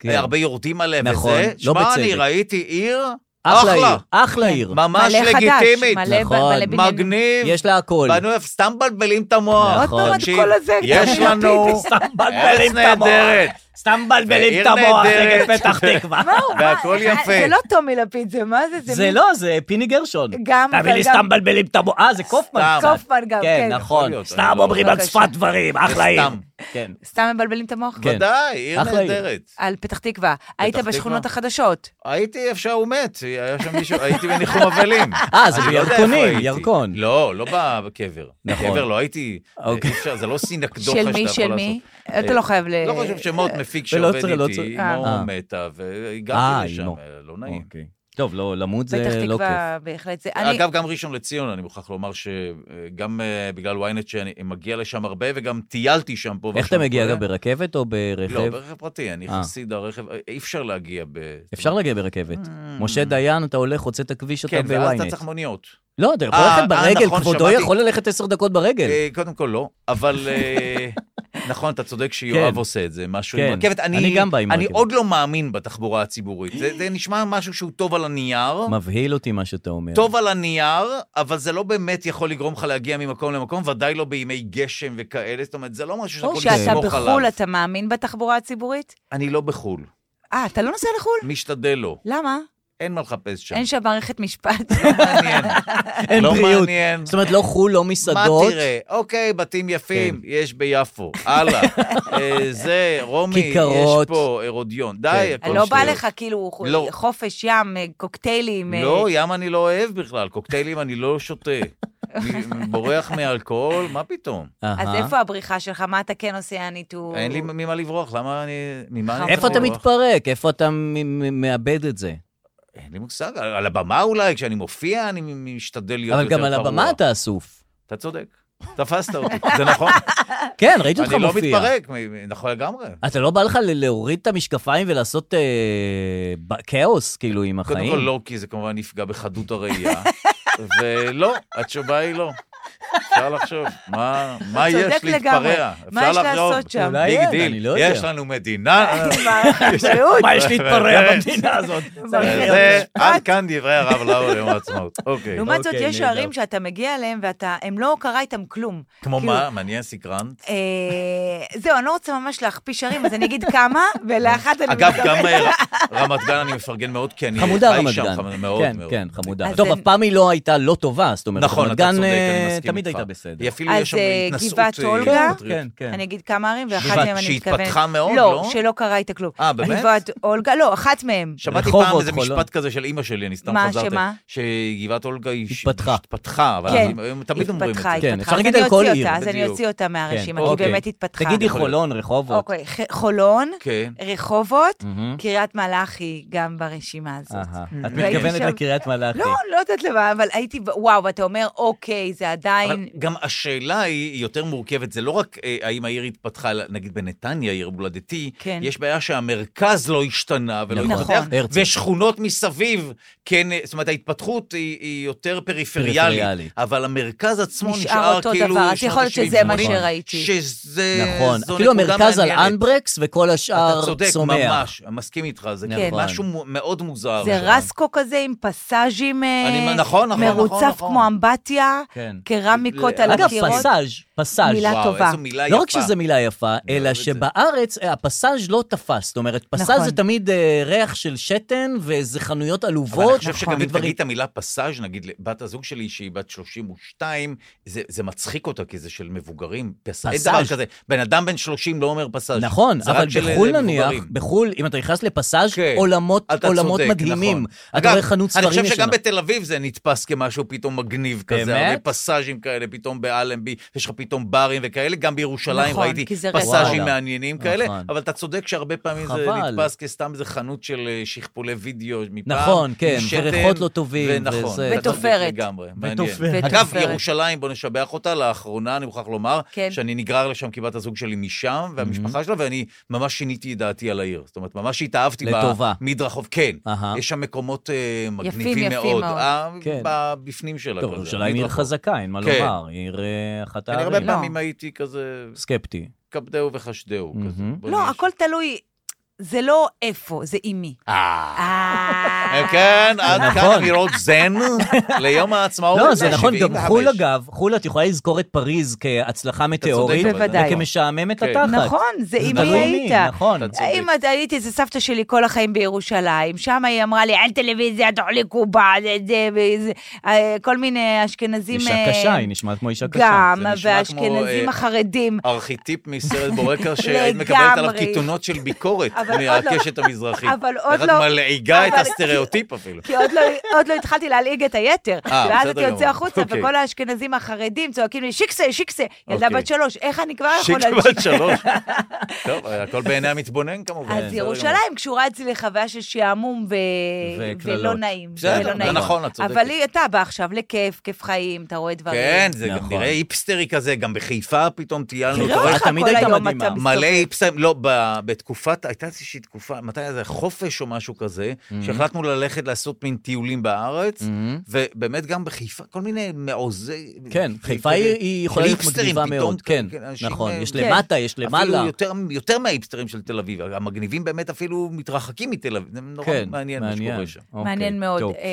[SPEAKER 2] כן.
[SPEAKER 4] שהרבה יורדים עליה
[SPEAKER 2] נכון,
[SPEAKER 4] וזה.
[SPEAKER 2] לא
[SPEAKER 4] שמע, אני
[SPEAKER 2] בצדק.
[SPEAKER 4] ראיתי עיר
[SPEAKER 2] אחלה
[SPEAKER 4] אחלה,
[SPEAKER 2] עיר,
[SPEAKER 3] כן.
[SPEAKER 2] אחלה עיר.
[SPEAKER 4] ממש
[SPEAKER 3] מלא חדש,
[SPEAKER 4] לגיטימית,
[SPEAKER 3] מלא ב-
[SPEAKER 2] נכון.
[SPEAKER 3] מלא בניינים.
[SPEAKER 4] מגניב.
[SPEAKER 2] יש לה הכל. נכון.
[SPEAKER 4] בנו, סתם מבלבלים את המוח.
[SPEAKER 2] עוד פעם את
[SPEAKER 4] תקשיב,
[SPEAKER 3] כל הזה,
[SPEAKER 4] יש
[SPEAKER 3] תמיד
[SPEAKER 4] לנו
[SPEAKER 2] סתם
[SPEAKER 4] ארץ נהדרת,
[SPEAKER 2] סתם מבלבלים את
[SPEAKER 4] ועיר
[SPEAKER 2] המוח
[SPEAKER 4] נהדרת.
[SPEAKER 2] נגד פתח תקווה.
[SPEAKER 3] וואו, מה,
[SPEAKER 4] והכל
[SPEAKER 3] זה-
[SPEAKER 4] יפה.
[SPEAKER 3] זה לא טומי לפיד, זה מה זה?
[SPEAKER 2] זה
[SPEAKER 3] מין
[SPEAKER 2] לא, זה פיני גרשון.
[SPEAKER 3] גם,
[SPEAKER 2] תביא
[SPEAKER 3] אבל
[SPEAKER 2] לי
[SPEAKER 3] גם-
[SPEAKER 2] סתם מבלבלים את המוח. אה, זה קופמן.
[SPEAKER 4] סתם.
[SPEAKER 2] קצת.
[SPEAKER 3] קופמן גם,
[SPEAKER 2] כן,
[SPEAKER 3] כן.
[SPEAKER 4] יכול
[SPEAKER 2] נכון.
[SPEAKER 4] להיות,
[SPEAKER 2] סתם
[SPEAKER 4] אני לא-
[SPEAKER 2] אומרים על
[SPEAKER 3] בבקשה.
[SPEAKER 2] שפת דברים, אחלה עיר.
[SPEAKER 4] סתם.
[SPEAKER 2] כן.
[SPEAKER 3] סתם מבלבלים את המוח?
[SPEAKER 2] כן.
[SPEAKER 4] ודאי, עיר
[SPEAKER 2] אחלה עיר.
[SPEAKER 4] נהדרת.
[SPEAKER 3] על פתח תקווה. היית
[SPEAKER 4] תקווה?
[SPEAKER 3] בשכונות החדשות.
[SPEAKER 4] הייתי איפה שהוא מת, היה שם מישהו, הייתי בניחום אבלים.
[SPEAKER 2] אה, זה
[SPEAKER 4] אני לא יודע איפה
[SPEAKER 2] בירקונים,
[SPEAKER 4] הייתי.
[SPEAKER 2] ירקון.
[SPEAKER 4] לא, לא בקבר.
[SPEAKER 2] נכון.
[SPEAKER 4] בקבר לא הייתי,
[SPEAKER 2] אוקיי.
[SPEAKER 4] אי אפשר, זה לא סינקדוחה שאתה
[SPEAKER 3] של
[SPEAKER 4] יכול
[SPEAKER 3] מי,
[SPEAKER 4] לעשות.
[SPEAKER 3] של מי? אתה
[SPEAKER 4] אה,
[SPEAKER 3] לא חייב ל...
[SPEAKER 4] לא חושב שמות, מפיק
[SPEAKER 2] ולא
[SPEAKER 4] שעובד
[SPEAKER 2] צריך, לא
[SPEAKER 4] איתי,
[SPEAKER 2] צריך.
[SPEAKER 4] אימו
[SPEAKER 2] אה.
[SPEAKER 4] מתה,
[SPEAKER 2] אה,
[SPEAKER 4] והגעתי לשם,
[SPEAKER 2] אימו.
[SPEAKER 4] אה, לא נעים.
[SPEAKER 2] אוקיי. טוב, לא, למות
[SPEAKER 3] פתח
[SPEAKER 2] זה לא כיף.
[SPEAKER 3] תקווה, בהחלט. זה- אני-
[SPEAKER 4] אגב, גם ראשון לציון, אני מוכרח לומר שגם אה, בגלל ynet שאני מגיע לשם הרבה, וגם טיילתי שם פה.
[SPEAKER 2] איך
[SPEAKER 4] ושם
[SPEAKER 2] אתה מגיע,
[SPEAKER 4] פה.
[SPEAKER 2] אגב, ברכבת או
[SPEAKER 4] לא,
[SPEAKER 2] ברכב?
[SPEAKER 4] ברכב פרטי, אני
[SPEAKER 2] אה.
[SPEAKER 4] חסיד הרכב, אה, אי אפשר להגיע ב... Mm.
[SPEAKER 2] אפשר להגיע ברכבת.
[SPEAKER 3] Mm.
[SPEAKER 2] משה דיין, אתה הולך, חוצה את הכביש, אתה
[SPEAKER 4] כן, ואז אתה
[SPEAKER 2] בוויינט.
[SPEAKER 4] צריך מוניות.
[SPEAKER 2] לא, אתה יכול
[SPEAKER 4] אה,
[SPEAKER 2] ללכת
[SPEAKER 4] אה,
[SPEAKER 2] ברגל,
[SPEAKER 4] נכון,
[SPEAKER 2] כבודו
[SPEAKER 4] שמעתי.
[SPEAKER 2] יכול ללכת עשר דקות ברגל.
[SPEAKER 4] אה, קודם כל לא, אבל אה, נכון, אתה צודק שיואב
[SPEAKER 2] כן.
[SPEAKER 4] עושה את זה, משהו
[SPEAKER 2] כן.
[SPEAKER 4] עם רכבת.
[SPEAKER 2] אני גם בא עם
[SPEAKER 4] אני
[SPEAKER 2] רכבת.
[SPEAKER 4] עוד לא מאמין בתחבורה הציבורית. זה- זה נשמע משהו שהוא טוב על הנייר.
[SPEAKER 2] מבהיל אותי מה שאתה אומר.
[SPEAKER 4] טוב על הנייר, אבל זה לא באמת יכול לגרום לך להגיע ממקום למקום, ודאי לא בימי גשם וכאלה. זאת אומרת, זה לא משהו שאתה
[SPEAKER 3] או
[SPEAKER 4] יכול
[SPEAKER 3] שאתה
[SPEAKER 4] לסמוך
[SPEAKER 3] בחו"ל,
[SPEAKER 4] עליו.
[SPEAKER 3] אתה מאמין בתחבורה הציבורית?
[SPEAKER 4] אני לא בחו"ל,
[SPEAKER 3] אה, אתה לא נוסע לחו"ל?
[SPEAKER 4] משתדל לא.
[SPEAKER 3] למה?
[SPEAKER 4] אין מה לחפש שם.
[SPEAKER 3] אין שם מערכת משפט.
[SPEAKER 4] מעניין.
[SPEAKER 2] אין
[SPEAKER 4] לא
[SPEAKER 2] בריאות.
[SPEAKER 4] מעניין.
[SPEAKER 2] זאת אומרת, לא חו"ל, לא
[SPEAKER 4] מה
[SPEAKER 2] מסעדות.
[SPEAKER 4] תראה? אוקיי, בתים יפים,
[SPEAKER 2] כן.
[SPEAKER 4] יש ביפו. הלאה. אה, זה, רומי, יש
[SPEAKER 2] כיכרות. כן.
[SPEAKER 4] פה, הרודיון. די, הכל
[SPEAKER 3] לא בא
[SPEAKER 4] שטויות.
[SPEAKER 3] לך כאילו חו-
[SPEAKER 4] לא.
[SPEAKER 3] חופש, ים, אה, קוקטיילים. אה,
[SPEAKER 4] לא, ים אני לא אוהב בכלל, קוקטיילים אני לא שותה. אני בורח מאלכוהול, מה פתאום?
[SPEAKER 3] אז
[SPEAKER 2] אהה.
[SPEAKER 3] איפה הבריחה שלך? מה אתה כן עושה, הניטור?
[SPEAKER 4] אה, אין לי ממה לברוח, למה אני... ממה אני
[SPEAKER 2] איפה
[SPEAKER 4] צריך
[SPEAKER 2] אתה
[SPEAKER 4] לברוח?
[SPEAKER 2] מתפרק? איפה אתה מ- מ- מאבד את זה?
[SPEAKER 4] אין לי מושג, על על הבמה אולי, כשאני מופיע, אני משתדל להיות
[SPEAKER 2] אבל
[SPEAKER 4] יותר
[SPEAKER 2] גם
[SPEAKER 4] פרוע.
[SPEAKER 2] על הבמה אתה אסוף.
[SPEAKER 4] אתה צודק, תפסת אותי, זה נכון.
[SPEAKER 2] כן, ראיתי אותך
[SPEAKER 4] אני לא
[SPEAKER 2] מופיע.
[SPEAKER 4] מתפרק, מ- מ- נכון לגמרי.
[SPEAKER 2] אתה לא בא לך ל- להוריד את המשקפיים ולעשות אה, ב- כאוס, כאילו, עם החיים?
[SPEAKER 4] קודם כל לא, כי זה כמובן יפגע בחדות הראייה. ולא, התשובה היא לא. אפשר לחשוב, מה מה
[SPEAKER 3] צודק
[SPEAKER 4] יש
[SPEAKER 3] לגמרי.
[SPEAKER 4] להתפרע?
[SPEAKER 3] מה
[SPEAKER 4] אפשר
[SPEAKER 3] יש
[SPEAKER 4] לחשוב.
[SPEAKER 3] לעשות שם?
[SPEAKER 2] אולי
[SPEAKER 4] ביג
[SPEAKER 2] אין,
[SPEAKER 4] דיל.
[SPEAKER 2] אני לא
[SPEAKER 4] יש
[SPEAKER 2] יודע.
[SPEAKER 4] לנו מדינה.
[SPEAKER 3] מערכת בריאות?
[SPEAKER 2] מה יש להתפרע במדינה הזאת?
[SPEAKER 4] כן. אה, זה, עד כאן דברי הרב לאו ליום העצמאות. אוקיי.
[SPEAKER 3] לעומת זאת,
[SPEAKER 2] אוקיי,
[SPEAKER 3] יש
[SPEAKER 2] נהדר.
[SPEAKER 3] ערים שאתה מגיע אליהם והם לא קרה איתם כלום.
[SPEAKER 4] כמו
[SPEAKER 3] כאילו,
[SPEAKER 4] מה? מעניין סקרן?
[SPEAKER 3] אה, זהו, אני לא רוצה ממש להכפיש ערים, אז אני אגיד כמה, ולאחת אני...
[SPEAKER 4] אגב,
[SPEAKER 3] מתכוונת.
[SPEAKER 4] גם אה, רמת גן אני מפרגן מאוד, כי אני
[SPEAKER 2] חמודה
[SPEAKER 4] חי
[SPEAKER 2] רמת
[SPEAKER 4] שם
[SPEAKER 2] גן.
[SPEAKER 4] חמ- מאוד
[SPEAKER 2] כן,
[SPEAKER 4] מאוד.
[SPEAKER 2] כן, חמודה.
[SPEAKER 3] אז
[SPEAKER 2] טוב,
[SPEAKER 3] זה-
[SPEAKER 2] אף פעם היא לא הייתה לא טובה, זאת אומרת,
[SPEAKER 4] נכון,
[SPEAKER 2] רמת
[SPEAKER 4] אתה
[SPEAKER 2] גן
[SPEAKER 4] צודק,
[SPEAKER 2] אה,
[SPEAKER 4] אני מסכים איתך.
[SPEAKER 2] תמיד הייתה בסדר.
[SPEAKER 4] היא אפילו יש
[SPEAKER 3] אז,
[SPEAKER 4] שם
[SPEAKER 3] אה,
[SPEAKER 4] התנסות.
[SPEAKER 3] גבעת
[SPEAKER 4] אה,
[SPEAKER 3] אולגה?
[SPEAKER 4] התנסות.
[SPEAKER 2] כן, כן.
[SPEAKER 3] אני אגיד כמה ערים, ואחת
[SPEAKER 4] גבעת
[SPEAKER 3] מהם אני מתכוונת.
[SPEAKER 4] שהתפתחה מאוד, לא?
[SPEAKER 3] לא, שלא קרה איתה כלום.
[SPEAKER 4] אה, באמת?
[SPEAKER 3] גבעת אולגה, לא, אחת מהם.
[SPEAKER 4] שמעתי
[SPEAKER 2] רחובות,
[SPEAKER 4] פעם איזה
[SPEAKER 2] חולון.
[SPEAKER 4] משפט כזה של אימא שלי, אני סתם
[SPEAKER 3] מה,
[SPEAKER 4] חזרתי.
[SPEAKER 3] שמה?
[SPEAKER 4] שגבעת אולגה היא... ש-
[SPEAKER 2] התפתחה.
[SPEAKER 4] התפתחה, אבל
[SPEAKER 3] כן.
[SPEAKER 4] הם- הם תמיד אומרים את זה.
[SPEAKER 3] התפתחה,
[SPEAKER 2] כן,
[SPEAKER 3] התפתחה.
[SPEAKER 2] אפשר
[SPEAKER 3] אז
[SPEAKER 2] להגיד
[SPEAKER 3] אני
[SPEAKER 2] על כל
[SPEAKER 3] אוציא
[SPEAKER 2] עיר,
[SPEAKER 3] אותה, אז אני
[SPEAKER 4] בדיוק. כן,
[SPEAKER 3] אוציא אותה מהרשימה, כי היא
[SPEAKER 2] אוקיי.
[SPEAKER 3] באמת התפתחה. נכון.
[SPEAKER 2] תגידי
[SPEAKER 4] יכול להיות.
[SPEAKER 2] חולון, רחובות.
[SPEAKER 3] אוקיי, ח- חולון,
[SPEAKER 4] כן.
[SPEAKER 3] רחובות,
[SPEAKER 2] מהמם.
[SPEAKER 3] קריית מלאכי גם ברשימה הזאת.
[SPEAKER 2] אהה. את
[SPEAKER 3] והייתי
[SPEAKER 2] מתכוונת
[SPEAKER 3] שם-
[SPEAKER 2] לקריית מלאכי.
[SPEAKER 3] לא, לא יודעת למה, אבל הייתי, ב- וואו, אתה אומר, אוקיי, זה
[SPEAKER 4] אבל
[SPEAKER 3] עדיין...
[SPEAKER 4] גם השאלה היא היא יותר מורכבת, זה לא רק אה, האם העיר התפתחה, אלא נגיד בנתניה, עיר הולדתי,
[SPEAKER 3] כן.
[SPEAKER 4] יש בעיה שהמרכז לא השתנה ולא
[SPEAKER 3] נכון.
[SPEAKER 4] התפתח,
[SPEAKER 2] הרצל.
[SPEAKER 4] ושכונות מסביב, כן, אה, זאת אומרת, ההתפתחות היא היא יותר פריפריאלית,
[SPEAKER 2] פריפריאלית.
[SPEAKER 4] אבל המרכז עצמו
[SPEAKER 3] נשאר
[SPEAKER 4] נשאר
[SPEAKER 3] אותו
[SPEAKER 4] כאילו...
[SPEAKER 3] דבר, אז
[SPEAKER 4] שנות
[SPEAKER 3] יכול להיות
[SPEAKER 4] ה-70,
[SPEAKER 3] שזה מה
[SPEAKER 4] נכון.
[SPEAKER 3] שראיתי.
[SPEAKER 4] שזה...
[SPEAKER 2] נכון,
[SPEAKER 4] אה, זו
[SPEAKER 2] אפילו
[SPEAKER 4] נקודה
[SPEAKER 2] המרכז על
[SPEAKER 4] מעניינת.
[SPEAKER 2] אנברקס וכל השאר
[SPEAKER 4] אתה צודק,
[SPEAKER 2] צומח.
[SPEAKER 4] ממש, מסכים איתך, זה
[SPEAKER 3] כן.
[SPEAKER 4] כאילו
[SPEAKER 2] נכון.
[SPEAKER 4] משהו מו- מאוד מוזר.
[SPEAKER 3] זה
[SPEAKER 4] שם.
[SPEAKER 3] רסקו כזה עם פסאז'ים, אה,
[SPEAKER 4] אני- נכון, נכון, נכון,
[SPEAKER 3] מרוצף
[SPEAKER 4] נכון.
[SPEAKER 3] כמו אמבטיה,
[SPEAKER 2] כן.
[SPEAKER 3] קרמיקות על
[SPEAKER 2] אגב,
[SPEAKER 3] הקירות.
[SPEAKER 2] פסאז', פסאז'.
[SPEAKER 3] מילה
[SPEAKER 4] וואו,
[SPEAKER 3] טובה.
[SPEAKER 4] איזו מילה יפה.
[SPEAKER 2] לא רק שזו מילה יפה,
[SPEAKER 4] אני אוהב
[SPEAKER 2] אלא
[SPEAKER 4] את זה.
[SPEAKER 2] שבארץ אה, הפסאז' לא תפס. זאת אומרת, פסאז'
[SPEAKER 3] נכון.
[SPEAKER 2] זה תמיד אה, ריח של שתן ואיזה חנויות
[SPEAKER 4] אבל אני
[SPEAKER 2] עלובות. נכון.
[SPEAKER 4] חושב
[SPEAKER 2] ודברים-
[SPEAKER 4] שגם אם תגיד את המילה פסאז', נגיד לבת הזוג שלי, שהיא בת 32, זה, זה מצחיק אותה, כי זה של מבוגרים. פסאז'. אין דבר
[SPEAKER 2] פסאז'.
[SPEAKER 4] כזה. בן אדם בן 30 לא אומר פסאז'.
[SPEAKER 2] נכון,
[SPEAKER 4] זה
[SPEAKER 2] אבל
[SPEAKER 4] רק של אה,
[SPEAKER 2] בחו"ל נניח,
[SPEAKER 4] מבוגרים.
[SPEAKER 2] בחו"ל, אם אתה נכנס לפסאז',
[SPEAKER 4] כן.
[SPEAKER 2] עולמות
[SPEAKER 4] אתה
[SPEAKER 2] עולמות
[SPEAKER 4] צודק,
[SPEAKER 2] מדהימים.
[SPEAKER 4] נכון.
[SPEAKER 2] אתה
[SPEAKER 4] אגב,
[SPEAKER 2] רואה חנות ספרים
[SPEAKER 4] אני חושב שגם
[SPEAKER 2] ישנה.
[SPEAKER 4] בתל אביב זה נתפס כמשהו פתאום מגניב כזה,
[SPEAKER 2] באמת?
[SPEAKER 4] הרבה פסאז'ים כאלה. כאלה, פתאום באלנבי, יש לך פתאום ברים וכאלה, גם בירושלים
[SPEAKER 3] נכון,
[SPEAKER 4] ראיתי
[SPEAKER 3] כי זה רצף.
[SPEAKER 4] פסאז'ים
[SPEAKER 2] וואלה.
[SPEAKER 4] מעניינים כאלה,
[SPEAKER 2] נכון.
[SPEAKER 4] אבל אתה צודק שהרבה פעמים זה
[SPEAKER 2] חבל.
[SPEAKER 4] נתפס כסתם איזה חנות של אה, שכפולי וידאו מפעם.
[SPEAKER 2] נכון, כן,
[SPEAKER 4] עם שתן,
[SPEAKER 2] וריחות לא טובים,
[SPEAKER 4] ונכון,
[SPEAKER 2] וזה.
[SPEAKER 4] אתה צודק
[SPEAKER 3] ותופרת.
[SPEAKER 4] לגמרי, מעניין.
[SPEAKER 2] ותופרת.
[SPEAKER 4] אגב,
[SPEAKER 3] ותופרת.
[SPEAKER 4] ירושלים, בוא נשבח אותה, לאחרונה, אני מוכרח לומר,
[SPEAKER 3] כן.
[SPEAKER 4] שאני נגרר לשם, כי בת הזוג שלי משם,
[SPEAKER 2] Mm-hmm.
[SPEAKER 4] והמשפחה שלה, ואני ממש שיניתי את דעתי על העיר. זאת אומרת, ממש התאהבתי
[SPEAKER 2] לטובה.
[SPEAKER 4] במדרחוב, כן.
[SPEAKER 2] אהה.
[SPEAKER 4] יש שם מקומות אה,
[SPEAKER 3] יפים
[SPEAKER 4] מגניבים מאוד.
[SPEAKER 3] מאוד.
[SPEAKER 4] אה,
[SPEAKER 2] כן.
[SPEAKER 4] בבפנים שלה.
[SPEAKER 2] טוב,
[SPEAKER 4] כזה,
[SPEAKER 2] ירושלים עיר
[SPEAKER 4] המדרחוב.
[SPEAKER 2] חזקה, אין מה
[SPEAKER 4] לא, כן.
[SPEAKER 2] לומר, עיר אה, אחת
[SPEAKER 4] אני
[SPEAKER 2] הערים.
[SPEAKER 4] הרבה
[SPEAKER 3] לא.
[SPEAKER 4] פעמים הייתי כזה,
[SPEAKER 2] סקפטי.
[SPEAKER 4] כבדהו וחשדהו. כזה.
[SPEAKER 2] מהמם.
[SPEAKER 4] בוא
[SPEAKER 3] לא,
[SPEAKER 4] נהיה
[SPEAKER 3] הכל תלוי, זה לא איפה, זה עם מי.
[SPEAKER 4] אה.
[SPEAKER 3] אה,
[SPEAKER 4] כן, עד כאן
[SPEAKER 2] נכון.
[SPEAKER 4] אמירות זן ליום העצמאות.
[SPEAKER 2] לא, זה נכון,
[SPEAKER 4] ה-75.
[SPEAKER 2] גם חו"ל אגב, חו"ל את יכולה לזכור את פריז כהצלחה מטאורית,
[SPEAKER 4] אבל.
[SPEAKER 3] בוודאי.
[SPEAKER 2] וכמשעממת
[SPEAKER 4] כן.
[SPEAKER 2] התחת.
[SPEAKER 3] נכון, זה עם מי
[SPEAKER 2] תלוי
[SPEAKER 3] היית.
[SPEAKER 2] נכון.
[SPEAKER 4] אתה צודק.
[SPEAKER 3] אם את הייתי אצל סבתא שלי כל החיים בירושלים, שם היא אמרה לי, אל טלוויזיה, תאכלי קובה, זה, זה, וזה, אה, כל מיני אשכנזים.
[SPEAKER 2] אישה
[SPEAKER 3] אה,
[SPEAKER 2] קשה, היא נשמעת כמו אישה קשה.
[SPEAKER 3] גם,
[SPEAKER 4] זה נשמע כמו,
[SPEAKER 3] והאשכנזים
[SPEAKER 4] אה,
[SPEAKER 3] החרדים.
[SPEAKER 4] ארכיטיפ מסרט בורקר שהיית מקבלת עליו
[SPEAKER 3] לגמרי.
[SPEAKER 4] קיתונות של ביקורת
[SPEAKER 3] אבל עוד לא-
[SPEAKER 4] מהקשת המזרחית.
[SPEAKER 3] אבל עוד
[SPEAKER 4] איך
[SPEAKER 3] לא-
[SPEAKER 4] את מלעיגה את
[SPEAKER 3] אבל-
[SPEAKER 4] הסטריאוטיפ אפילו.
[SPEAKER 3] כי עוד לא, עוד לא התחלתי להלעיג את היתר.
[SPEAKER 4] אה,
[SPEAKER 3] ואז
[SPEAKER 4] בסדר
[SPEAKER 3] אתה יוצא
[SPEAKER 4] גמור.
[SPEAKER 3] החוצה,
[SPEAKER 4] אוקיי.
[SPEAKER 3] וכל האשכנזים החרדים צועקים לי, שיקסה, שיקסה. ילדה
[SPEAKER 4] אוקיי.
[SPEAKER 3] בת שלוש, איך אני כבר
[SPEAKER 4] שיק
[SPEAKER 3] יכולה...
[SPEAKER 4] בת שלוש. טוב, הכל בעיני המתבונן כמובן. לא
[SPEAKER 3] אז
[SPEAKER 4] אה, בסדר גמור.
[SPEAKER 3] ירושלים קשורה אצלי לחוויה של שעמום ו...
[SPEAKER 2] וקללות.
[SPEAKER 3] ולא נעים.
[SPEAKER 4] בסדר,
[SPEAKER 3] ולא
[SPEAKER 4] זה
[SPEAKER 3] נעים.
[SPEAKER 4] נכון, את צודקת.
[SPEAKER 3] אבל היא, אתה בא עכשיו לכיף, כיף חיים, אתה רואה דברים.
[SPEAKER 4] כן, זה גם
[SPEAKER 2] נכון.
[SPEAKER 4] נראה היפסטרי כזה, גם בחיפה פתאום טיילנו.
[SPEAKER 3] תראה
[SPEAKER 4] אתה רואה
[SPEAKER 3] אותך
[SPEAKER 2] תמיד
[SPEAKER 3] לא, כל
[SPEAKER 2] הייתה
[SPEAKER 3] היום
[SPEAKER 2] מדהימה.
[SPEAKER 3] אתה מסתובב.
[SPEAKER 4] מלא היפסטרים, לא, ב- בתקופת, הייתה איזושהי תקופה, מתי היה זה, חופש או משהו כזה,
[SPEAKER 2] Mm-hmm.
[SPEAKER 4] שהחלטנו ללכת לעשות מין טיולים בארץ, ובאמת גם בחיפה, כל מיני מעוזי...
[SPEAKER 2] כן, חיפה היא- היא יכולה להיות
[SPEAKER 4] היפסטרים,
[SPEAKER 2] מגניבה
[SPEAKER 4] פתאום,
[SPEAKER 2] מאוד, כן,
[SPEAKER 4] אנשים,
[SPEAKER 2] נכון,
[SPEAKER 4] אה,
[SPEAKER 2] יש
[SPEAKER 3] כן.
[SPEAKER 2] למטה, יש למעלה.
[SPEAKER 4] אפילו יותר, יותר מההיפסטרים של תל אביב, המגניבים באמת אפילו מתרחקים מתל אביב, זה נורא
[SPEAKER 2] כן,
[SPEAKER 4] מעניין מה שקורה שם.
[SPEAKER 2] אוקיי,
[SPEAKER 3] מעניין מאוד.
[SPEAKER 2] טוב.
[SPEAKER 3] אה,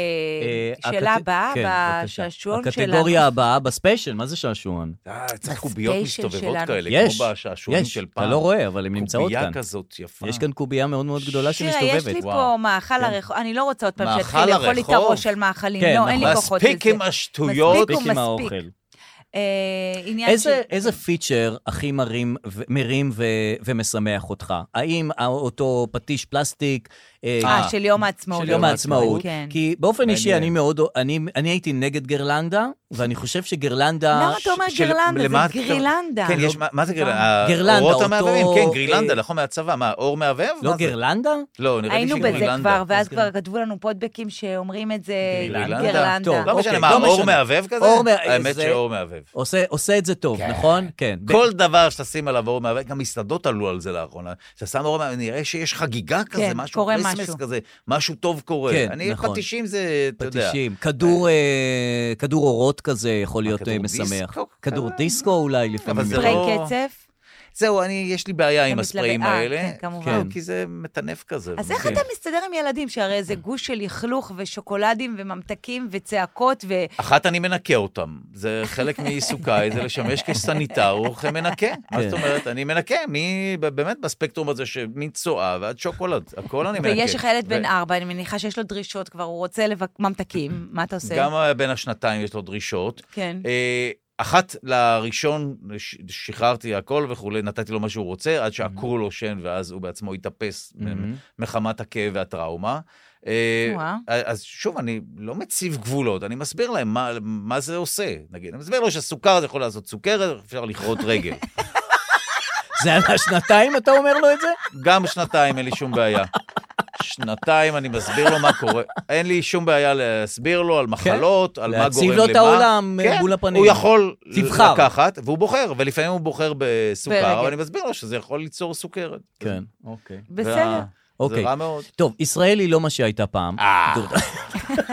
[SPEAKER 2] אה,
[SPEAKER 3] שאלה
[SPEAKER 2] הקט-
[SPEAKER 3] הבאה,
[SPEAKER 2] כן, בבקשה.
[SPEAKER 3] בשעשועון שלנו.
[SPEAKER 2] הקטגוריה הבאה בספיישל, מה זה שעשועון?
[SPEAKER 4] אה, צריך קוביות
[SPEAKER 3] בסטיישן
[SPEAKER 4] מסתובבות
[SPEAKER 3] שלנו.
[SPEAKER 4] כאלה,
[SPEAKER 2] יש,
[SPEAKER 4] כמו בשעשועים
[SPEAKER 2] יש,
[SPEAKER 4] של פעם.
[SPEAKER 2] אתה לא רואה, אבל הן נמצאות כאן.
[SPEAKER 4] קובייה כזאת יפה.
[SPEAKER 2] יש כאן קובייה מאוד מאוד גדולה
[SPEAKER 3] שירה, יש לי
[SPEAKER 2] שמסתובבת.
[SPEAKER 3] פה מאכל הרחוב, אני לא רוצה עוד פעם
[SPEAKER 4] מאכל
[SPEAKER 3] שיתחיל לאכול לי את
[SPEAKER 4] הרחוב?
[SPEAKER 3] הראש על מאכלים.
[SPEAKER 2] כן,
[SPEAKER 3] לא, אין לי
[SPEAKER 2] נכון.
[SPEAKER 3] כוחות לזה.
[SPEAKER 4] מספיק עם השטויות.
[SPEAKER 3] מספיק
[SPEAKER 2] מספיק עם
[SPEAKER 3] מספיק.
[SPEAKER 2] האוכל.
[SPEAKER 3] אה, עניין של...
[SPEAKER 2] איזה, איזה פיצ'ר הכי מרים, ו- מרים ו, ומשמח אותך? האם הא- אותו פטיש פלסטיק
[SPEAKER 3] אה, של יום העצמאות.
[SPEAKER 2] של יום העצמאות?
[SPEAKER 3] כן.
[SPEAKER 2] כי באופן אישי
[SPEAKER 4] מעניין.
[SPEAKER 2] אני מאוד, אני, אני הייתי נגד גרלנדה, ואני חושב שגרלנדה...
[SPEAKER 3] למה אתה אומר
[SPEAKER 4] של-
[SPEAKER 3] גרלנדה?
[SPEAKER 4] למה
[SPEAKER 3] זה
[SPEAKER 4] אתה-
[SPEAKER 3] גרילנדה.
[SPEAKER 4] כן, יש, מה- מה זה גרלנדה?
[SPEAKER 2] גרלנדה,
[SPEAKER 4] האורות
[SPEAKER 2] לא. אותו-
[SPEAKER 4] המהבהבים, כן, גרילנדה,
[SPEAKER 2] אה,
[SPEAKER 4] נכון, מהצבא. מה, אור מהבהב?
[SPEAKER 2] לא
[SPEAKER 4] מה זה?
[SPEAKER 2] גרלנדה?
[SPEAKER 4] לא, נראה לי
[SPEAKER 3] היינו בזה
[SPEAKER 4] שגרילנדה.
[SPEAKER 3] כבר, ואז כבר כתבו לנו פודבקים שאומרים את זה
[SPEAKER 2] גרילנדה? טוב,
[SPEAKER 3] גרלנדה.
[SPEAKER 4] לא משנה,
[SPEAKER 2] אוקיי,
[SPEAKER 4] מה,
[SPEAKER 2] לא
[SPEAKER 4] אור
[SPEAKER 2] משנה.
[SPEAKER 4] מהבהב כזה?
[SPEAKER 2] אור מה-
[SPEAKER 4] האמת
[SPEAKER 2] זה-
[SPEAKER 4] שאור מהבהב.
[SPEAKER 2] עושה, עושה את זה טוב, נכון? כן.
[SPEAKER 4] כל דבר שתשים עליו אור מהבהב, גם מסעדות עלו על זה לאחרונה. אתה שם אור מהבהב, נראה שיש חגיגה כזה,
[SPEAKER 3] כן,
[SPEAKER 4] משהו,
[SPEAKER 3] קורה
[SPEAKER 4] כריסמס
[SPEAKER 3] משהו.
[SPEAKER 4] כזה, משהו טוב קורה.
[SPEAKER 2] כן,
[SPEAKER 4] אני,
[SPEAKER 2] נכון.
[SPEAKER 4] פטישים זה, אתה יודע.
[SPEAKER 2] פטישים, כדור, אה, כדור אורות כזה יכול להיות
[SPEAKER 4] כדור
[SPEAKER 2] אה, משמח.
[SPEAKER 4] דיסקו?
[SPEAKER 2] כדור
[SPEAKER 4] אה,
[SPEAKER 2] דיסקו אולי לפעמים.
[SPEAKER 4] זה
[SPEAKER 3] ספרי
[SPEAKER 4] לא-
[SPEAKER 3] קצף.
[SPEAKER 4] זהו, אני, יש לי בעיה עם
[SPEAKER 3] מתלבט-
[SPEAKER 4] הספריים
[SPEAKER 3] אה,
[SPEAKER 4] האלה.
[SPEAKER 3] כן, כמובן.
[SPEAKER 4] לא, כי זה מטנף כזה.
[SPEAKER 3] אז איך
[SPEAKER 4] כן.
[SPEAKER 2] אוקיי.
[SPEAKER 3] אתה מסתדר עם ילדים, שהרי זה גוש של לכלוך ושוקולדים וממתקים וצעקות ו...
[SPEAKER 4] אחת, אני מנקה אותם. זה חלק מעיסוקיי, זה לשמש כסניטר וכמנקה. מה זאת אומרת? אני מנקה, מי, באמת בספקטרום הזה, ש- מצואה ועד שוקולד, הכל אני מנקה.
[SPEAKER 3] ויש לך ילד בן
[SPEAKER 4] ו-
[SPEAKER 3] ארבע, אני מניחה שיש לו דרישות כבר, הוא רוצה לבק- ממתקים, מה אתה עושה?
[SPEAKER 4] גם אה, בן השנתיים יש לו דרישות.
[SPEAKER 3] כן.
[SPEAKER 4] אה, אחת לראשון, ש- שחררתי הכל וכולי, נתתי לו מה שהוא רוצה, עד שעקרו לו שן, ואז הוא בעצמו התאפס מ- מחמת הכאב והטראומה. אה,
[SPEAKER 3] וואו.
[SPEAKER 4] אז שוב, אני לא מציב גבולות, אני מסביר להם מה, מה זה עושה. נגיד, אני מסביר לו שסוכר זה יכול לעשות סוכרת, אפשר לכרות רגל.
[SPEAKER 2] זה על השנתיים אתה אומר לו את זה?
[SPEAKER 4] גם שנתיים אין לי שום בעיה. שנתיים אני מסביר לו מה קורה. אין לי שום בעיה להסביר לו על מחלות, על מה
[SPEAKER 2] להציב
[SPEAKER 4] גורם למה.
[SPEAKER 2] לו את העולם, אה,
[SPEAKER 4] כן,
[SPEAKER 2] מול הפנים.
[SPEAKER 4] הוא יכול
[SPEAKER 2] תבחר.
[SPEAKER 4] לקחת, והוא בוחר, ולפעמים הוא בוחר בסוכר,
[SPEAKER 3] ברגל.
[SPEAKER 4] אבל אני מסביר לו שזה יכול ליצור סוכרת.
[SPEAKER 2] כן, אוקיי.
[SPEAKER 3] בסדר.
[SPEAKER 4] וה-
[SPEAKER 2] אוקיי.
[SPEAKER 4] זה רע מאוד.
[SPEAKER 2] טוב, ישראל היא לא מה שהייתה פעם.
[SPEAKER 4] אה.
[SPEAKER 2] תודה.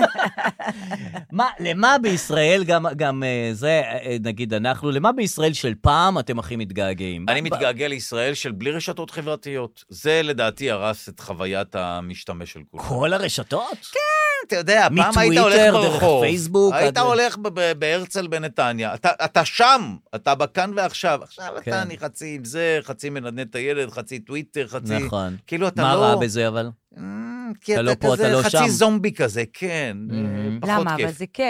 [SPEAKER 2] מה, למה בישראל גם, גם אה, זה, אה, נגיד אנחנו, למה בישראל של פעם אתם הכי מתגעגעים?
[SPEAKER 4] אני
[SPEAKER 2] ב-
[SPEAKER 4] מתגעגע לישראל של בלי רשתות חברתיות. זה לדעתי הרס את חוויית המשתמש של כולם.
[SPEAKER 2] כל הרשתות? כן.
[SPEAKER 4] אתה יודע, פעם היית
[SPEAKER 2] מטוויטר,
[SPEAKER 4] הולך
[SPEAKER 2] דרך
[SPEAKER 4] ברחוב,
[SPEAKER 2] פייסבוק,
[SPEAKER 4] היית
[SPEAKER 2] עד-
[SPEAKER 4] הולך ב- ב- בהרצל בנתניה, אתה- אתה שם, אתה בכאן ועכשיו, עכשיו
[SPEAKER 2] כן.
[SPEAKER 4] אתה אני חצי עם זה, חצי מנדנד את הילד, חצי טוויטר, חצי...
[SPEAKER 2] נכון.
[SPEAKER 4] כאילו אתה
[SPEAKER 2] מה
[SPEAKER 4] לא...
[SPEAKER 2] רע בזה אבל?
[SPEAKER 4] Mm, כי
[SPEAKER 2] אתה
[SPEAKER 4] אתה
[SPEAKER 2] לא פה, אתה
[SPEAKER 4] כזה
[SPEAKER 2] לא שם. Mm-hmm.
[SPEAKER 4] חצי זומבי כזה, כן, אה, פחות
[SPEAKER 3] למה? אבל
[SPEAKER 4] כיף.
[SPEAKER 3] זה כיף.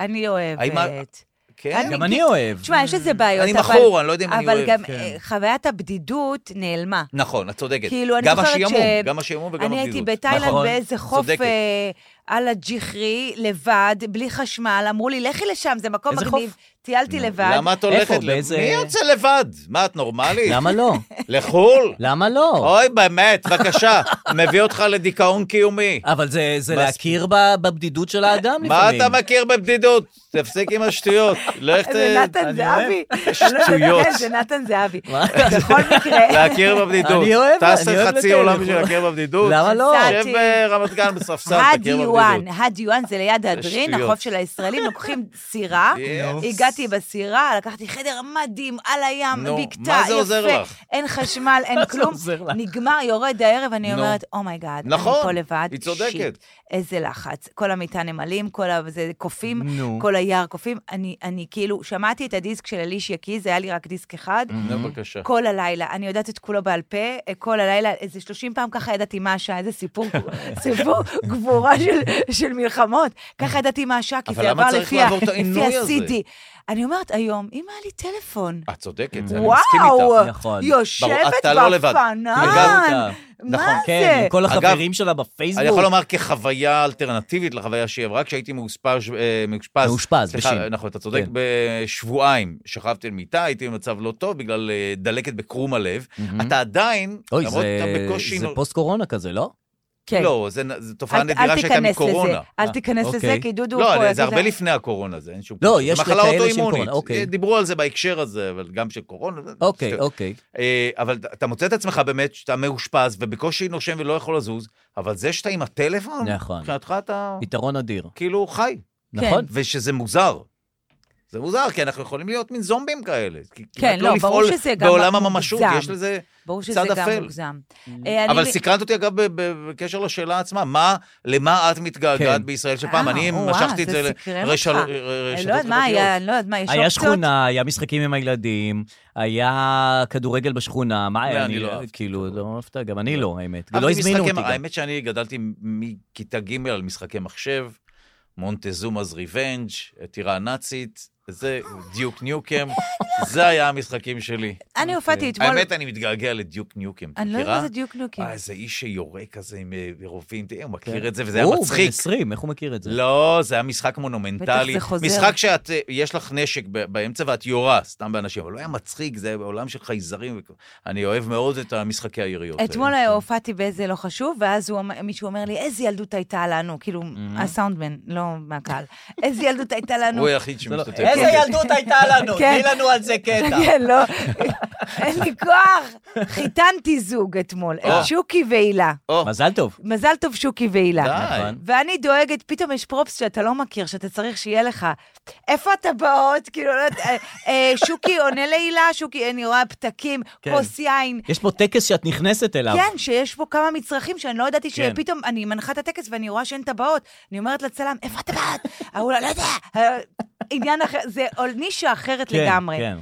[SPEAKER 3] אני
[SPEAKER 4] האם ה-
[SPEAKER 3] אוהבת.
[SPEAKER 4] כן?
[SPEAKER 2] גם אני אוהב.
[SPEAKER 3] תשמע, יש איזה בעיות,
[SPEAKER 4] אני
[SPEAKER 3] אבל-
[SPEAKER 4] מכור, אני לא יודע אם אני אוהב,
[SPEAKER 3] אבל גם
[SPEAKER 4] כן.
[SPEAKER 3] אה, חוויית הבדידות נעלמה.
[SPEAKER 4] נכון, את צודקת.
[SPEAKER 3] כאילו, אני
[SPEAKER 4] גם
[SPEAKER 3] זוכרת ש...
[SPEAKER 4] השעמום, גם השעמום וגם
[SPEAKER 3] אני הייתי
[SPEAKER 4] הבדידות.
[SPEAKER 3] בתאילנד
[SPEAKER 2] נכון,
[SPEAKER 3] באיזה חוף,
[SPEAKER 4] צודקת.
[SPEAKER 3] אה, על הג'יחרי, לבד, בלי חשמל, אמרו לי, לכי לשם, זה מקום
[SPEAKER 2] איזה
[SPEAKER 3] מגניב.
[SPEAKER 2] חוף?
[SPEAKER 3] טיילתי לבד.
[SPEAKER 4] למה את
[SPEAKER 2] איפה?
[SPEAKER 4] הולכת? ל-
[SPEAKER 2] באיזה-
[SPEAKER 4] מי יוצא לבד? מה, את נורמלית?
[SPEAKER 2] למה לא?
[SPEAKER 4] לחו"ל?
[SPEAKER 2] למה לא?
[SPEAKER 4] אוי, באמת, בבקשה, מביא אותך לדיכאון קיומי.
[SPEAKER 2] אבל זה, זה
[SPEAKER 4] מה-
[SPEAKER 2] להכיר ב- בבדידות של האדם
[SPEAKER 4] מה
[SPEAKER 2] לפעמים.
[SPEAKER 4] אתה מכיר בבדידות? תפסיק עם השטויות. לך ת...
[SPEAKER 3] זה נתן אה, זהבי.
[SPEAKER 2] לא,
[SPEAKER 4] שטויות.
[SPEAKER 3] כן, זה נתן זהבי.
[SPEAKER 2] מה?
[SPEAKER 3] בכל מקרה,
[SPEAKER 4] להכיר בבדידות.
[SPEAKER 2] אני אוהב,
[SPEAKER 4] תעשה
[SPEAKER 2] אני אוהב
[SPEAKER 4] חצי
[SPEAKER 2] לקיים.
[SPEAKER 4] עולם בשביל להכיר בבדידות.
[SPEAKER 2] למה לא?
[SPEAKER 3] נסעתי.
[SPEAKER 4] שב ברמת גן בספסל, תכיר
[SPEAKER 3] הדיואן,
[SPEAKER 4] בבדידות.
[SPEAKER 3] הדיואן זה ליד הדרין,
[SPEAKER 4] שטויות.
[SPEAKER 3] החוף של הישראלים, לוקחים סירה.
[SPEAKER 4] Yes.
[SPEAKER 3] הגעתי בסירה, לקחתי חדר מדהים, על הים,
[SPEAKER 4] נו,
[SPEAKER 3] בקתה,
[SPEAKER 4] מה זה
[SPEAKER 3] יפה.
[SPEAKER 4] עוזר לך?
[SPEAKER 3] אין חשמל, אין כלום.
[SPEAKER 2] עוזר לך?
[SPEAKER 3] נגמר, יורד הערב, אני
[SPEAKER 4] נו.
[SPEAKER 3] אומרת, אומייגאד, אני
[SPEAKER 4] נכון,
[SPEAKER 3] פה לבד.
[SPEAKER 4] היא צודקת.
[SPEAKER 3] שיט, איזה לחץ. כל המטען נמלים, כל ה- זה קופים,
[SPEAKER 2] נו.
[SPEAKER 3] כל היער קופים. אני- אני כאילו, שמעתי את הדיסק של אליש יקיז, היה לי רק דיסק אחד.
[SPEAKER 2] Mm.
[SPEAKER 4] נו, לא, בבקשה.
[SPEAKER 3] כל הלילה, אני יודעת את כולו בעל פה, אה, כל הלילה, איזה 30 פעם ככה ידעתי מה השעה, איזה סיפור, סיפור גבורה של, של מלחמות. ככה ידעתי מה השעה, כי
[SPEAKER 4] אבל
[SPEAKER 3] זה
[SPEAKER 4] למה
[SPEAKER 3] עבר
[SPEAKER 4] צריך
[SPEAKER 3] לפי,
[SPEAKER 4] לעבור את העינוי הזה?
[SPEAKER 3] ה-CD. אני אומרת, היום, אם היה לי טלפון,
[SPEAKER 4] את צודקת, זה אני מסכים
[SPEAKER 3] וואו,
[SPEAKER 4] איתך.
[SPEAKER 2] נכון.
[SPEAKER 4] ברור,
[SPEAKER 3] יושבת
[SPEAKER 4] אתה לא לבד. נכון, תרגלת
[SPEAKER 3] בפנן,
[SPEAKER 2] אותה.
[SPEAKER 3] מה
[SPEAKER 2] כן,
[SPEAKER 3] זה?
[SPEAKER 2] עם כל
[SPEAKER 4] אגב,
[SPEAKER 2] החברים שלה
[SPEAKER 4] אני
[SPEAKER 2] בפייסבוק.
[SPEAKER 4] יכול לומר כחוויה אלטרנטיבית לחוויה שהיא עברה, כשהייתי מאושפז, אה, מאושפז,
[SPEAKER 2] מאושפז,
[SPEAKER 4] סליחה,
[SPEAKER 2] בשין.
[SPEAKER 4] נכון, אתה צודק,
[SPEAKER 2] כן.
[SPEAKER 4] בשבועיים שכבתי על מיטה, הייתי במצב לא טוב בגלל אה, דלקת בקרום הלב.
[SPEAKER 2] מהמם.
[SPEAKER 4] אתה עדיין,
[SPEAKER 2] Mm-hmm. אוי,
[SPEAKER 4] למרות
[SPEAKER 2] זה-
[SPEAKER 4] אתה בקושי...
[SPEAKER 2] זה
[SPEAKER 4] נו-
[SPEAKER 2] פוסט-קורונה כזה, לא?
[SPEAKER 3] כן.
[SPEAKER 4] לא, זה נ- זו תופעה
[SPEAKER 3] אל- אל
[SPEAKER 4] נדירה שהייתה
[SPEAKER 3] תיכנס לזה,
[SPEAKER 4] מקורונה.
[SPEAKER 3] אל
[SPEAKER 2] אה,
[SPEAKER 3] תיכנס לזה,
[SPEAKER 2] אוקיי.
[SPEAKER 3] כי דודו פה...
[SPEAKER 4] לא, זה
[SPEAKER 3] יגיד,
[SPEAKER 4] הרבה לפני הקורונה, זה אין שום
[SPEAKER 2] לא,
[SPEAKER 4] קשר.
[SPEAKER 2] יש
[SPEAKER 4] זה מחלה
[SPEAKER 2] לכאלה שהם
[SPEAKER 4] אוטואימונית.
[SPEAKER 2] קורונה, אוקיי.
[SPEAKER 4] אה, דיברו על זה בהקשר הזה, אבל גם של קורונה. זה-
[SPEAKER 2] אוקיי,
[SPEAKER 4] שטויות.
[SPEAKER 2] אוקיי.
[SPEAKER 4] אה, אבל אתה מוצא את עצמך באמת שאתה מאושפז ובקושי נושם ולא יכול לזוז, אבל זה שאתה עם הטלפון,
[SPEAKER 2] נכון.
[SPEAKER 4] מבחינתך אתה
[SPEAKER 2] יתרון אדיר.
[SPEAKER 4] כאילו חי,
[SPEAKER 2] נכון?
[SPEAKER 4] ושזה מוזר. זה מוזר, כי אנחנו יכולים להיות מין זומבים כאלה. כי
[SPEAKER 3] כן,
[SPEAKER 4] כמעט
[SPEAKER 3] לא, ברור שזה גם
[SPEAKER 4] בעולם
[SPEAKER 3] מוגזם.
[SPEAKER 4] הממשות, יש לזה...
[SPEAKER 3] ברור שזה
[SPEAKER 4] צד
[SPEAKER 3] גם
[SPEAKER 4] אפל.
[SPEAKER 3] מוגזם. אה, אני
[SPEAKER 4] אבל
[SPEAKER 3] ב-
[SPEAKER 4] סקרנת אותי, אגב, ב- ב- בקשר לשאלה עצמה, מה, למה את מתגעגעת
[SPEAKER 2] כן.
[SPEAKER 4] בישראל של פעם?
[SPEAKER 3] אה,
[SPEAKER 4] אני
[SPEAKER 3] וואו,
[SPEAKER 4] משכתי את
[SPEAKER 3] זה
[SPEAKER 4] זה
[SPEAKER 3] סקרן
[SPEAKER 4] לרשתות
[SPEAKER 3] אותך. אני לא יודעת מה היה, אני לא יודעת מה, יש
[SPEAKER 2] היה
[SPEAKER 3] אופציות?
[SPEAKER 2] שכונה, היה משחקים עם הילדים, היה כדורגל בשכונה, מה היה?
[SPEAKER 4] אני לא אהבתי
[SPEAKER 2] כאילו,
[SPEAKER 4] אותו.
[SPEAKER 2] לא אהבת, גם אני לא, האמת.
[SPEAKER 4] אבל
[SPEAKER 2] לא הזמינו
[SPEAKER 4] משחקי-
[SPEAKER 2] אותי גם.
[SPEAKER 4] האמת שאני גדלתי מכיתה ג' על משחקי מחשב, מונטזומאז ריבנג', טירה הנאצית, זה דיוק ניוקם, זה היה המשחקים שלי.
[SPEAKER 3] אני הופעתי אתמול...
[SPEAKER 4] אוקיי. האמת, אני מתגעגע לדיוק ניוקם,
[SPEAKER 3] אני לא יודעת
[SPEAKER 4] מכירה?
[SPEAKER 3] מה זה דיוק נוקים.
[SPEAKER 4] אה, איזה איש שיורה כזה עם אה, רובים, תראה, הוא
[SPEAKER 3] כן.
[SPEAKER 4] מכיר את זה, וזה היה
[SPEAKER 2] הוא, בן
[SPEAKER 4] מצחיק.
[SPEAKER 2] 20, איך הוא מכיר את זה?
[SPEAKER 4] לא, זה היה משחק מונומנטלי.
[SPEAKER 3] בטח זה חוזר.
[SPEAKER 4] משחק שאת, אה, יש לך נשק ב- באמצע ואת יורה, סתם באנשים, אבל לא היה מצחיק, זה היה בעולם של חייזרים. וכו- אני אוהב מאוד את המשחקי היריות. האלה.
[SPEAKER 3] אתמול הופעתי באיזה לא חשוב, ואז הוא אמר- מישהו אומר לי, איזה ילדות הייתה לנו, כאילו, הסאונדמן, לא מהקהל, איזה ילדות הייתה לנו.
[SPEAKER 4] הוא היחיד שמשתתף.
[SPEAKER 2] לא-
[SPEAKER 4] אוקיי.
[SPEAKER 2] איזה ילדות הייתה לנו?
[SPEAKER 3] כן.
[SPEAKER 2] תני לנו על זה קטע.
[SPEAKER 3] כן, לא, אין לי כוח. חיתנתי זוג אתמול,
[SPEAKER 4] אה.
[SPEAKER 3] את שוקי והילה.
[SPEAKER 4] או,
[SPEAKER 2] מזל טוב.
[SPEAKER 3] מזל טוב, שוקי והילה.
[SPEAKER 4] די.
[SPEAKER 2] נכון.
[SPEAKER 3] ואני דואגת, פתאום יש פרופס שאתה לא מכיר, שאתה צריך שיהיה לך. איפה הטבעות? כאילו, לא יודעת, אה, אה, שוקי עונה להילה, שוקי, אני רואה פתקים,
[SPEAKER 2] כן.
[SPEAKER 3] כוס יין.
[SPEAKER 2] יש פה טקס שאת נכנסת אליו.
[SPEAKER 3] כן, שיש פה כמה מצרכים שאני לא ידעתי
[SPEAKER 2] כן.
[SPEAKER 3] שפתאום, אני מנחה את הטקס ואני רואה שאין טבעות. אני אומרת לצלם, איפה הטבעת? ההוא לא לא יודע. אה, עניין אחר, זה עוד נישה אחרת
[SPEAKER 2] כן,
[SPEAKER 3] לגמרי.
[SPEAKER 2] כן.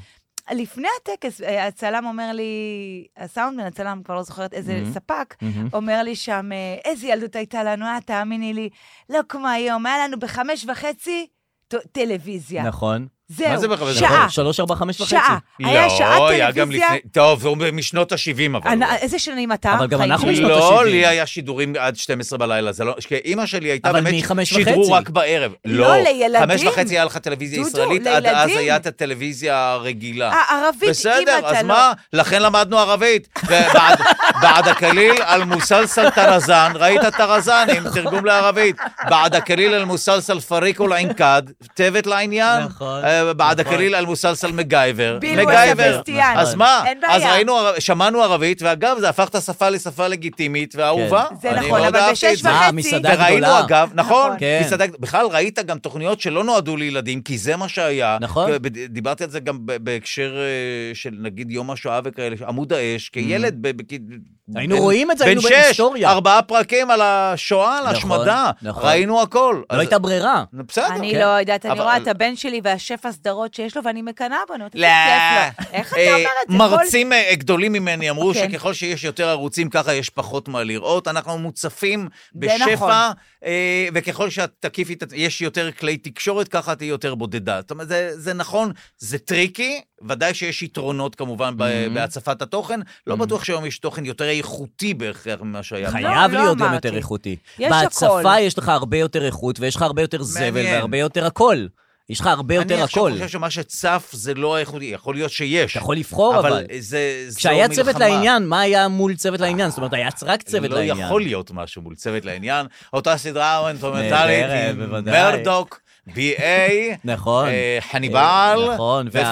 [SPEAKER 3] לפני הטקס, אה, הצלם אומר לי, הסאונדמן, הצלם, כבר לא זוכרת איזה
[SPEAKER 2] מהמם.
[SPEAKER 3] ספק,
[SPEAKER 2] מהמם.
[SPEAKER 3] אומר לי שם, אה, איזה ילדות הייתה לנו, אה, תאמיני לי, לא כמו היום, היה לנו בחמש וחצי ט- טלוויזיה.
[SPEAKER 2] נכון.
[SPEAKER 4] מה זה
[SPEAKER 3] זהו,
[SPEAKER 4] בחמש
[SPEAKER 3] שעה,
[SPEAKER 2] שלוש, ארבע, חמש וחצי. כן.
[SPEAKER 3] שעה. היה שעה
[SPEAKER 4] לא, היה גם
[SPEAKER 3] טלוויזיה.
[SPEAKER 4] לפני... טוב, זה משנות ה-70 אבל.
[SPEAKER 3] אנ- איזה שנים אתה?
[SPEAKER 2] אבל גם
[SPEAKER 3] חיים?
[SPEAKER 2] אנחנו בשנות
[SPEAKER 4] לא,
[SPEAKER 2] ה-שבעים.
[SPEAKER 4] לי היה שידורים עד 12 בלילה, זה לא... כי אימא שלי הייתה
[SPEAKER 2] אבל
[SPEAKER 4] באמת...
[SPEAKER 2] מחמש
[SPEAKER 4] שידרו
[SPEAKER 2] וחצי.
[SPEAKER 4] רק בערב.
[SPEAKER 3] לא, לילדים.
[SPEAKER 4] חמש וחצי היה לך טלוויזיה
[SPEAKER 3] דודו,
[SPEAKER 4] ישראלית, עד אז
[SPEAKER 3] לילדים.
[SPEAKER 4] היה את הטלוויזיה הרגילה.
[SPEAKER 3] אה, ערבית, אם
[SPEAKER 4] בסדר,
[SPEAKER 3] אתה
[SPEAKER 4] אז
[SPEAKER 3] לא-
[SPEAKER 4] מה? לכן למדנו ערבית. ובעד- בעד הכליל על מוסלסל טרזן, ראית טרזן עם תרגום לערבית. בעד הכליל על מוסלסל פריק ולעינקד, תבת לעניין.
[SPEAKER 2] נכון,
[SPEAKER 4] אה, בעד
[SPEAKER 2] נכון.
[SPEAKER 4] הכליל על מוסלסל מגייבר.
[SPEAKER 3] בילו
[SPEAKER 4] מגייבר.
[SPEAKER 3] וסבסטיאן.
[SPEAKER 4] אז מה?
[SPEAKER 3] אין
[SPEAKER 4] אז
[SPEAKER 3] בעיה.
[SPEAKER 4] ראינו, ערב- שמענו ערבית, ואגב, זה הפך את השפה לשפה לגיטימית ואהובה.
[SPEAKER 2] כן.
[SPEAKER 3] זה
[SPEAKER 4] אני
[SPEAKER 3] נכון,
[SPEAKER 4] מאוד
[SPEAKER 3] אבל
[SPEAKER 4] אהבתי את
[SPEAKER 3] בשש
[SPEAKER 4] זה.
[SPEAKER 2] מה,
[SPEAKER 3] וחצי...
[SPEAKER 2] המסעדה הגדולה.
[SPEAKER 4] וראינו אגב, נכון,
[SPEAKER 2] כן.
[SPEAKER 4] מסעדה, בכלל ראית גם תוכניות שלא נועדו לילדים, כי זה מה שהיה.
[SPEAKER 2] נכון.
[SPEAKER 4] ב- דיברתי על זה גם ב- בהקשר אה, של נגיד יום השואה וכאלה, עמוד האש, כילד, ב- ב- כ-
[SPEAKER 2] Mm. היינו
[SPEAKER 4] בן-
[SPEAKER 2] רואים את זה, היינו
[SPEAKER 4] בן שש,
[SPEAKER 2] בהיסטוריה.
[SPEAKER 4] ארבעה פרקים על השואה, על
[SPEAKER 2] נכון,
[SPEAKER 4] השמדה,
[SPEAKER 2] נכון.
[SPEAKER 4] ראינו הכל.
[SPEAKER 2] לא
[SPEAKER 4] אז-
[SPEAKER 2] הייתה ברירה.
[SPEAKER 4] בסדר.
[SPEAKER 3] אני
[SPEAKER 2] כן.
[SPEAKER 3] לא יודעת, אני
[SPEAKER 4] אבל-
[SPEAKER 3] רואה את הבן שלי והשפע הסדרות שיש לו, ואני מקנאה בנו, אתה
[SPEAKER 4] לא.
[SPEAKER 3] כיף לו. איך אתה
[SPEAKER 4] אה,
[SPEAKER 3] אומר את זה?
[SPEAKER 4] מרצים אה, גדולים ממני אמרו
[SPEAKER 3] כן.
[SPEAKER 4] שככל שיש יותר ערוצים, ככה יש פחות מה לראות. אנחנו מוצפים
[SPEAKER 3] זה נכון.
[SPEAKER 4] בשפע, אה, וככל שאת תקיפי, את- יש יותר כלי תקשורת, ככה תהיי יותר בודדה. זאת אומרת, זה זה נכון, זה טריקי, ודאי שיש יתרונות כמובן ב-
[SPEAKER 2] Mm-hmm.
[SPEAKER 4] בהצפת התוכן. לא בטוח שהיום יש תוכן יותר איכותי בהכרח ממה שהיה. פעם.
[SPEAKER 2] חייב
[SPEAKER 3] לא
[SPEAKER 2] להיות גם
[SPEAKER 3] אמרתי.
[SPEAKER 2] יותר איכותי.
[SPEAKER 3] יש
[SPEAKER 2] בהצפה
[SPEAKER 3] הכל.
[SPEAKER 2] יש לך הרבה יותר איכות, ויש לך הרבה יותר זבל,
[SPEAKER 4] מעניין.
[SPEAKER 2] והרבה יותר הכל. יש לך הרבה יותר
[SPEAKER 4] אני עכשיו
[SPEAKER 2] הכל.
[SPEAKER 4] חושב שמה שצף זה לא האיכותי, יכול להיות שיש.
[SPEAKER 2] אתה יכול לבחור, אבל...
[SPEAKER 4] זה, זו
[SPEAKER 2] כשהיה צוות
[SPEAKER 4] מלחמה. אה,
[SPEAKER 2] לעניין, מה היה מול צוות לעניין? זאת אומרת, היה רק צוות לעניין.
[SPEAKER 4] לא יכול להיות משהו מול צוות לעניין. אותה סדרה האוונטומנטלית
[SPEAKER 2] נהדרת,
[SPEAKER 4] עם
[SPEAKER 2] בוודאי.
[SPEAKER 4] מרדוק, בי.איי,
[SPEAKER 2] נכון.
[SPEAKER 4] אה, חניבל,
[SPEAKER 2] אה, נכון,
[SPEAKER 4] ופייס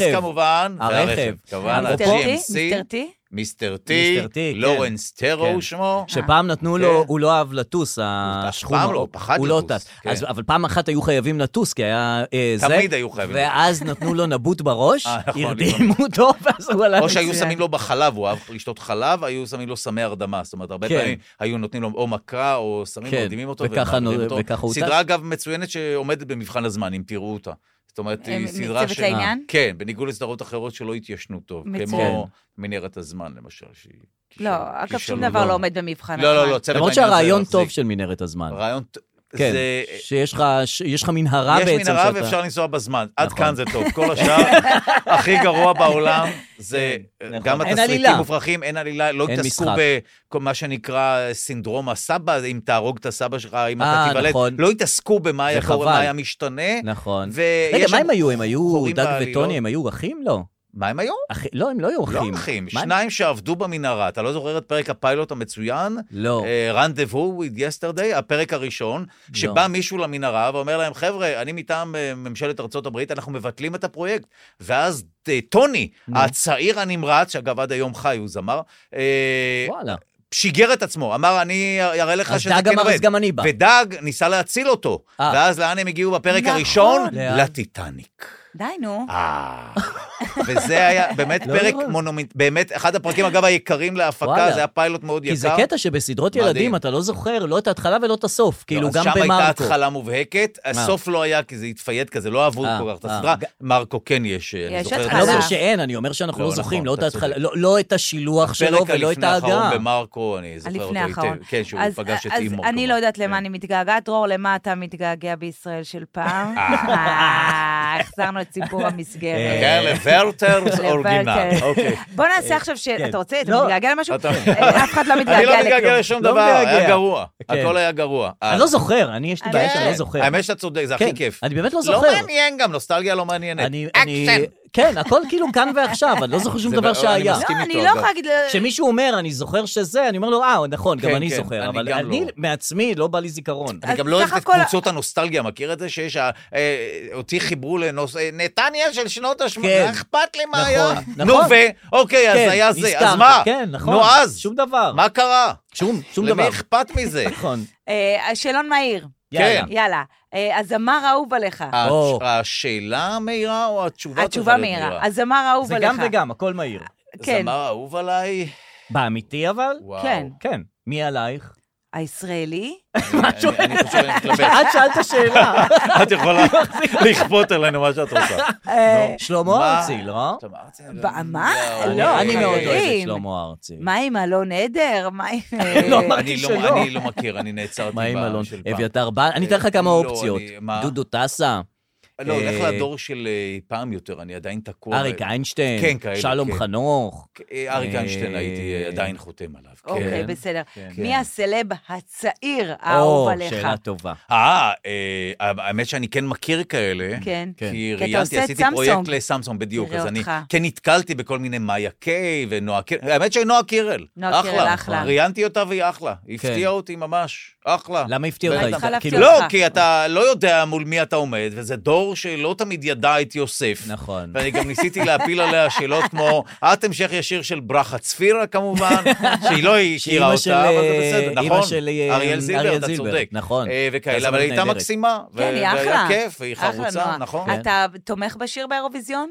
[SPEAKER 2] והרכב.
[SPEAKER 4] כמובן.
[SPEAKER 2] הרכב.
[SPEAKER 4] כמובן,
[SPEAKER 2] אפרופו-
[SPEAKER 3] מיסטר טי?
[SPEAKER 4] ה-GMC,
[SPEAKER 3] מיסטר טי?
[SPEAKER 4] מיסטר
[SPEAKER 2] מיסטר טי,
[SPEAKER 4] טי,
[SPEAKER 2] כן.
[SPEAKER 4] לורנס
[SPEAKER 2] כן.
[SPEAKER 4] טרו שמו.
[SPEAKER 2] שפעם נתנו לו, הוא לא אהב לטוס, השחום.
[SPEAKER 4] כן. פעם לא, הוא פחד
[SPEAKER 2] הוא לא
[SPEAKER 4] לטוס,
[SPEAKER 2] טס.
[SPEAKER 4] כן.
[SPEAKER 2] אז- אבל פעם אחת היו חייבים לטוס, כי היה אה, זה.
[SPEAKER 4] תמיד היו חייבים
[SPEAKER 2] ואז נתנו לו נבוט בראש,
[SPEAKER 4] אה, נכון,
[SPEAKER 2] הרדימו אותו, ואז הוא עלה
[SPEAKER 4] או שהיו
[SPEAKER 2] מצוין.
[SPEAKER 4] שמים לו בחלב, הוא אהב לשתות חלב, היו שמים לו סמי הרדמה. זאת אומרת, הרבה
[SPEAKER 2] כן.
[SPEAKER 4] פעמים היו נותנים לו או מכה, או סמים,
[SPEAKER 2] כן,
[SPEAKER 4] מרדימים אותו.
[SPEAKER 2] וככה
[SPEAKER 4] ומעבירים
[SPEAKER 2] נו-
[SPEAKER 4] אותו.
[SPEAKER 2] וככה הוא טס?
[SPEAKER 4] סדרה, אגב, מצוינת שעומדת במבחן הזמן, אם תראו אותה. זאת אומרת,
[SPEAKER 3] אה,
[SPEAKER 4] היא
[SPEAKER 3] מ-
[SPEAKER 4] סדרה
[SPEAKER 3] מצוות לעניין?
[SPEAKER 4] כן, בניגוד לסדרות אחרות שלא התיישנו טוב.
[SPEAKER 3] מצוין.
[SPEAKER 4] כמו מנהרת הזמן, למשל. שהיא-
[SPEAKER 3] לא,
[SPEAKER 4] שהיא-
[SPEAKER 3] אגב, שום
[SPEAKER 4] ששללו
[SPEAKER 3] דבר
[SPEAKER 4] לו.
[SPEAKER 3] לא עומד במבחן.
[SPEAKER 4] לא, לא,
[SPEAKER 3] הזמן.
[SPEAKER 4] לא, צוות
[SPEAKER 2] למרות
[SPEAKER 4] העניין הזה
[SPEAKER 2] שהרעיון
[SPEAKER 4] מחזיק.
[SPEAKER 2] טוב של מנהרת הזמן.
[SPEAKER 4] רעיון... ט-
[SPEAKER 2] כן,
[SPEAKER 4] זה-
[SPEAKER 2] שיש לך, שיש לך מנהרה בעצם.
[SPEAKER 4] יש מנהרה
[SPEAKER 2] שאתה-
[SPEAKER 4] ואפשר לנסוע בזמן, עד
[SPEAKER 2] נכון.
[SPEAKER 4] כאן זה טוב. כל השאר, הכי גרוע בעולם, זה אה,
[SPEAKER 2] נכון.
[SPEAKER 4] גם
[SPEAKER 2] אין
[SPEAKER 4] התסריטים
[SPEAKER 2] עלילה.
[SPEAKER 4] מופרכים, אין עלילה, לא
[SPEAKER 2] אין
[SPEAKER 4] התעסקו
[SPEAKER 2] משחק.
[SPEAKER 4] במה שנקרא סינדרום הסבא, אם תהרוג את הסבא שלך, אם
[SPEAKER 2] אה,
[SPEAKER 4] אתה תיוולד,
[SPEAKER 2] נכון.
[SPEAKER 4] לא התעסקו במה היה קורה,
[SPEAKER 2] וחבל.
[SPEAKER 4] מה היה משתנה.
[SPEAKER 2] נכון.
[SPEAKER 4] ויש
[SPEAKER 2] רגע, מה
[SPEAKER 4] שם
[SPEAKER 2] הם היו? הם היו
[SPEAKER 4] חורים
[SPEAKER 2] דג
[SPEAKER 4] בעלילות.
[SPEAKER 2] וטוני, הם היו אחים? לא.
[SPEAKER 4] מה הם היו?
[SPEAKER 2] אחי- לא, הם לא היו אחים.
[SPEAKER 4] לא אחים,
[SPEAKER 2] מה הם-
[SPEAKER 4] שניים שעבדו במנהרה. אתה לא זוכר את פרק הפיילוט המצוין?
[SPEAKER 2] לא.
[SPEAKER 4] אה, רנדבו with yesterday, הפרק הראשון, שבא מישהו למנהרה ואומר להם, חבר'ה, אני מטעם אה, ממשלת ארה"ב, אנחנו מבטלים את הפרויקט. ואז אה, טוני, הצעיר הנמרץ, שאגב עד היום חי, הוא זמר, אה,
[SPEAKER 2] וואלה.
[SPEAKER 4] שיגר את עצמו, אמר, אני אראה לך
[SPEAKER 2] אז
[SPEAKER 4] שזה
[SPEAKER 2] דג
[SPEAKER 4] כן
[SPEAKER 2] אמר,
[SPEAKER 4] עובד.
[SPEAKER 2] "אז גם אני בא."
[SPEAKER 4] ודג ניסה להציל אותו.
[SPEAKER 2] אה.
[SPEAKER 4] ואז לאן הם הגיעו בפרק
[SPEAKER 3] נכון.
[SPEAKER 4] הראשון?
[SPEAKER 2] לאן?
[SPEAKER 4] לטיטניק.
[SPEAKER 3] די, נו.
[SPEAKER 4] אה. וזה היה באמת
[SPEAKER 2] לא
[SPEAKER 4] פרק
[SPEAKER 2] נורא.
[SPEAKER 4] מונומנט, באמת, אחד הפרקים, אגב, היקרים להפקה,
[SPEAKER 2] וואלה.
[SPEAKER 4] זה היה פיילוט מאוד יקר.
[SPEAKER 2] כי זה קטע שבסדרות
[SPEAKER 4] מדהים.
[SPEAKER 2] ילדים אתה לא זוכר לא את ההתחלה ולא את הסוף, כאילו
[SPEAKER 4] לא, אז
[SPEAKER 2] גם
[SPEAKER 4] שם הייתה
[SPEAKER 2] במרקו.
[SPEAKER 4] התחלה מובהקת, הסוף לא היה, כי זה התפייד כזה, לא אהבו
[SPEAKER 2] אה,
[SPEAKER 4] כל כך את
[SPEAKER 2] אה.
[SPEAKER 4] הסדרה. מרקו כן יש, אני
[SPEAKER 3] יש
[SPEAKER 4] זוכר.
[SPEAKER 2] אני
[SPEAKER 4] את
[SPEAKER 2] לא אומר
[SPEAKER 3] התחלה.
[SPEAKER 4] הסוף.
[SPEAKER 2] שאין, אני אומר שאנחנו לא
[SPEAKER 4] לא,
[SPEAKER 2] זוכרים,
[SPEAKER 4] נכון,
[SPEAKER 2] לא את
[SPEAKER 4] אתה
[SPEAKER 2] ההתחלה,
[SPEAKER 4] צודק.
[SPEAKER 2] לא- לא את השילוח שלו
[SPEAKER 4] הפרק
[SPEAKER 2] ולא את
[SPEAKER 4] הלפני האחרון
[SPEAKER 2] ההגעה.
[SPEAKER 4] במרקו, אני זוכר אותו
[SPEAKER 3] הלפני
[SPEAKER 4] היטב.
[SPEAKER 3] האחרון.
[SPEAKER 4] כן, שהוא
[SPEAKER 3] אז-
[SPEAKER 4] פגש את
[SPEAKER 3] אז
[SPEAKER 4] אימו.
[SPEAKER 3] אני
[SPEAKER 4] כמובן.
[SPEAKER 3] לא יודעת
[SPEAKER 4] כן.
[SPEAKER 3] למה אני מתגעגעת. דרור, למה אתה מתגעגע בישראל של פעם? אה, החזרנו את סיפור
[SPEAKER 2] אה.
[SPEAKER 3] המסגרת.
[SPEAKER 4] כן, לוורטרס
[SPEAKER 3] לוורטר. לא
[SPEAKER 4] אורגינל. אוקיי.
[SPEAKER 3] בוא נעשה עכשיו ש... אתה רוצה? אתה
[SPEAKER 2] לא.
[SPEAKER 3] מתגעגע למשהו?
[SPEAKER 4] אתה-
[SPEAKER 3] אה, אף אחד לא מתגעגע
[SPEAKER 4] אני
[SPEAKER 3] לכלום.
[SPEAKER 4] לא מתגעגע לשום
[SPEAKER 2] לא
[SPEAKER 4] דבר, היה
[SPEAKER 2] מתגעגע.
[SPEAKER 4] גרוע.
[SPEAKER 2] כן.
[SPEAKER 4] הכל היה גרוע.
[SPEAKER 2] אני לא זוכר, אני יש לי
[SPEAKER 3] אני-
[SPEAKER 2] בעיה שאני לא
[SPEAKER 4] כן.
[SPEAKER 2] זוכר.
[SPEAKER 4] האמת שאתה צודק, זה
[SPEAKER 2] כן,
[SPEAKER 4] הכי כיף.
[SPEAKER 2] אני באמת לא
[SPEAKER 4] לא
[SPEAKER 2] זוכר.
[SPEAKER 4] מעניין גם, נוסטלגיה לא מעניינת.
[SPEAKER 2] אני- אני-
[SPEAKER 4] אקשן.
[SPEAKER 2] כן, הכל כאילו כאן ועכשיו, אני לא זוכר שום
[SPEAKER 4] זה
[SPEAKER 2] דבר
[SPEAKER 4] מאוד- אני
[SPEAKER 2] שהיה.
[SPEAKER 4] מסכים
[SPEAKER 3] לא,
[SPEAKER 4] איתו,
[SPEAKER 3] אני לא
[SPEAKER 4] אגב.
[SPEAKER 3] יכולה להגיד...
[SPEAKER 2] כשמישהו אומר, אני זוכר שזה, אני אומר לו, אה, נכון, גם
[SPEAKER 4] כן,
[SPEAKER 2] אני
[SPEAKER 4] כן,
[SPEAKER 2] זוכר,
[SPEAKER 4] אני
[SPEAKER 2] אבל
[SPEAKER 4] גם
[SPEAKER 2] אני
[SPEAKER 4] לא.
[SPEAKER 2] מעצמי, לא בא לי זיכרון.
[SPEAKER 4] אני
[SPEAKER 3] אז
[SPEAKER 4] גם לא
[SPEAKER 3] סך
[SPEAKER 4] אוהב את
[SPEAKER 3] הכל-
[SPEAKER 4] קבוצות הנוסטלגיה, מכיר את זה שיש... ה- אה, אותי חיברו לנוס... אה, נתניה של שנות ה-80,
[SPEAKER 2] כן.
[SPEAKER 4] אכפת לי מה
[SPEAKER 2] נכון,
[SPEAKER 4] היה.
[SPEAKER 2] נכון.
[SPEAKER 4] נו, ו... אוקיי, אז
[SPEAKER 2] כן,
[SPEAKER 4] היה זה, אז
[SPEAKER 2] נזכרת,
[SPEAKER 4] מה?
[SPEAKER 2] כן, נכון.
[SPEAKER 4] נו, אז.
[SPEAKER 2] שום דבר.
[SPEAKER 4] מה קרה?
[SPEAKER 2] שום שום דבר.
[SPEAKER 4] למי אכפת כן. מזה?
[SPEAKER 2] נכון.
[SPEAKER 3] אה, שאלון מהיר.
[SPEAKER 2] יאללה.
[SPEAKER 3] יאללה. אה, הזמר האהוב עליך.
[SPEAKER 4] הש-
[SPEAKER 2] או.
[SPEAKER 4] השאלה מהירה או התשובה צריכה
[SPEAKER 3] התשובה
[SPEAKER 4] להיות
[SPEAKER 3] מהירה. הזמר האהוב
[SPEAKER 2] זה
[SPEAKER 3] עליך.
[SPEAKER 2] גם וגם, הכל מהיר.
[SPEAKER 3] כן.
[SPEAKER 4] זמר אהוב עליי?
[SPEAKER 2] באמיתי אבל?
[SPEAKER 4] וואו.
[SPEAKER 3] כן.
[SPEAKER 2] כן. מי עלייך?
[SPEAKER 3] הישראלי?
[SPEAKER 4] משהו. אני חושב שאני מתלבט.
[SPEAKER 2] את שאלת שאלה.
[SPEAKER 4] את יכולה לכפות עלינו מה שאת רוצה.
[SPEAKER 3] אה,
[SPEAKER 2] שלמה
[SPEAKER 4] מה?
[SPEAKER 2] ארצי, לא?
[SPEAKER 4] אתה אמרת?
[SPEAKER 3] ב- מה?
[SPEAKER 4] אני-
[SPEAKER 3] לא,
[SPEAKER 2] אני מאוד אוהב את
[SPEAKER 3] חברים.
[SPEAKER 2] שלמה ארצי.
[SPEAKER 3] מה עם אלון עדר? מה עם...
[SPEAKER 2] לא,
[SPEAKER 3] אה,
[SPEAKER 2] מה-
[SPEAKER 4] אני לא-
[SPEAKER 2] שלא.
[SPEAKER 4] אני לא מכיר, אני נעצרתי
[SPEAKER 2] מה עם
[SPEAKER 4] ב-
[SPEAKER 2] אלון?
[SPEAKER 4] של פעם.
[SPEAKER 2] אביתר בן? אני אתן לך
[SPEAKER 4] אה,
[SPEAKER 2] כמה
[SPEAKER 4] לא,
[SPEAKER 2] אופציות.
[SPEAKER 4] אני- מה?
[SPEAKER 2] דודו טסה,
[SPEAKER 4] לא,
[SPEAKER 2] אה,
[SPEAKER 4] הולך לדור של אה, פעם יותר, אני עדיין תקוע.
[SPEAKER 2] אריק איינשטיין,
[SPEAKER 4] כן, כאלה,
[SPEAKER 2] שלום
[SPEAKER 4] כן.
[SPEAKER 2] חנוך.
[SPEAKER 4] אה, אריק
[SPEAKER 2] אה,
[SPEAKER 4] איינשטיין הייתי אה, עדיין חותם עליו.
[SPEAKER 3] אוקיי,
[SPEAKER 4] כן.
[SPEAKER 3] בסדר.
[SPEAKER 4] כן.
[SPEAKER 3] מי הסלב הצעיר האהוב
[SPEAKER 2] או,
[SPEAKER 3] עליך? כן,
[SPEAKER 2] שאלה טובה.
[SPEAKER 4] אה, אה, האמת שאני כן מכיר כאלה.
[SPEAKER 3] כן.
[SPEAKER 2] כן.
[SPEAKER 4] כי
[SPEAKER 3] אתה
[SPEAKER 4] ראיינתי,
[SPEAKER 3] עושה את
[SPEAKER 4] עשיתי
[SPEAKER 3] סמסונג.
[SPEAKER 4] פרויקט לסמסונג, בדיוק.
[SPEAKER 3] נראה
[SPEAKER 4] אז אני
[SPEAKER 3] אותך.
[SPEAKER 4] כן נתקלתי בכל מיני מאיה קיי ונועה קירל. האמת שנועה קירל.
[SPEAKER 3] נועה קירל, אחלה.
[SPEAKER 4] ראיינתי אותה והיא אחלה. הפתיעה אותי ממש. אחלה.
[SPEAKER 2] כן. למה הפתיע אותך?
[SPEAKER 4] אה, בטח.
[SPEAKER 3] צריכה להפתיע
[SPEAKER 2] כאילו-
[SPEAKER 3] אותך.
[SPEAKER 4] לא, כי אתה לא יודע מול מי אתה עומד, וזה דור שלא תמיד ידע את יוסף.
[SPEAKER 2] נכון.
[SPEAKER 4] ואני גם ניסיתי להפיל עליה שאלות כמו, את המשך ישיר של ברכה צפירה כמובן, שהיא לא
[SPEAKER 2] שאימא
[SPEAKER 4] הכירה
[SPEAKER 2] של,
[SPEAKER 4] אותה, אבל זה בסדר,
[SPEAKER 2] אה,
[SPEAKER 4] נכון.
[SPEAKER 2] אימא של, אה,
[SPEAKER 4] אריאל זילבר,
[SPEAKER 2] אריאל
[SPEAKER 4] אתה
[SPEAKER 2] זילבר,
[SPEAKER 4] צודק.
[SPEAKER 2] נכון.
[SPEAKER 4] אה, וכאלה,
[SPEAKER 2] יזמת
[SPEAKER 4] אבל היא הייתה
[SPEAKER 2] נהדרת.
[SPEAKER 4] מקסימה. ו-
[SPEAKER 3] כן, היא
[SPEAKER 4] והיה
[SPEAKER 3] אחלה.
[SPEAKER 4] כיף, והיא
[SPEAKER 3] אחלה
[SPEAKER 4] חרוצה,
[SPEAKER 3] נועה.
[SPEAKER 4] נכון.
[SPEAKER 3] אתה תומך בשיר באירוויזיון?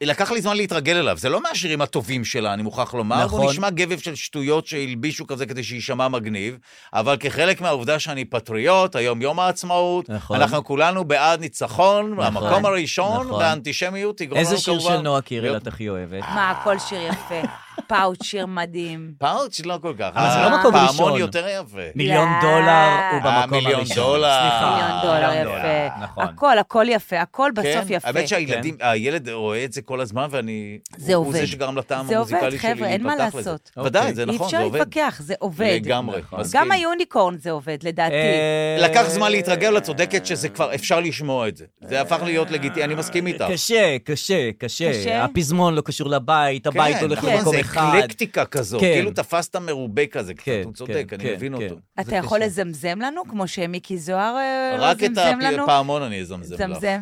[SPEAKER 4] לקח לי זמן להתרגל אליו, זה לא מהשירים הטובים שלה, אני מוכרח לומר. נכון.
[SPEAKER 2] נכון.
[SPEAKER 4] הוא נשמע גבב של שטויות שהלבישו כזה כדי שיישמע מגניב, אבל כחלק מהעובדה שאני פטריוט, היום יום העצמאות,
[SPEAKER 2] נכון.
[SPEAKER 4] נכון. אנחנו כולנו בעד ניצחון, נכון. המקום הראשון,
[SPEAKER 2] נכון.
[SPEAKER 4] נכון. והאנטישמיות תגרום לנו
[SPEAKER 2] איזה
[SPEAKER 4] כמובן... אה,
[SPEAKER 2] שיר של נועה קירל
[SPEAKER 4] להיות-
[SPEAKER 2] את הכי אוהבת?
[SPEAKER 3] מה, כל שיר יפה. פאוט, שיר מדהים.
[SPEAKER 4] פאוץ' לא כן, כל כך.
[SPEAKER 2] אבל זה לא
[SPEAKER 4] אה,
[SPEAKER 2] מקום ראשון.
[SPEAKER 4] פעמון יותר יפה.
[SPEAKER 2] מיליון
[SPEAKER 3] לא.
[SPEAKER 2] דולר הוא
[SPEAKER 4] אה,
[SPEAKER 2] במקום הראשון.
[SPEAKER 4] מיליון דולר.
[SPEAKER 2] סליחה.
[SPEAKER 3] מיליון דולר יפה.
[SPEAKER 2] אה, נכון.
[SPEAKER 3] הכל, הכל יפה, הכל בסוף
[SPEAKER 4] כן,
[SPEAKER 3] יפה.
[SPEAKER 4] האמת שהילדים, הילד רואה את זה כל הזמן, ואני...
[SPEAKER 3] זה
[SPEAKER 4] הוא-
[SPEAKER 3] עובד.
[SPEAKER 4] הוא זה שגרם לטעם
[SPEAKER 3] זה עובד,
[SPEAKER 4] המוזיקלי שלי
[SPEAKER 3] חבר'ה, אין מה
[SPEAKER 4] להיפתח לזה.
[SPEAKER 3] לעשות. אוקיי.
[SPEAKER 4] ודאי, זה נכון, זה
[SPEAKER 3] אי
[SPEAKER 4] עובד.
[SPEAKER 3] אפשר להתווכח, זה עובד. נכון.
[SPEAKER 4] לגמרי, מסכים.
[SPEAKER 3] גם היוניקורן זה עובד, לדעתי.
[SPEAKER 2] אה,
[SPEAKER 4] לקח זמן להתרגל, את צודקת שזה כבר, אפשר לשמוע את זה. זה הפך להיות לגיטימי, אני מסכים איתך.
[SPEAKER 2] קשה, קשה, קשה.
[SPEAKER 3] קשה?
[SPEAKER 2] הפזמון לא קשור לבית, הבית הולך
[SPEAKER 4] נכון,
[SPEAKER 2] למקום
[SPEAKER 4] זה
[SPEAKER 2] אחד.
[SPEAKER 4] אקלקטיקה כזו,
[SPEAKER 2] כן.
[SPEAKER 4] כאילו תפסת מרובה כזה, קצת,
[SPEAKER 2] כן,
[SPEAKER 4] הוא צודק,
[SPEAKER 2] כן,
[SPEAKER 4] אני
[SPEAKER 2] כן,
[SPEAKER 4] מבין
[SPEAKER 2] כן.
[SPEAKER 4] אותו.
[SPEAKER 3] אתה יכול לזמזם לנו, כמו שמיקי זוהר אה, לא
[SPEAKER 4] רק את לא.
[SPEAKER 3] זמזם לנו?
[SPEAKER 4] הפעמון אני אזמזם לך.
[SPEAKER 3] זמזם.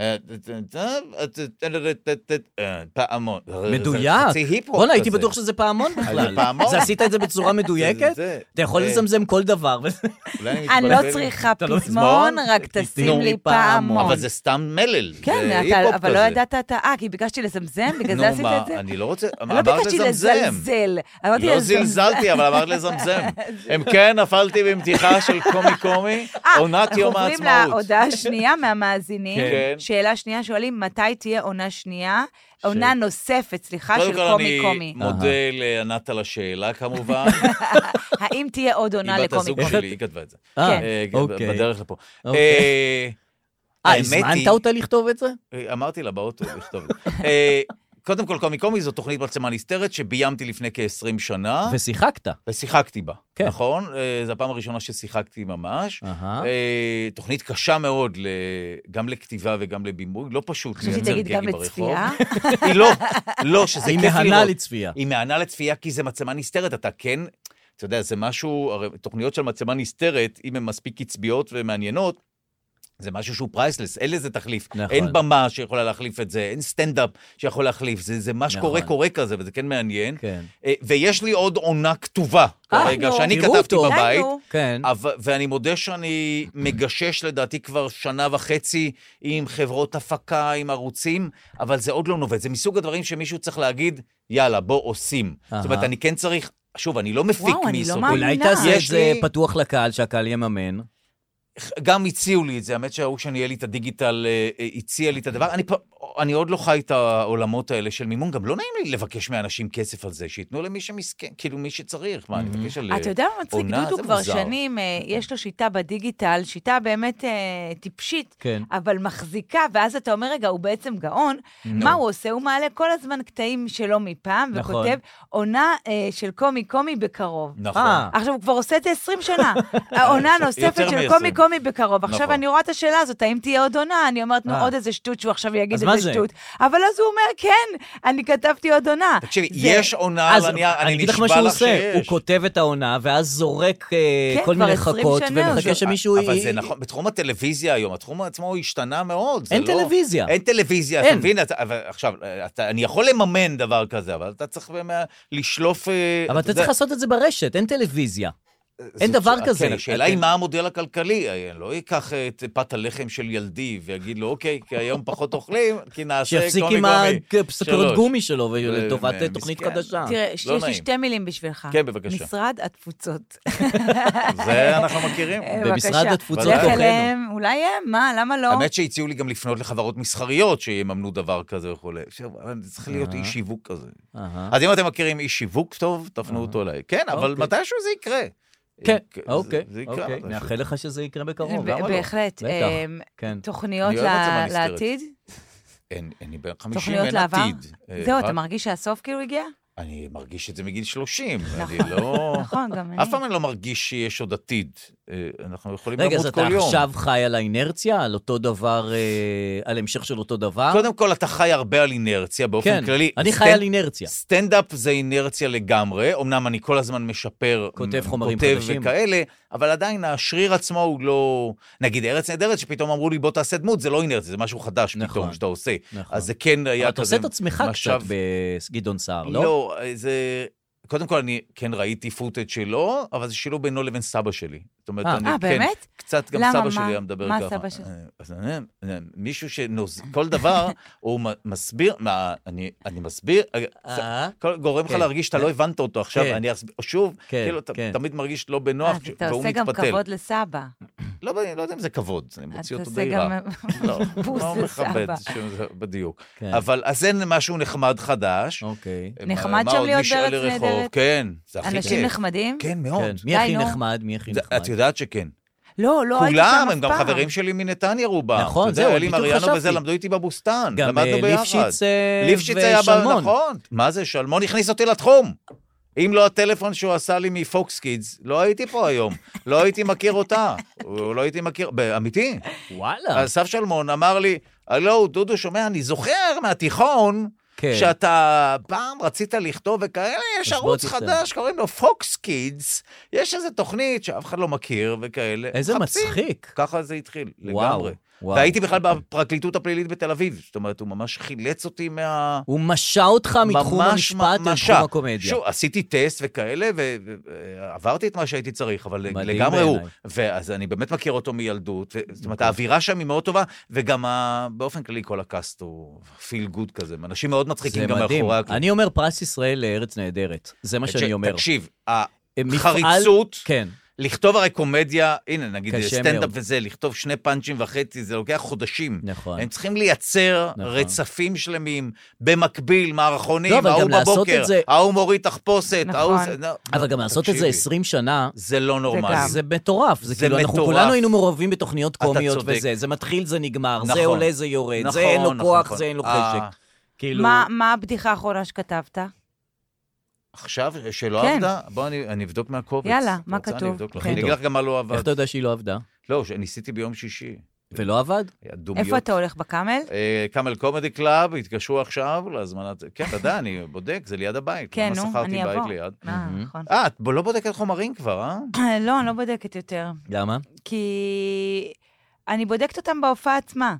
[SPEAKER 4] אה, אה, פעמון.
[SPEAKER 2] מדויק.
[SPEAKER 4] חצי היפ-הופ
[SPEAKER 2] בואנה, הייתי
[SPEAKER 4] כזה.
[SPEAKER 2] בטוח שזה פעמון בכלל.
[SPEAKER 4] פעמון.
[SPEAKER 2] זה עשית את זה בצורה מדויקת?
[SPEAKER 4] זה-
[SPEAKER 2] אתה יכול
[SPEAKER 4] אה,
[SPEAKER 2] לזמזם כל דבר.
[SPEAKER 4] אולי
[SPEAKER 3] אני
[SPEAKER 4] מתבלבל.
[SPEAKER 3] לא צריכה
[SPEAKER 2] אתה לא
[SPEAKER 3] פזמון,
[SPEAKER 2] מזמון?
[SPEAKER 3] רק
[SPEAKER 2] נו,
[SPEAKER 3] תשים לי
[SPEAKER 2] פעמון.
[SPEAKER 3] פעמון.
[SPEAKER 4] אבל זה סתם מלל.
[SPEAKER 3] כן,
[SPEAKER 4] זה
[SPEAKER 3] אתה-
[SPEAKER 4] היפ-הופ
[SPEAKER 3] אבל לא
[SPEAKER 4] כזה.
[SPEAKER 3] ידעת אתה... אה, כי ביקשתי לזמזם, בגלל זה עשית את
[SPEAKER 4] נו,
[SPEAKER 3] זה?
[SPEAKER 4] מה, אני לא רוצה,
[SPEAKER 3] לא
[SPEAKER 4] אמרת
[SPEAKER 3] ביקשתי
[SPEAKER 4] לזמזם.
[SPEAKER 3] לזלזל, אמרתי
[SPEAKER 4] לא
[SPEAKER 3] לזמזם.
[SPEAKER 4] זלזלתי, אבל אמרת לזמזם. אם כן, נפלתי במתיחה של קומי קומי,
[SPEAKER 3] אה,
[SPEAKER 4] עונת יום העצמאות.
[SPEAKER 3] אנחנו עוברים להודעה השנייה מהמאזינים.
[SPEAKER 4] כן.
[SPEAKER 3] שאלה שנייה, שואלים, מתי תהיה עונה שנייה? עונה נוספת, סליחה,
[SPEAKER 4] קודם
[SPEAKER 3] של
[SPEAKER 4] כל,
[SPEAKER 3] קומי
[SPEAKER 4] אני
[SPEAKER 3] קומי.
[SPEAKER 4] מודה לענת על השאלה, כמובן.
[SPEAKER 3] האם תהיה עוד
[SPEAKER 4] היא
[SPEAKER 3] עונה
[SPEAKER 4] בת
[SPEAKER 3] לקומי
[SPEAKER 4] הזוג
[SPEAKER 3] קומי? כן.
[SPEAKER 4] שלי, היא כתבה את זה.
[SPEAKER 2] אה,
[SPEAKER 4] אה,
[SPEAKER 2] אוקיי.
[SPEAKER 4] בדרך לפה.
[SPEAKER 2] אוקיי.
[SPEAKER 4] אה,
[SPEAKER 2] אה,
[SPEAKER 4] האמת היא-
[SPEAKER 2] הזמנת אותה לכתוב את זה?
[SPEAKER 4] אה, אמרתי לה באוטו, לכתוב את זה. אה, קודם כל, קומי קומי זו תוכנית מצלמה נסתרת שביימתי לפני כ-20 שנה, אה.
[SPEAKER 2] ושיחקת.
[SPEAKER 4] ושיחקתי בה,
[SPEAKER 2] כן.
[SPEAKER 4] נכון? אה, זו הפעם הראשונה ששיחקתי ממש.
[SPEAKER 2] אהה.
[SPEAKER 4] אה, תוכנית קשה מאוד, ל- גם לכתיבה וגם לבימוי, לא פשוט
[SPEAKER 3] חשבתי
[SPEAKER 4] לייצר
[SPEAKER 3] שתגיד גם
[SPEAKER 4] גגים ברחוב.
[SPEAKER 3] לצפייה.
[SPEAKER 4] היא לא, לא, שזה
[SPEAKER 2] היא
[SPEAKER 4] כיף לראות. אה.
[SPEAKER 2] מהנה לצפייה.
[SPEAKER 4] היא מהנה לצפייה כי זה מצלמה נסתרת, אתה כן, אתה יודע, זה משהו, הרי תוכניות של מצלמה נסתרת, אם הן מספיק קצביות ומעניינות, זה משהו שהוא פרייסלס, אין לזה תחליף.
[SPEAKER 2] נכון.
[SPEAKER 4] אין במה שיכולה להחליף את זה, אין סטנדאפ שיכול להחליף, זה, זה מה שקורה
[SPEAKER 2] נכון.
[SPEAKER 4] קורה כזה, וזה כן מעניין.
[SPEAKER 2] כן.
[SPEAKER 4] אה, ויש לי עוד עונה כתובה
[SPEAKER 2] אה,
[SPEAKER 4] כרגע,
[SPEAKER 3] נו.
[SPEAKER 4] שאני
[SPEAKER 2] תראו
[SPEAKER 4] כתבתי
[SPEAKER 2] אותו.
[SPEAKER 4] בבית.
[SPEAKER 3] נו.
[SPEAKER 2] כן.
[SPEAKER 4] אבל, ואני מודה שאני מגשש לדעתי כבר שנה וחצי עם חברות הפקה, עם ערוצים, אבל זה עוד לא נובד. זה מסוג הדברים שמישהו צריך להגיד, יאללה, בוא עושים.
[SPEAKER 2] אהה.
[SPEAKER 4] זאת אומרת, אני כן צריך, שוב, אני לא מפיק
[SPEAKER 3] וואו, אני לא
[SPEAKER 4] מיסודי.
[SPEAKER 3] מאמינה.
[SPEAKER 2] אולי תעשה את
[SPEAKER 4] יש
[SPEAKER 2] זה
[SPEAKER 4] לי-
[SPEAKER 2] פתוח לקהל, שהקהל יממן.
[SPEAKER 4] גם הציעו לי את זה, האמת שההוא שניהל לי את הדיגיטל אה, אה, הציע לי את הדבר. אני, פ- אני עוד לא חי את העולמות האלה של מימון, גם לא נעים לי לבקש מאנשים כסף על זה, שייתנו למי שמסכן, כאילו מי שצריך.
[SPEAKER 2] Mm-hmm.
[SPEAKER 4] מה, אני מבקש על...
[SPEAKER 3] אתה יודע מה מצחיק?
[SPEAKER 4] עונה? זה
[SPEAKER 3] דודו כבר
[SPEAKER 4] מוזר.
[SPEAKER 3] שנים, אה, יש לו שיטה בדיגיטל, שיטה באמת אה, טיפשית,
[SPEAKER 2] כן.
[SPEAKER 3] אבל מחזיקה, ואז אתה אומר, רגע, הוא בעצם גאון. מה הוא עושה? הוא מעלה כל הזמן קטעים שלו מפעם,
[SPEAKER 2] נכון.
[SPEAKER 3] וכותב, עונה אה, של קומי קומי בקרוב.
[SPEAKER 4] נכון.
[SPEAKER 2] אה.
[SPEAKER 3] עכשיו, הוא כבר עושה את זה 20 שנה. העונה הנוספת
[SPEAKER 4] אה, יותר
[SPEAKER 3] של
[SPEAKER 4] מ-
[SPEAKER 3] קומי קומי בקרוב. עכשיו
[SPEAKER 4] נכון.
[SPEAKER 3] אני רואה את השאלה הזאת, האם תהיה עוד עונה? אני אומרת, נו,
[SPEAKER 2] אה.
[SPEAKER 3] עוד איזה שטות שהוא עכשיו יגיד
[SPEAKER 2] אז מה
[SPEAKER 3] איזה
[SPEAKER 2] זה?
[SPEAKER 3] שטות. אבל אז הוא אומר, כן, אני כתבתי עוד עונה.
[SPEAKER 4] תקשיבי, אה,
[SPEAKER 3] זה-
[SPEAKER 4] יש עונה על
[SPEAKER 2] אז
[SPEAKER 4] הנייר, אני
[SPEAKER 2] אני אגיד לך מה
[SPEAKER 4] נשבע
[SPEAKER 2] שהוא
[SPEAKER 4] לך
[SPEAKER 2] עושה, הוא
[SPEAKER 4] שיש.
[SPEAKER 2] כותב את העונה, ואז זורק אה,
[SPEAKER 3] כן,
[SPEAKER 2] כל
[SPEAKER 3] כבר
[SPEAKER 2] מיני
[SPEAKER 3] 20
[SPEAKER 2] חכות,
[SPEAKER 3] שנה הוא
[SPEAKER 2] ומחכה
[SPEAKER 3] זורק.
[SPEAKER 2] שמישהו...
[SPEAKER 4] אבל
[SPEAKER 2] י-
[SPEAKER 4] זה נכון, בתחום הטלוויזיה היום, התחום עצמו השתנה מאוד. זה
[SPEAKER 2] אין
[SPEAKER 4] לא-
[SPEAKER 2] טלוויזיה.
[SPEAKER 4] אין טלוויזיה,
[SPEAKER 2] אין.
[SPEAKER 4] אתה מבין? אתה- אבל עכשיו, אתה- אני יכול לממן דבר כזה, אבל אתה צריך באמת לשלוף... אה,
[SPEAKER 2] אבל אתה
[SPEAKER 4] יודע,
[SPEAKER 2] צריך לעשות את זה ברשת, אין טלוויזיה.
[SPEAKER 4] זאת-
[SPEAKER 2] אין דבר כזה.
[SPEAKER 4] כן, השאלה
[SPEAKER 2] אתה-
[SPEAKER 4] היא מה המודל הכלכלי. אה, לא ייקח את פת הלחם של ילדי ויגיד לו, אוקיי, כי היום פחות אוכלים, כי נעשה
[SPEAKER 2] שיפסיק
[SPEAKER 4] קומי
[SPEAKER 2] עם
[SPEAKER 4] קומי.
[SPEAKER 2] הסוכרת
[SPEAKER 4] שלוש.
[SPEAKER 2] גומי שלו, ולטובת
[SPEAKER 4] אה,
[SPEAKER 2] תוכנית
[SPEAKER 4] מסכן.
[SPEAKER 2] חדשה.
[SPEAKER 3] תראה, יש לי
[SPEAKER 4] נעים.
[SPEAKER 3] שתי מילים בשבילך.
[SPEAKER 4] כן, בבקשה.
[SPEAKER 3] משרד התפוצות. אה,
[SPEAKER 4] זה אנחנו מכירים.
[SPEAKER 2] במשרד
[SPEAKER 3] בבקשה.
[SPEAKER 2] התפוצות
[SPEAKER 3] לך
[SPEAKER 4] אורחינו.
[SPEAKER 3] אליהם, אולי הם, מה, למה לא?
[SPEAKER 4] אוקיי. האמת שהציעו לי גם לפנות לחברות מסחריות שיממנו דבר כזה וכולי. עכשיו, אבל זה צריך
[SPEAKER 2] אה.
[SPEAKER 4] להיות איש שיווק כזה.
[SPEAKER 2] אהה.
[SPEAKER 4] אז אם אתם מכירים איש שיווק טוב, תפנו אותו אליי. כן, אבל
[SPEAKER 2] אוקיי.
[SPEAKER 4] מתישהו זה יקרה.
[SPEAKER 2] כן,
[SPEAKER 4] זה-
[SPEAKER 2] אוקיי,
[SPEAKER 4] זה יקרה.
[SPEAKER 2] אוקיי.
[SPEAKER 4] מתישהו.
[SPEAKER 2] נאחל לך שזה יקרה בקרוב.
[SPEAKER 3] ב-
[SPEAKER 4] למה לא?
[SPEAKER 3] בהחלט.
[SPEAKER 2] בטח,
[SPEAKER 3] אמ,
[SPEAKER 2] כן.
[SPEAKER 3] תוכניות
[SPEAKER 4] אני אוהב את זה, מה
[SPEAKER 3] ל-
[SPEAKER 4] נסתרת?
[SPEAKER 3] לעתיד?
[SPEAKER 4] אין, אני בן 50,
[SPEAKER 3] תוכניות
[SPEAKER 4] אין
[SPEAKER 3] לעבר?
[SPEAKER 4] עתיד. אה,
[SPEAKER 3] זהו, אתה
[SPEAKER 4] רק-
[SPEAKER 3] מרגיש שהסוף כאילו הגיע?
[SPEAKER 4] אני מרגיש את זה מגיל 30. אני
[SPEAKER 3] נכון.
[SPEAKER 4] לא...
[SPEAKER 3] נכון, גם אני.
[SPEAKER 4] אף פעם אני לא מרגיש שיש עוד עתיד. אה, אנחנו יכולים
[SPEAKER 2] רגע, אז
[SPEAKER 4] למות
[SPEAKER 2] אתה
[SPEAKER 4] כל יום.
[SPEAKER 2] עכשיו חי על האינרציה, על אותו דבר, אה, על המשך של אותו דבר?
[SPEAKER 4] קודם כל, אתה חי הרבה על אינרציה באופן
[SPEAKER 2] כן,
[SPEAKER 4] כללי.
[SPEAKER 2] אני חי
[SPEAKER 4] סטנד-
[SPEAKER 2] על אינרציה.
[SPEAKER 4] סטנדאפ זה אינרציה לגמרי, אמנם אני כל הזמן משפר,
[SPEAKER 2] כותב
[SPEAKER 4] מ-
[SPEAKER 2] חומרים
[SPEAKER 4] כותב
[SPEAKER 2] חדשים.
[SPEAKER 4] וכאלה, אבל עדיין השריר עצמו הוא לא... נגיד ארץ נהדרת, שפתאום אמרו לי בוא תעשה דמות, זה לא אינרציה, זה משהו חדש
[SPEAKER 2] נכון,
[SPEAKER 4] פתאום שאתה עושה.
[SPEAKER 2] נכון.
[SPEAKER 4] אז זה כן היה
[SPEAKER 2] אבל
[SPEAKER 4] כזה...
[SPEAKER 2] אתה עושה את עצמך
[SPEAKER 4] משב-
[SPEAKER 2] קצת בגדעון סער, לא?
[SPEAKER 4] לא, זה... קודם כל, אני כן ראיתי פוטאג' שלו, אבל זה שילוב בינו לבין סבא שלי. זאת אומרת,
[SPEAKER 2] אה.
[SPEAKER 4] אני...
[SPEAKER 3] אה,
[SPEAKER 4] כן,
[SPEAKER 3] באמת?
[SPEAKER 4] קצת גם
[SPEAKER 3] למה?
[SPEAKER 4] סבא
[SPEAKER 3] מה-
[SPEAKER 4] שלי היה מדבר
[SPEAKER 3] מה
[SPEAKER 4] ככה.
[SPEAKER 3] סבא שלך?
[SPEAKER 4] אה, אז אני- אני- מישהו שנוז... כל דבר, הוא מ- מסביר, מה, אני אני מסביר, אה, זה-
[SPEAKER 2] אה.
[SPEAKER 4] כל- גורם לך
[SPEAKER 2] כן.
[SPEAKER 4] להרגיש שאתה לא הבנת אותו עכשיו,
[SPEAKER 2] כן.
[SPEAKER 4] אני אסביר, שוב,
[SPEAKER 2] כן,
[SPEAKER 4] כאילו, אתה
[SPEAKER 2] כן.
[SPEAKER 4] תמיד מרגיש לא בנוח,
[SPEAKER 3] אז
[SPEAKER 4] ש-
[SPEAKER 3] אה, אתה
[SPEAKER 4] והוא
[SPEAKER 3] עושה גם
[SPEAKER 4] מתפתל.
[SPEAKER 3] כבוד לסבא.
[SPEAKER 4] לא, אני לא יודע אם זה כבוד, אני
[SPEAKER 3] אתה
[SPEAKER 4] מוציא אותו
[SPEAKER 3] עושה
[SPEAKER 4] די רע.
[SPEAKER 3] גם
[SPEAKER 4] לא,
[SPEAKER 3] בוז
[SPEAKER 4] לא מכבד,
[SPEAKER 3] לסבא.
[SPEAKER 4] שזה- בדיוק.
[SPEAKER 2] כן.
[SPEAKER 4] אבל אה, אז אין משהו נחמד חדש.
[SPEAKER 2] אוקיי.
[SPEAKER 4] מה-
[SPEAKER 3] נחמד
[SPEAKER 4] מה
[SPEAKER 3] שם
[SPEAKER 4] עוד?
[SPEAKER 3] להיות
[SPEAKER 4] נשאל
[SPEAKER 3] בארץ
[SPEAKER 4] לרחוב.
[SPEAKER 3] נהדרת?
[SPEAKER 4] כן, זה הכי
[SPEAKER 3] אנשים
[SPEAKER 4] כיף.
[SPEAKER 3] נחמדים?
[SPEAKER 4] כן,
[SPEAKER 2] כן,
[SPEAKER 4] מאוד.
[SPEAKER 2] מי הכי
[SPEAKER 3] די, נו.
[SPEAKER 2] נחמד? מי הכי
[SPEAKER 4] זה-
[SPEAKER 2] נחמד?
[SPEAKER 4] את יודעת שכן.
[SPEAKER 3] לא, לא הייתי שם אף פעם.
[SPEAKER 4] כולם, הם גם חברים שלי מנתניה רובם.
[SPEAKER 2] נכון,
[SPEAKER 4] אתה יודע,
[SPEAKER 2] זהו,
[SPEAKER 4] אלי
[SPEAKER 2] בדיוק
[SPEAKER 4] מריאנו
[SPEAKER 2] חשבתי.
[SPEAKER 4] וזה למדו איתי בבוסתן,
[SPEAKER 2] גם,
[SPEAKER 4] למדנו
[SPEAKER 2] אה,
[SPEAKER 4] ביחד.
[SPEAKER 2] ליפשיץ, אה,
[SPEAKER 4] ליפשיץ היה ב-
[SPEAKER 2] ושלמון.
[SPEAKER 4] נכון. מה זה, שלמון הכניס אותי לתחום. אם לא הטלפון שהוא עשה לי מפוקס קידס, לא הייתי פה היום. לא הייתי מכיר אותה. הוא- לא הייתי מכיר, אמיתי.
[SPEAKER 2] וואלה.
[SPEAKER 4] אסף שלמון אמר לי, הלו, דודו, שומע, אני זוכר מהתיכון,
[SPEAKER 2] כן.
[SPEAKER 4] שאתה פעם רצית לכתוב וכאלה, יש
[SPEAKER 2] אז בוא
[SPEAKER 4] ערוץ
[SPEAKER 2] תכתוב."
[SPEAKER 4] חדש, קוראים לו פוקס קידס, יש איזו תוכנית שאף אחד לא מכיר וכאלה.
[SPEAKER 2] איזה
[SPEAKER 4] מחפשים.
[SPEAKER 2] מצחיק.
[SPEAKER 4] ככה זה התחיל,
[SPEAKER 2] וואו,
[SPEAKER 4] לגמרי.
[SPEAKER 2] וואו.
[SPEAKER 4] והייתי בכלל בפרקליטות הפלילית בתל אביב, זאת אומרת, הוא ממש חילץ אותי מה...
[SPEAKER 2] הוא משע אותך מתחום
[SPEAKER 4] ממש
[SPEAKER 2] המשפט
[SPEAKER 4] ממשה.
[SPEAKER 2] לתחום הקומדיה.
[SPEAKER 4] שוב, עשיתי טסט וכאלה, ועברתי את מה שהייתי צריך, אבל
[SPEAKER 2] מדהים
[SPEAKER 4] לגמרי הוא.
[SPEAKER 2] בעיניי. אוקיי.
[SPEAKER 4] ואז אני באמת מכיר אותו מילדות, ו- זאת אומרת, האווירה שם היא מאוד טובה, וגם ה- באופן כללי כל הקאסט הוא פיל גוד כזה, הם אנשים מאוד מצחיקים
[SPEAKER 2] זה
[SPEAKER 4] גם
[SPEAKER 2] מדהים.
[SPEAKER 4] מאחורי הקלעים. אה,
[SPEAKER 2] אני אומר פרס ישראל לארץ נהדרת. זה מה שאני אומר. אה,
[SPEAKER 4] תקשיב,
[SPEAKER 2] מפעל-
[SPEAKER 4] החריצות,
[SPEAKER 2] כן.
[SPEAKER 4] לכתוב הרי קומדיה, הנה, נגיד
[SPEAKER 2] קשה
[SPEAKER 4] סטנדאפ
[SPEAKER 2] מאוד.
[SPEAKER 4] וזה, לכתוב שני פאנצ'ים וחצי, זה לוקח חודשים.
[SPEAKER 2] נכון.
[SPEAKER 4] הם צריכים לייצר
[SPEAKER 2] נכון.
[SPEAKER 4] רצפים שלמים, במקביל, מערכונים,
[SPEAKER 2] לא, אבל
[SPEAKER 4] ההוא
[SPEAKER 2] גם לעשות
[SPEAKER 4] בבוקר,
[SPEAKER 2] את זה-
[SPEAKER 4] ההוא מוריד תחפושת,
[SPEAKER 3] נכון.
[SPEAKER 4] ההוא... זה- לא,
[SPEAKER 2] אבל גם לעשות את זה
[SPEAKER 4] תקשיבי,
[SPEAKER 2] 20 שנה,
[SPEAKER 4] זה לא נורמלי.
[SPEAKER 3] גם.
[SPEAKER 2] זה מטורף. זה
[SPEAKER 4] זה
[SPEAKER 2] כאילו, אנחנו
[SPEAKER 4] מטורף.
[SPEAKER 2] כולנו היינו מעורבים בתוכניות
[SPEAKER 4] אתה
[SPEAKER 2] קומיות
[SPEAKER 4] צודק.
[SPEAKER 2] וזה. זה מתחיל, זה נגמר. זה
[SPEAKER 4] נכון.
[SPEAKER 2] עולה, זה יורד. זה
[SPEAKER 4] נכון,
[SPEAKER 2] אין לו
[SPEAKER 4] נכון,
[SPEAKER 2] כוח,
[SPEAKER 4] נכון.
[SPEAKER 2] זה אין לו
[SPEAKER 4] אה,
[SPEAKER 2] חשק. כאילו...
[SPEAKER 3] מה- מה הבדיחה האחרונה שכתבת?
[SPEAKER 4] עכשיו, שלא
[SPEAKER 3] כן.
[SPEAKER 4] עבדה, בוא, אני אני אבדוק מהקובץ.
[SPEAKER 3] יאללה,
[SPEAKER 4] את
[SPEAKER 3] מה
[SPEAKER 4] רוצה? אני
[SPEAKER 3] כתוב?
[SPEAKER 4] אבדוק לך.
[SPEAKER 2] הכי
[SPEAKER 4] אני
[SPEAKER 2] טוב.
[SPEAKER 4] אגיד לך גם מה לא
[SPEAKER 2] כן. איך
[SPEAKER 4] עבד.
[SPEAKER 2] אתה יודע שהיא לא עבדה?
[SPEAKER 4] לא, ניסיתי ביום שישי.
[SPEAKER 2] ולא עבד?
[SPEAKER 4] היה דומיות.
[SPEAKER 3] איפה אתה הולך, בקאמל?
[SPEAKER 4] אה, קאמל קומדי קלאב, התקשרו עכשיו להזמנת... כן, אתה יודע, אני בודק, זה ליד הבית.
[SPEAKER 3] כן,
[SPEAKER 4] למה
[SPEAKER 3] נו,
[SPEAKER 4] שכרתי
[SPEAKER 3] אני
[SPEAKER 4] בית
[SPEAKER 3] אבוא.
[SPEAKER 4] ליד?
[SPEAKER 3] אה, נכון.
[SPEAKER 4] אה, את לא בודקת חומרים כבר, אה?
[SPEAKER 3] לא, אני לא בודקת יותר.
[SPEAKER 2] למה?
[SPEAKER 3] כי אני בודקת אותם בהופעה עצמה.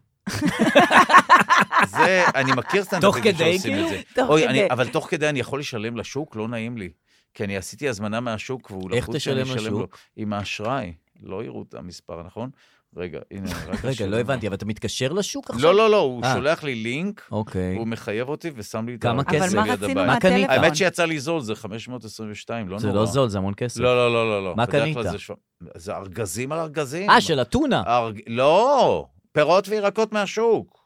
[SPEAKER 4] זה, אני מכיר סטנדאפיסטים
[SPEAKER 2] תוך כדי,
[SPEAKER 4] שעושים
[SPEAKER 2] כאילו?
[SPEAKER 4] את זה.
[SPEAKER 3] תוך
[SPEAKER 4] אוי,
[SPEAKER 3] כדי.
[SPEAKER 4] אני- אבל תוך כדי אני יכול לשלם לשוק? לא נעים לי. כי אני עשיתי הזמנה מהשוק, והוא
[SPEAKER 2] איך
[SPEAKER 4] לחוץ שאני
[SPEAKER 2] תשלם
[SPEAKER 4] אשלם
[SPEAKER 2] לשוק?
[SPEAKER 4] לו. עם האשראי, לא יראו את המספר, נכון? רגע, הנה, רק
[SPEAKER 2] רגע,
[SPEAKER 4] אשלם.
[SPEAKER 2] לא הבנתי, אבל אתה מתקשר לשוק עכשיו?
[SPEAKER 4] לא, לא, לא, הוא
[SPEAKER 2] אה.
[SPEAKER 4] שולח לי לינק,
[SPEAKER 2] אוקיי.
[SPEAKER 4] הוא מחייב אותי ושם לי את
[SPEAKER 2] כמה
[SPEAKER 4] הכסף
[SPEAKER 3] אבל
[SPEAKER 2] כסף.
[SPEAKER 3] מה
[SPEAKER 4] ליד
[SPEAKER 3] רצינו
[SPEAKER 4] הבית.
[SPEAKER 2] מה קנית?
[SPEAKER 3] מהטלפון?
[SPEAKER 4] האמת שיצא לי זול, זה 522, לא
[SPEAKER 2] זה
[SPEAKER 4] נורא.
[SPEAKER 2] לא זול, זה המון כסף.
[SPEAKER 4] לא, לא, לא, לא, לא.
[SPEAKER 2] מה
[SPEAKER 4] בדרך
[SPEAKER 2] קנית?
[SPEAKER 4] כלל זה ש- זה ארגזים על
[SPEAKER 3] כן.
[SPEAKER 4] ארגזים.
[SPEAKER 2] אה, של אתונה.
[SPEAKER 4] ארג- לא, פירות וירקות מהשוק.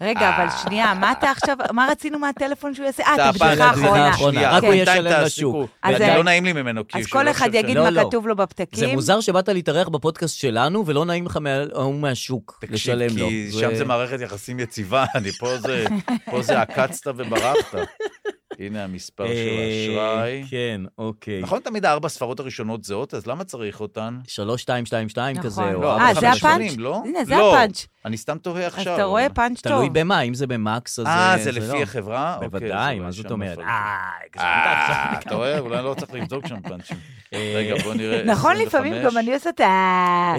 [SPEAKER 3] רגע, אבל
[SPEAKER 4] אה.
[SPEAKER 3] שנייה, מה אתה עכשיו, מה רצינו מהטלפון שהוא יעשה? אה, את
[SPEAKER 4] אתה הפעם
[SPEAKER 3] הבדיחה
[SPEAKER 2] הבדיחה
[SPEAKER 3] האחרונה. כן.
[SPEAKER 2] האחרונה.
[SPEAKER 4] שנייה,
[SPEAKER 2] רק הוא
[SPEAKER 4] בינתיים
[SPEAKER 2] ישלם
[SPEAKER 4] תעסיקו.
[SPEAKER 2] לשוק.
[SPEAKER 3] אז
[SPEAKER 4] זה
[SPEAKER 3] זה-
[SPEAKER 4] לא נעים לי ממנו, כי
[SPEAKER 3] אז
[SPEAKER 4] שהוא
[SPEAKER 3] כל
[SPEAKER 4] לא
[SPEAKER 3] אחד
[SPEAKER 4] חושב
[SPEAKER 3] יגיד
[SPEAKER 4] שאני-
[SPEAKER 2] לא,
[SPEAKER 3] מה
[SPEAKER 2] לא.
[SPEAKER 3] כתוב לו
[SPEAKER 2] זה
[SPEAKER 3] בפתקים.
[SPEAKER 2] מוזר שבאת להתארח בפודקאסט שלנו, ולא נעים לך מההוא מהשוק
[SPEAKER 4] תקשיב,
[SPEAKER 2] לשלם לו.
[SPEAKER 4] כי שם זה מערכת יחסים יציבה, אני פה זה, פה זה עקצת וברחת. הנה המספר של
[SPEAKER 2] אה,
[SPEAKER 4] האשראי.
[SPEAKER 2] כן, אוקיי.
[SPEAKER 4] נכון תמיד הארבע ספרות הראשונות זהות, אז למה צריך אותן?
[SPEAKER 2] 3222
[SPEAKER 3] נכון.
[SPEAKER 2] כזה,
[SPEAKER 3] לא,
[SPEAKER 2] או
[SPEAKER 4] לא,
[SPEAKER 2] ארבע
[SPEAKER 3] אה, זה
[SPEAKER 2] חמש
[SPEAKER 3] הפאנץ'?
[SPEAKER 2] שמונים.
[SPEAKER 4] הראשונים, לא?
[SPEAKER 3] הנה, זה
[SPEAKER 4] לא,
[SPEAKER 3] הפאנץ'.
[SPEAKER 4] אני סתם תוהה עכשיו.
[SPEAKER 3] אז אתה רואה פאנץ'
[SPEAKER 2] תלוי
[SPEAKER 3] טוב.
[SPEAKER 2] במה, אם זה במקס, אז
[SPEAKER 4] אה, זה
[SPEAKER 2] לא.
[SPEAKER 4] לפי החברה? אוקיי,
[SPEAKER 2] בוודאי,
[SPEAKER 4] אז
[SPEAKER 2] מה
[SPEAKER 4] אולי
[SPEAKER 2] זאת
[SPEAKER 4] שם
[SPEAKER 2] אומרת?
[SPEAKER 4] נפל.
[SPEAKER 2] אה, הגזמת עכשיו.
[SPEAKER 4] אה, אתה רואה? אולי לא צריך לבדוק שם פאנצ'ים. רגע, בוא נראה. אה,
[SPEAKER 3] נכון,
[SPEAKER 4] 25.
[SPEAKER 3] לפעמים גם אני עושה את
[SPEAKER 4] אה,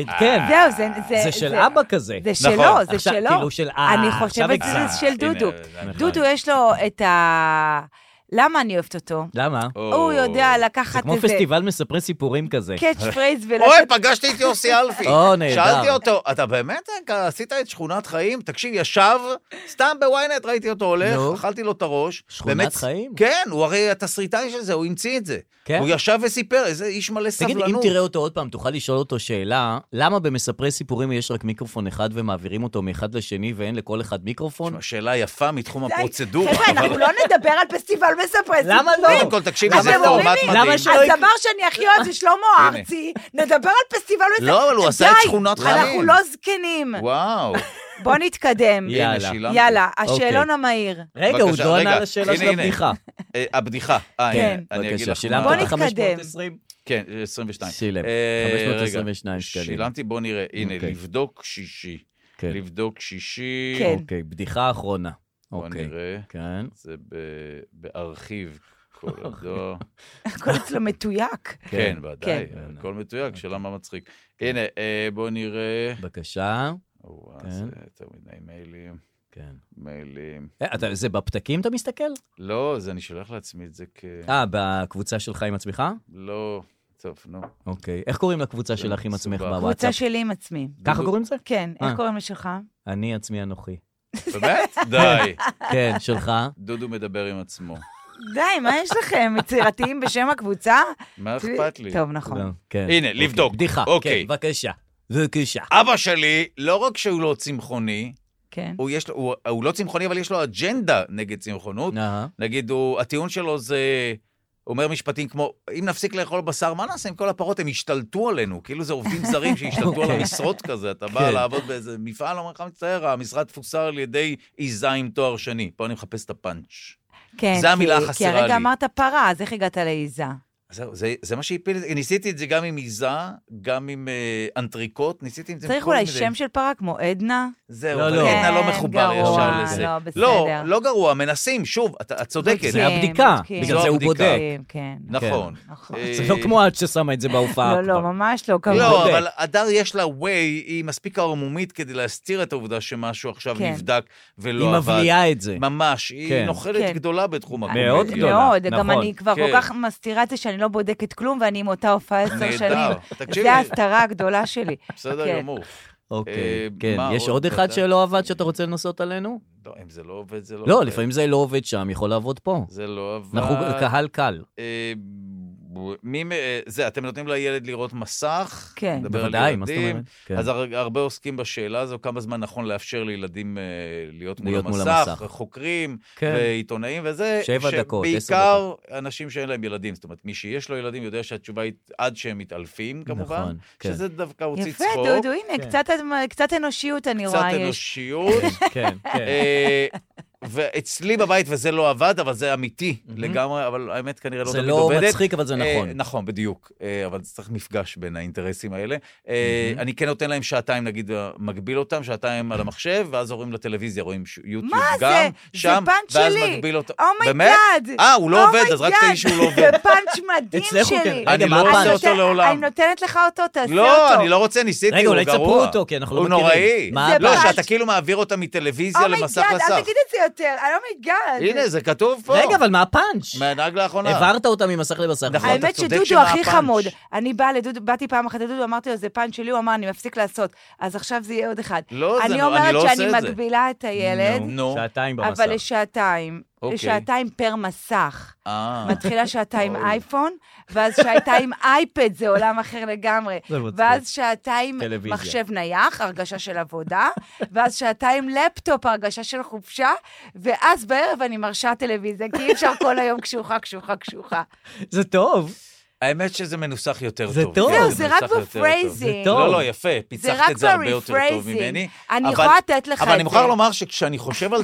[SPEAKER 3] ה...
[SPEAKER 2] כן.
[SPEAKER 3] זהו, זה- זה...
[SPEAKER 2] זה של אבא כזה.
[SPEAKER 3] זה
[SPEAKER 4] נכון.
[SPEAKER 3] שלו, זה
[SPEAKER 2] עכשיו,
[SPEAKER 3] שלו.
[SPEAKER 2] כאילו של, אה,
[SPEAKER 3] אני
[SPEAKER 2] עכשיו
[SPEAKER 3] חושבת
[SPEAKER 2] הגזמת.
[SPEAKER 3] שזה של
[SPEAKER 4] הנה,
[SPEAKER 3] דודו.
[SPEAKER 4] נכון.
[SPEAKER 3] דודו, יש לו את ה... למה אני אוהבת אותו?
[SPEAKER 2] למה?
[SPEAKER 4] או.
[SPEAKER 3] הוא יודע
[SPEAKER 2] זה
[SPEAKER 3] לקחת
[SPEAKER 2] כמו
[SPEAKER 3] איזה
[SPEAKER 2] פסטיבל מספרי סיפורים כזה.
[SPEAKER 3] קאץ' פרייז
[SPEAKER 4] אוי,
[SPEAKER 3] ולתת...
[SPEAKER 4] פגשתי את יוסי אלפי.
[SPEAKER 2] או, נהדר.
[SPEAKER 4] שאלתי אותו, אתה באמת אה, עשית את שכונת חיים? תקשיב, ישב, סתם בוויינט ראיתי אותו הולך,
[SPEAKER 2] נו.
[SPEAKER 4] אכלתי לו את הראש.
[SPEAKER 2] שכונת
[SPEAKER 4] באמת,
[SPEAKER 2] חיים?
[SPEAKER 4] כן, הוא הרי התסריטאי של זה, הוא המציא את זה.
[SPEAKER 2] כן?
[SPEAKER 4] הוא ישב וסיפר, איזה איש מלא
[SPEAKER 2] תגיד,
[SPEAKER 4] סבלנות.
[SPEAKER 2] אם תראה אותו עוד פעם, תוכל לשאול אותו שאלה, למה במספרי סיפורים יש רק מיקרופון אחד ומעבירים אותו מאחד לשני ואין לכל אחד מיקרופון?
[SPEAKER 4] תשמע, שאלה יפה מתחום
[SPEAKER 3] די,
[SPEAKER 4] הפרוצדורה.
[SPEAKER 3] חבר'ה,
[SPEAKER 4] אבל-
[SPEAKER 3] אנחנו לא נדבר על פסטיבל מספרי סיפורים.
[SPEAKER 2] למה לא?
[SPEAKER 4] קודם כל, תקשיבי,
[SPEAKER 3] למה
[SPEAKER 4] זה
[SPEAKER 3] אתם
[SPEAKER 4] פורמט
[SPEAKER 3] אומרים לי?
[SPEAKER 4] מדהים.
[SPEAKER 2] למה שלא יקרה?
[SPEAKER 3] הדבר שאני הכי אוהבת זה שלמה
[SPEAKER 4] הנה.
[SPEAKER 3] ארצי, נדבר על פסטיבל מספרי
[SPEAKER 4] לא, אבל הוא עשה את
[SPEAKER 3] די,
[SPEAKER 4] שכונת
[SPEAKER 3] אנחנו
[SPEAKER 4] חיים.
[SPEAKER 3] לא זקנים.
[SPEAKER 4] וואו.
[SPEAKER 3] בואו נתקדם.
[SPEAKER 2] יאללה.
[SPEAKER 4] הנה, שילמתי.
[SPEAKER 3] יאללה,
[SPEAKER 2] אוקיי.
[SPEAKER 3] השאלון המהיר.
[SPEAKER 2] רגע, הוא
[SPEAKER 4] בבקשה,
[SPEAKER 2] לא ענה
[SPEAKER 4] רגע.
[SPEAKER 2] על השאלה
[SPEAKER 4] הנה,
[SPEAKER 2] של
[SPEAKER 4] הנה.
[SPEAKER 2] הבדיחה.
[SPEAKER 4] אה, הבדיחה. אה,
[SPEAKER 3] כן.
[SPEAKER 4] הנה, אני אגיד
[SPEAKER 2] בבקשה,
[SPEAKER 4] לך.
[SPEAKER 2] שילמת
[SPEAKER 3] בוא
[SPEAKER 4] מה-
[SPEAKER 2] לך
[SPEAKER 3] נתקדם.
[SPEAKER 2] 520?
[SPEAKER 4] כן, 22.
[SPEAKER 2] שילם,
[SPEAKER 4] אה,
[SPEAKER 2] 522
[SPEAKER 4] רגע,
[SPEAKER 2] שקלים.
[SPEAKER 4] שילמתי, בוא נראה. הנה,
[SPEAKER 2] אוקיי.
[SPEAKER 4] לבדוק שישי.
[SPEAKER 2] כן.
[SPEAKER 4] לבדוק שישי.
[SPEAKER 3] כן.
[SPEAKER 2] אוקיי, בדיחה אחרונה.
[SPEAKER 4] בוא
[SPEAKER 2] אוקיי.
[SPEAKER 4] נראה.
[SPEAKER 2] כן,
[SPEAKER 4] זה ב- בארכיב כל
[SPEAKER 3] אוקיי.
[SPEAKER 4] הדור.
[SPEAKER 3] הכל אצלו מתויק.
[SPEAKER 4] כן, ודאי,
[SPEAKER 2] כן.
[SPEAKER 4] הכל מתויק, שאלה מה מצחיק. הנה, אה, בוא נראה. אה,
[SPEAKER 2] בבקשה.
[SPEAKER 4] וואו,
[SPEAKER 2] כן.
[SPEAKER 4] זה יותר מדי מיילים.
[SPEAKER 2] כן.
[SPEAKER 4] מיילים.
[SPEAKER 2] אה, אתה- זה בפתקים אתה מסתכל?
[SPEAKER 4] לא, זה אני שולח לעצמי את זה כ...
[SPEAKER 2] אה, בקבוצה שלך עם עצמך?
[SPEAKER 4] לא, טוב, נו.
[SPEAKER 2] אוקיי. איך קוראים לקבוצה שלך עם עצמך
[SPEAKER 4] מסובך.
[SPEAKER 3] קבוצה
[SPEAKER 2] בוואטסאפ?
[SPEAKER 3] שלי עם עצמי.
[SPEAKER 2] ככה קוראים לזה?
[SPEAKER 3] כן,
[SPEAKER 2] אה.
[SPEAKER 3] איך קוראים לשלך?
[SPEAKER 2] אני עצמי אנוכי.
[SPEAKER 4] באמת? די.
[SPEAKER 2] כן, שלך.
[SPEAKER 4] דודו מדבר עם עצמו.
[SPEAKER 3] די, מה יש לכם? יצירתיים בשם הקבוצה?
[SPEAKER 4] מה אכפת לי?
[SPEAKER 3] טוב,
[SPEAKER 2] לא,
[SPEAKER 3] נכון.
[SPEAKER 2] כן.
[SPEAKER 4] הנה,
[SPEAKER 2] אוקיי.
[SPEAKER 4] לבדוק.
[SPEAKER 2] בדיחה.
[SPEAKER 4] אוקיי.
[SPEAKER 2] כן, בבקשה. בבקשה.
[SPEAKER 4] אבא שלי, לא רק שהוא לא צמחוני,
[SPEAKER 3] כן.
[SPEAKER 4] הוא, יש לו, הוא, הוא לא צמחוני, אבל יש לו אג'נדה נגד צמחונות.
[SPEAKER 2] אהה.
[SPEAKER 4] נגיד, הוא, הטיעון שלו זה... הוא אומר משפטים כמו, אם נפסיק לאכול בשר, מה נעשה עם כל הפרות? הם ישתלטו עלינו. כאילו זה עובדים זרים שהשתלטו על המשרות כזה. אתה בא
[SPEAKER 2] אוקיי. כן.
[SPEAKER 4] לעבוד באיזה מפעל, אומר לך, מצטער, המשרד תפוסר על ידי עיזה עם תואר שני. פה אני מחפש את הפאנץ'.
[SPEAKER 3] כן,
[SPEAKER 4] זה המילה
[SPEAKER 3] כי-
[SPEAKER 4] החסרה
[SPEAKER 3] כי הרגע
[SPEAKER 4] לי.
[SPEAKER 3] אמרת פרה, אז איך הגעת לעיזה?
[SPEAKER 4] זהו, זה, זה מה שהפיל את זה. ניסיתי את זה גם עם עיזה, גם עם אה, אנטריקוט, ניסיתי עם זה. עם
[SPEAKER 3] צריך
[SPEAKER 4] כל
[SPEAKER 3] אולי
[SPEAKER 4] מיני.
[SPEAKER 3] שם של פרה כמו עדנה?
[SPEAKER 4] זהו,
[SPEAKER 2] לא,
[SPEAKER 4] אבל
[SPEAKER 2] לא.
[SPEAKER 4] עדנה
[SPEAKER 3] כן,
[SPEAKER 4] לא מחובר
[SPEAKER 3] גרוע,
[SPEAKER 4] ישר לזה.
[SPEAKER 3] לא, בסדר. כן.
[SPEAKER 4] לא, לא גרוע, מנסים, שוב, את, את צודקת.
[SPEAKER 2] זה הבדיקה,
[SPEAKER 3] בודקים.
[SPEAKER 2] בגלל זה הוא
[SPEAKER 4] זו הבדיקה.
[SPEAKER 2] בודק.
[SPEAKER 3] כן, כן.
[SPEAKER 4] נכון.
[SPEAKER 3] נכון.
[SPEAKER 4] אה,
[SPEAKER 2] זה לא כמו את ששמה את זה בהופעה.
[SPEAKER 3] לא, לא,
[SPEAKER 2] כבר.
[SPEAKER 3] ממש לא, כמובן.
[SPEAKER 4] לא,
[SPEAKER 2] בודק.
[SPEAKER 4] אבל הדר יש לה way, היא מספיק ערמומית כדי להסתיר את העובדה שמשהו עכשיו
[SPEAKER 3] כן.
[SPEAKER 4] נבדק ולא
[SPEAKER 2] היא
[SPEAKER 4] עבד.
[SPEAKER 2] מבליעה את זה.
[SPEAKER 4] לא, ממש, היא
[SPEAKER 2] כן.
[SPEAKER 4] נוכלת
[SPEAKER 3] כן.
[SPEAKER 4] גדולה בתחום הקומדיה.
[SPEAKER 2] מאוד גדולה,
[SPEAKER 3] מאוד, לא, גם
[SPEAKER 2] נכון.
[SPEAKER 3] אני כבר
[SPEAKER 4] לא, כן.
[SPEAKER 3] כל כך מסתירה את זה שאני לא בודקת כלום, ואני עם אותה הופעה עשר שנים.
[SPEAKER 4] נהדר. תקשיבי,
[SPEAKER 3] זה ההסתרה הגדולה שלי.
[SPEAKER 4] בסדר
[SPEAKER 3] כן.
[SPEAKER 4] גמור. אה,
[SPEAKER 2] אוקיי, כן.
[SPEAKER 4] מה
[SPEAKER 2] יש
[SPEAKER 4] עוד
[SPEAKER 2] עוד אחד
[SPEAKER 4] אתה-
[SPEAKER 2] שלא עבד שאתה רוצה לנסות עלינו?
[SPEAKER 4] לא, אם זה לא עובד, זה לא עובד.
[SPEAKER 2] לא, לפעמים זה לא עובד שם, יכול לעבוד פה.
[SPEAKER 4] זה לא עבד.
[SPEAKER 2] אנחנו קהל קל.
[SPEAKER 4] אה, ב- מי, מ- אה, זה, אתם נותנים לילד לראות מסך?
[SPEAKER 3] כן.
[SPEAKER 4] נדבר על
[SPEAKER 2] בוודאי, מה זאת
[SPEAKER 4] ילדים.
[SPEAKER 2] אומרת? כן.
[SPEAKER 4] אז הר- הרבה עוסקים בשאלה הזו, כמה זמן נכון לאפשר לילדים אה, להיות מול
[SPEAKER 2] להיות מול
[SPEAKER 4] המסך,
[SPEAKER 2] המסך.
[SPEAKER 4] חוקרים
[SPEAKER 2] כן.
[SPEAKER 4] ועיתונאים וזה.
[SPEAKER 2] שבע דקות, עשר
[SPEAKER 4] שבעיקר אנשים שאין להם ילדים, זאת אומרת, מי שיש לו ילדים יודע שהתשובה היא עד שהם מתעלפים, כמובן,
[SPEAKER 2] נכון, כן.
[SPEAKER 4] שזה דווקא הוציא
[SPEAKER 3] יפה,
[SPEAKER 4] צחוק,
[SPEAKER 3] דודו, הנה, קצת- קצת אנושיות אני
[SPEAKER 4] קצת
[SPEAKER 3] רואה יש.
[SPEAKER 4] אנושיות.
[SPEAKER 2] כן, כן.
[SPEAKER 4] אה, ואצלי בבית, וזה לא עבד, אבל זה אמיתי לגמרי, אבל האמת כנראה לא
[SPEAKER 2] זה
[SPEAKER 4] תמיד
[SPEAKER 2] לא
[SPEAKER 4] עובדת.
[SPEAKER 2] מצחיק, אבל זה
[SPEAKER 4] אה,
[SPEAKER 2] נכון.
[SPEAKER 4] נכון, בדיוק. אה, אבל צריך מפגש בין האינטרסים האלה. אה, אני כן נותן להם שעתיים, נגיד, אה, מגביל אותם, שעתיים על המחשב, ואז עוברים לטלוויזיה, רואים ש- יוטיוב
[SPEAKER 3] מה
[SPEAKER 4] גם,
[SPEAKER 3] זה? זה
[SPEAKER 4] שם,
[SPEAKER 3] פאנץ'
[SPEAKER 4] ואז
[SPEAKER 3] שלי.
[SPEAKER 4] מגביל אותם.
[SPEAKER 2] Oh
[SPEAKER 4] באמת?
[SPEAKER 3] אומייגאד!
[SPEAKER 4] אה, הוא לא עובד, אז רק תגיד שהוא לא עובד.
[SPEAKER 3] Oh זה פאנץ' מדהים שלי.
[SPEAKER 2] אצלך הוא כן. רגע,
[SPEAKER 4] אני
[SPEAKER 2] מה
[SPEAKER 4] לא
[SPEAKER 2] הפאנץ'?
[SPEAKER 4] רוצה
[SPEAKER 3] נותן-
[SPEAKER 4] אותו
[SPEAKER 3] אני
[SPEAKER 4] לעולם.
[SPEAKER 3] נותנת לך אותו, תעשה אותו.
[SPEAKER 4] לא, אני לא רוצה, ניסיתי,
[SPEAKER 2] רגע,
[SPEAKER 4] הוא
[SPEAKER 2] אולי
[SPEAKER 4] גרוע.
[SPEAKER 2] תספרו אותו, כי אנחנו לא
[SPEAKER 4] הוא
[SPEAKER 2] מכירים.
[SPEAKER 4] נוראי.
[SPEAKER 2] מה Oh
[SPEAKER 3] זה
[SPEAKER 4] לא,
[SPEAKER 3] פאנץ'.
[SPEAKER 4] שאתה כאילו מעביר אותם מטלוויזיה למסך
[SPEAKER 3] אומייגאד, Oh אל
[SPEAKER 4] לסך.
[SPEAKER 3] תגיד את זה יותר, Oh אומייגאד.
[SPEAKER 4] הנה, זה כתוב פה.
[SPEAKER 2] רגע, אבל מה הפאנץ'?
[SPEAKER 4] מהנהג לאחרונה.
[SPEAKER 2] העברת אותה ממסך לבשר.
[SPEAKER 4] נכון. אתה
[SPEAKER 3] האמת
[SPEAKER 4] צודק
[SPEAKER 3] שדודו
[SPEAKER 4] שמה
[SPEAKER 3] הכי
[SPEAKER 4] הפאנץ'.
[SPEAKER 3] חמוד. אני באה לדודו, באתי פעם אחת לדודו, אמרתי לו, זה פאנץ' שלי, הוא אמר, אני מפסיק לעשות. אז עכשיו זה יהיה עוד אחד.
[SPEAKER 4] לא, זה
[SPEAKER 3] אני
[SPEAKER 4] נורא, אני
[SPEAKER 3] אומרת
[SPEAKER 4] לא
[SPEAKER 3] שאני
[SPEAKER 4] עושה את זה.
[SPEAKER 3] מגבילה את הילד,
[SPEAKER 4] נו.
[SPEAKER 2] שעתיים במסך.
[SPEAKER 3] אבל לשעתיים.
[SPEAKER 4] אוקיי.
[SPEAKER 3] לשעתיים פר מסך.
[SPEAKER 4] אה.
[SPEAKER 3] מתחילה שעתיים אייפון, ואז שעתיים אייפד, זה עולם אחר לגמרי.
[SPEAKER 2] זה מצחיק.
[SPEAKER 3] ואז שעתיים
[SPEAKER 2] טלוויזיה.
[SPEAKER 3] מחשב נייח, הרגשה של עבודה, ואז שעתיים לפטופ, הרגשה של חופשה, ואז בערב אני מרשה טלוויזיה, כי אי אפשר כל היום קשוחה, קשוחה, קשוחה.
[SPEAKER 2] זה טוב.
[SPEAKER 4] האמת שזה מנוסח יותר
[SPEAKER 2] זה
[SPEAKER 4] טוב. כן,
[SPEAKER 2] טוב.
[SPEAKER 3] זהו, לא, זה רק
[SPEAKER 4] מנוסח יותר טוב.
[SPEAKER 3] בפרייזינג.
[SPEAKER 2] טוב.
[SPEAKER 4] לא, לא, יפה,
[SPEAKER 3] זה
[SPEAKER 4] פיצחת
[SPEAKER 3] רק
[SPEAKER 4] את זה הרבה יותר טוב
[SPEAKER 3] ב-rephrasing.
[SPEAKER 4] ממני.
[SPEAKER 3] אני
[SPEAKER 4] אבל-
[SPEAKER 3] יכולה לתת לך את זה.
[SPEAKER 4] אבל אני מוכרח לומר שכשאני חושב על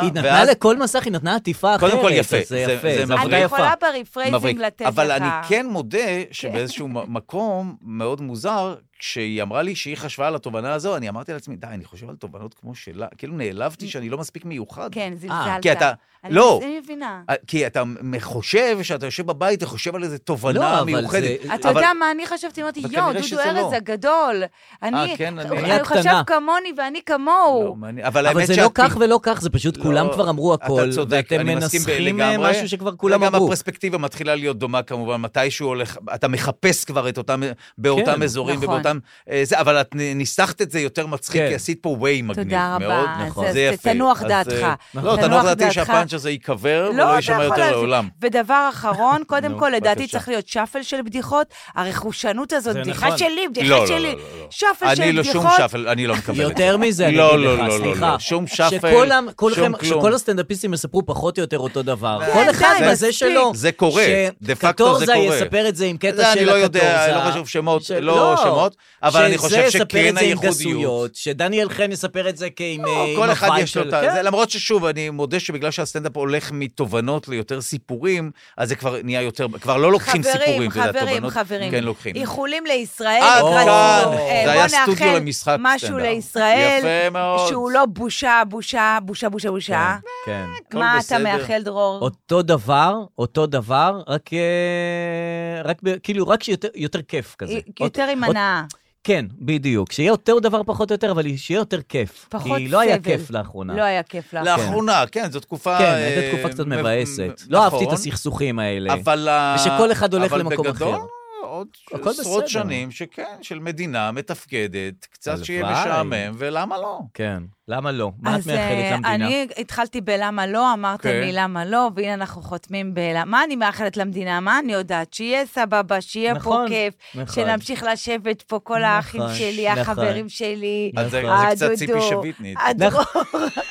[SPEAKER 2] היא נתנה
[SPEAKER 4] אה, ואז-
[SPEAKER 2] לכל מסך, היא נתנה עטיפה אחרת.
[SPEAKER 4] קודם כל יפה.
[SPEAKER 2] אז זה
[SPEAKER 4] זה-
[SPEAKER 2] יפה,
[SPEAKER 4] זה
[SPEAKER 2] זה
[SPEAKER 4] מבריק.
[SPEAKER 2] עבודה
[SPEAKER 3] אני
[SPEAKER 4] עבודה
[SPEAKER 2] יפה.
[SPEAKER 3] יכולה ברפרייזינג
[SPEAKER 4] מבריק.
[SPEAKER 3] לתת לך.
[SPEAKER 4] אבל אני כן מודה שבאיזשהו מ- מקום מאוד מוזר, כשהיא אמרה לי שהיא חשבה על התובנה הזו, אני אמרתי לעצמי, די, אני חושב על תובנות כמו שלה. כאילו נעלבתי שאני לא מספיק מיוחד.
[SPEAKER 3] כן, זלזלת.
[SPEAKER 4] כי אתה-
[SPEAKER 3] אני
[SPEAKER 4] לא.
[SPEAKER 3] אני מבינה.
[SPEAKER 4] אה, כי אתה חושב שאתה יושב בבית וחושב על איזה תובנה
[SPEAKER 2] לא, אבל
[SPEAKER 4] מיוחדת.
[SPEAKER 2] זה-
[SPEAKER 3] אתה יודע מה אני חשבתי? אמרתי,
[SPEAKER 4] אבל
[SPEAKER 3] יואו,
[SPEAKER 4] כנראה
[SPEAKER 3] דודו
[SPEAKER 4] שזה
[SPEAKER 3] ארז
[SPEAKER 4] לא."
[SPEAKER 3] הגדול. אני,
[SPEAKER 4] כן, אני-
[SPEAKER 2] אני
[SPEAKER 3] הוא חשב
[SPEAKER 2] הקטנה.
[SPEAKER 3] כמוני ואני כמוהו.
[SPEAKER 4] לא, מעניין. אבל
[SPEAKER 2] אבל
[SPEAKER 4] האמת
[SPEAKER 2] זה
[SPEAKER 4] שאת-
[SPEAKER 2] לא כך ולא כך, זה פשוט כולם כבר אמרו הכל,
[SPEAKER 4] אתה צודק,
[SPEAKER 2] ואתם
[SPEAKER 4] אני מסכים
[SPEAKER 2] מנסחים אה,
[SPEAKER 4] לגמרי.
[SPEAKER 2] משהו שכבר כולם
[SPEAKER 4] גם
[SPEAKER 2] אמרו.
[SPEAKER 4] הפרספקטיבה מתחילה להיות דומה כמובן, מתישהו הולך, אתה מחפש כבר את אותם, באותם
[SPEAKER 2] כן,
[SPEAKER 4] אזורים
[SPEAKER 3] נכון.
[SPEAKER 4] ובאותם, אה, זה, אבל את נ- ניסחת את זה יותר מצחיק,
[SPEAKER 2] כן.
[SPEAKER 4] כי עשית פה ווי מגניב
[SPEAKER 3] תודה
[SPEAKER 4] מאוד.
[SPEAKER 3] רבה.
[SPEAKER 2] נכון.
[SPEAKER 3] אז
[SPEAKER 4] זה יפה.
[SPEAKER 3] תנוח
[SPEAKER 4] אז,
[SPEAKER 3] דעתך.
[SPEAKER 4] אה, לא, תנוח דעתי שהפאנץ' הזה
[SPEAKER 2] לא,
[SPEAKER 4] ייקבר
[SPEAKER 3] לא,
[SPEAKER 4] ולא לא יישמע יותר לעולם.
[SPEAKER 3] ודבר אחרון, קודם
[SPEAKER 4] נו,
[SPEAKER 3] כל, לדעתי
[SPEAKER 4] בבקשה.
[SPEAKER 3] צריך להיות שפל של בדיחות. הרכושנות הזאת,
[SPEAKER 2] זה
[SPEAKER 3] בדיחה
[SPEAKER 2] נכון.
[SPEAKER 3] שלי, בדיחה
[SPEAKER 4] לא, לא,
[SPEAKER 3] שלי.
[SPEAKER 4] לא, לא, לא.
[SPEAKER 3] שפל
[SPEAKER 4] אני
[SPEAKER 3] של
[SPEAKER 4] לא שום
[SPEAKER 3] בדיחות.
[SPEAKER 4] שפל, אני לא מקבל את זה.
[SPEAKER 2] יותר מזה, אני
[SPEAKER 4] לא,
[SPEAKER 2] אגיד
[SPEAKER 4] לא,
[SPEAKER 2] לך,
[SPEAKER 4] לא, לא,
[SPEAKER 2] סליכם,
[SPEAKER 4] לא, שום שפל,
[SPEAKER 2] שכולם, כולכם,
[SPEAKER 4] שום כלום.
[SPEAKER 2] שכל הסטנדאפיסטים יספרו פחות או יותר אותו דבר.
[SPEAKER 4] די,
[SPEAKER 2] כל אחד
[SPEAKER 4] די,
[SPEAKER 2] בזה
[SPEAKER 3] מספיק.
[SPEAKER 2] שלו.
[SPEAKER 4] זה קורה, דה פקטו זה
[SPEAKER 2] שקטורזה
[SPEAKER 4] קורה.
[SPEAKER 2] יספר את זה עם קטע של
[SPEAKER 4] זה
[SPEAKER 2] הקטורזה.
[SPEAKER 4] אני לא יודע, לא חשוב שמות,
[SPEAKER 2] ש-
[SPEAKER 4] לא שמות, אבל אני חושב
[SPEAKER 2] שזה יספר
[SPEAKER 4] שכן
[SPEAKER 2] את זה עם
[SPEAKER 4] הייחודיות.
[SPEAKER 2] גסויות, שדניאל חן יספר את זה כעם אה,
[SPEAKER 4] לא,
[SPEAKER 2] עם
[SPEAKER 4] כל אחד
[SPEAKER 2] הווייב
[SPEAKER 4] יש לו את
[SPEAKER 2] שלו,
[SPEAKER 4] ה...
[SPEAKER 2] כן.
[SPEAKER 4] זה- למרות ששוב, אני מודה שבגלל שהסטנדאפ הולך מתובנות ליותר סיפורים, אז זה כבר נהיה יותר... כבר לא לוקחים
[SPEAKER 3] חברים,
[SPEAKER 4] סיפורים, אתה יודע,
[SPEAKER 3] חברים,
[SPEAKER 4] תובנות
[SPEAKER 3] חברים.
[SPEAKER 4] כן לוקחים.
[SPEAKER 3] איחולים לישראל.
[SPEAKER 4] עד
[SPEAKER 3] לקראת
[SPEAKER 4] כאן.
[SPEAKER 3] סיום. אה,
[SPEAKER 4] זה
[SPEAKER 3] בוא
[SPEAKER 4] היה סטודיו
[SPEAKER 3] נאחל
[SPEAKER 4] למשחק
[SPEAKER 3] משהו
[SPEAKER 4] סטנדאפ.
[SPEAKER 3] לישראל.
[SPEAKER 4] יפה מאוד.
[SPEAKER 3] שהוא לא בושה, בושה, בושה, בושה, בושה.
[SPEAKER 2] כן.
[SPEAKER 4] הכל
[SPEAKER 3] מה אתה
[SPEAKER 4] בסדר.
[SPEAKER 3] מאחל, דרור?
[SPEAKER 2] אותו דבר, אותו דבר, רק, אה, רק ב- כאילו, רק שיותר יותר כיף כזה.
[SPEAKER 3] יותר עם
[SPEAKER 2] עוד-
[SPEAKER 3] הנאה.
[SPEAKER 2] כן, בדיוק. שיהיה אותו דבר פחות או יותר, אבל שיהיה יותר כיף.
[SPEAKER 3] פחות
[SPEAKER 2] כי לא היה
[SPEAKER 3] סבל.
[SPEAKER 2] כיף לאחרונה.
[SPEAKER 3] לא היה כיף לך.
[SPEAKER 4] לאחרונה, כן, זו תקופה...
[SPEAKER 2] כן,
[SPEAKER 4] אה,
[SPEAKER 2] הייתה תקופה קצת
[SPEAKER 4] מב-
[SPEAKER 2] מבאסת.
[SPEAKER 4] מ-
[SPEAKER 2] לא אהבתי את
[SPEAKER 4] נכון,
[SPEAKER 2] הסכסוכים האלה.
[SPEAKER 4] אבל... ה-
[SPEAKER 2] ושכל אחד הולך למקום
[SPEAKER 4] אבל
[SPEAKER 2] אחר.
[SPEAKER 4] בגדול, עוד
[SPEAKER 2] הכל בסדר.
[SPEAKER 4] עשרות שנים שכן, של מדינה מתפקדת, קצת שיהיה
[SPEAKER 2] הלוואי.
[SPEAKER 4] משעמם, ולמה לא?
[SPEAKER 2] כן. למה לא? מה את
[SPEAKER 3] אז, אה,
[SPEAKER 2] מאחלת למדינה?
[SPEAKER 3] אני התחלתי בלמה לא, אמרת
[SPEAKER 4] כן.
[SPEAKER 3] לי למה לא, והנה אנחנו חותמים בלמה. מה אני מאחלת למדינה? מה אני יודעת? שיהיה סבבה, שיהיה פה
[SPEAKER 2] נכון,
[SPEAKER 3] כיף,
[SPEAKER 2] נכון.
[SPEAKER 3] שנמשיך לשבת פה כל האחים
[SPEAKER 2] נכון,
[SPEAKER 3] שלי,
[SPEAKER 2] נכון.
[SPEAKER 3] החברים שלי,
[SPEAKER 4] אז זה
[SPEAKER 2] נכון.
[SPEAKER 4] זה קצת ציפי
[SPEAKER 3] הדודו,
[SPEAKER 4] שביטנית.
[SPEAKER 3] הדרור.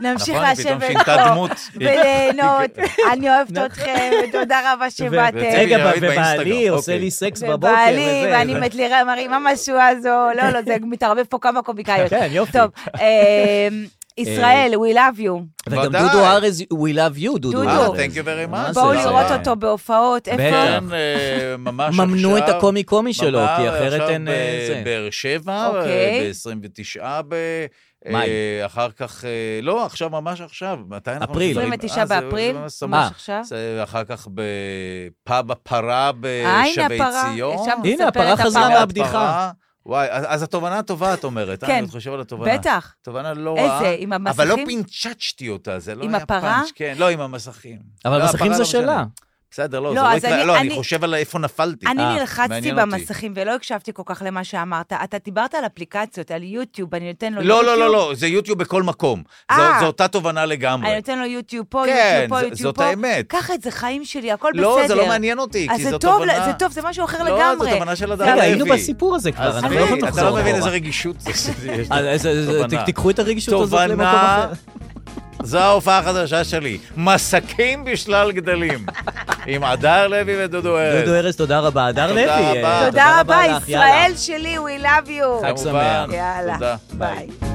[SPEAKER 3] נמשיך
[SPEAKER 4] נכון, היא פתאום
[SPEAKER 3] לשבת
[SPEAKER 4] שינתה
[SPEAKER 3] פה
[SPEAKER 4] דמות. נכון.
[SPEAKER 3] וליהנות. אני אוהבת אתכם, ותודה רבה שבאתם.
[SPEAKER 2] רגע,
[SPEAKER 4] ראית
[SPEAKER 2] ובעלי
[SPEAKER 4] באינסטגרם,
[SPEAKER 2] עושה
[SPEAKER 4] אוקיי.
[SPEAKER 2] לי סקס בבוקר.
[SPEAKER 3] ובעלי,
[SPEAKER 2] וזה,
[SPEAKER 3] ואני
[SPEAKER 2] ו-
[SPEAKER 3] מתלירה, מרימה משהו הזו, לא, לא, זה מתערבב פה כמה קומיקאיות.
[SPEAKER 2] כן, יופי.
[SPEAKER 3] טוב,
[SPEAKER 2] אה,
[SPEAKER 3] אמ, ישראל, we love you.
[SPEAKER 2] וגם
[SPEAKER 4] ודאי.
[SPEAKER 2] דודו ארז, we love you, דודו
[SPEAKER 3] דודו.
[SPEAKER 2] ארז.
[SPEAKER 3] אה,
[SPEAKER 4] thank you very
[SPEAKER 2] מה
[SPEAKER 4] much.
[SPEAKER 2] זה,
[SPEAKER 3] בואו
[SPEAKER 2] זה-
[SPEAKER 3] לראות אותו בהופעות, איפה?
[SPEAKER 2] בטח.
[SPEAKER 4] כן, אה, ממש עכשיו.
[SPEAKER 2] נכון. ממנו את הקומי קומי שלו,
[SPEAKER 4] ממש
[SPEAKER 2] כי אחרת
[SPEAKER 4] עכשיו
[SPEAKER 2] אין... אה,
[SPEAKER 4] ב-
[SPEAKER 2] זה.
[SPEAKER 4] באר שבע, אה,
[SPEAKER 3] אוקיי.
[SPEAKER 4] ב-29 ב... אה,
[SPEAKER 2] מאי.
[SPEAKER 4] אחר כך, אה, לא, עכשיו, ממש עכשיו, מתי אנחנו...
[SPEAKER 2] אפריל.
[SPEAKER 4] מדברים?
[SPEAKER 3] 29
[SPEAKER 4] אה, זה-
[SPEAKER 3] באפריל,
[SPEAKER 4] זה ממש סמוך.
[SPEAKER 3] ממש עכשיו.
[SPEAKER 4] זה אחר כך בפאב הפרה
[SPEAKER 3] אה, הנה
[SPEAKER 4] בשבי
[SPEAKER 3] הפרה,
[SPEAKER 4] ציון.
[SPEAKER 3] ישבנו,
[SPEAKER 2] הנה,
[SPEAKER 3] מספרת
[SPEAKER 2] הפרה חזרה
[SPEAKER 3] הפרה.
[SPEAKER 2] מהבדיחה.
[SPEAKER 4] הפרה. וואי, אז אז התובנה הטובה, את אומרת. אה?
[SPEAKER 3] כן.
[SPEAKER 4] אני עוד חושב על התובנה.
[SPEAKER 3] בטח.
[SPEAKER 4] תובנה לא
[SPEAKER 3] איזה,
[SPEAKER 4] רעה.
[SPEAKER 3] עם
[SPEAKER 4] אבל לא
[SPEAKER 3] המסכים?
[SPEAKER 4] פינצ'צ'תי אותה, זה לא
[SPEAKER 3] עם
[SPEAKER 4] היה
[SPEAKER 3] הפרה?
[SPEAKER 4] פאנץ'. כן, לא, עם המסכים.
[SPEAKER 2] אבל
[SPEAKER 4] לא,
[SPEAKER 2] המסכים
[SPEAKER 4] הפרה
[SPEAKER 2] זה
[SPEAKER 4] לא משנה.
[SPEAKER 2] שלה.
[SPEAKER 4] בסדר, לא,
[SPEAKER 3] לא,
[SPEAKER 4] זה לא
[SPEAKER 3] אז אני-
[SPEAKER 4] יקרה, לא,
[SPEAKER 3] אני-
[SPEAKER 4] אני חושב על איפה נפלתי.
[SPEAKER 3] אני
[SPEAKER 2] אה,
[SPEAKER 3] נלחצתי
[SPEAKER 4] מעניין אותי.
[SPEAKER 3] במסכים ולא הקשבתי כל כך למה שאמרת. אתה דיברת על אפליקציות, על יוטיוב, אני נותן לו
[SPEAKER 4] לא,
[SPEAKER 3] יוטיוב.
[SPEAKER 4] לא, לא, לא, זה יוטיוב בכל מקום.
[SPEAKER 3] אה.
[SPEAKER 4] זו- זו אותה תובנה
[SPEAKER 3] אני
[SPEAKER 4] לגמרי.
[SPEAKER 3] נותן לו יוטיוב פה,
[SPEAKER 4] כן,
[SPEAKER 3] יוטיוב פה,
[SPEAKER 4] ז-
[SPEAKER 3] יוטיוב פה.
[SPEAKER 4] זאת האמת.
[SPEAKER 3] ככה, זה חיים שלי, הכל בסדר.
[SPEAKER 4] לא, זה לא מעניין אותי,
[SPEAKER 3] אז
[SPEAKER 4] כי
[SPEAKER 3] זה
[SPEAKER 4] זו
[SPEAKER 3] טוב,
[SPEAKER 4] תובנה...
[SPEAKER 3] זה טוב, זה משהו אחר
[SPEAKER 4] לא, זו
[SPEAKER 3] לגמרי.
[SPEAKER 4] תובנה של אדם
[SPEAKER 2] רגע,
[SPEAKER 4] לוי.
[SPEAKER 2] היינו בסיפור הזה כבר,
[SPEAKER 4] אז
[SPEAKER 2] אנחנו לא יכולים
[SPEAKER 4] רגע, אתה
[SPEAKER 2] לחזור
[SPEAKER 4] לא מבין איזה
[SPEAKER 2] אחורה.
[SPEAKER 4] רגישות זה. שיש
[SPEAKER 2] אז-
[SPEAKER 4] לי.
[SPEAKER 2] אז- אז-
[SPEAKER 4] תובנה.
[SPEAKER 2] תיקחו את הרגישות הזאת למקום
[SPEAKER 4] תובנה,
[SPEAKER 2] אחר.
[SPEAKER 4] זו ההופעה החדשה שלי. מסקים בשלל גדלים. עם הדר לוי ודודו ארז.
[SPEAKER 2] דודו ארז, תודה רבה. הדר
[SPEAKER 4] תודה
[SPEAKER 2] לוי. אה,
[SPEAKER 4] רבה.
[SPEAKER 3] תודה רבה,
[SPEAKER 2] לך, יאללה.
[SPEAKER 3] ישראל שלי, we love you.
[SPEAKER 2] חג שמח.
[SPEAKER 4] כמובן,
[SPEAKER 3] יאללה,
[SPEAKER 4] תודה.
[SPEAKER 3] ביי.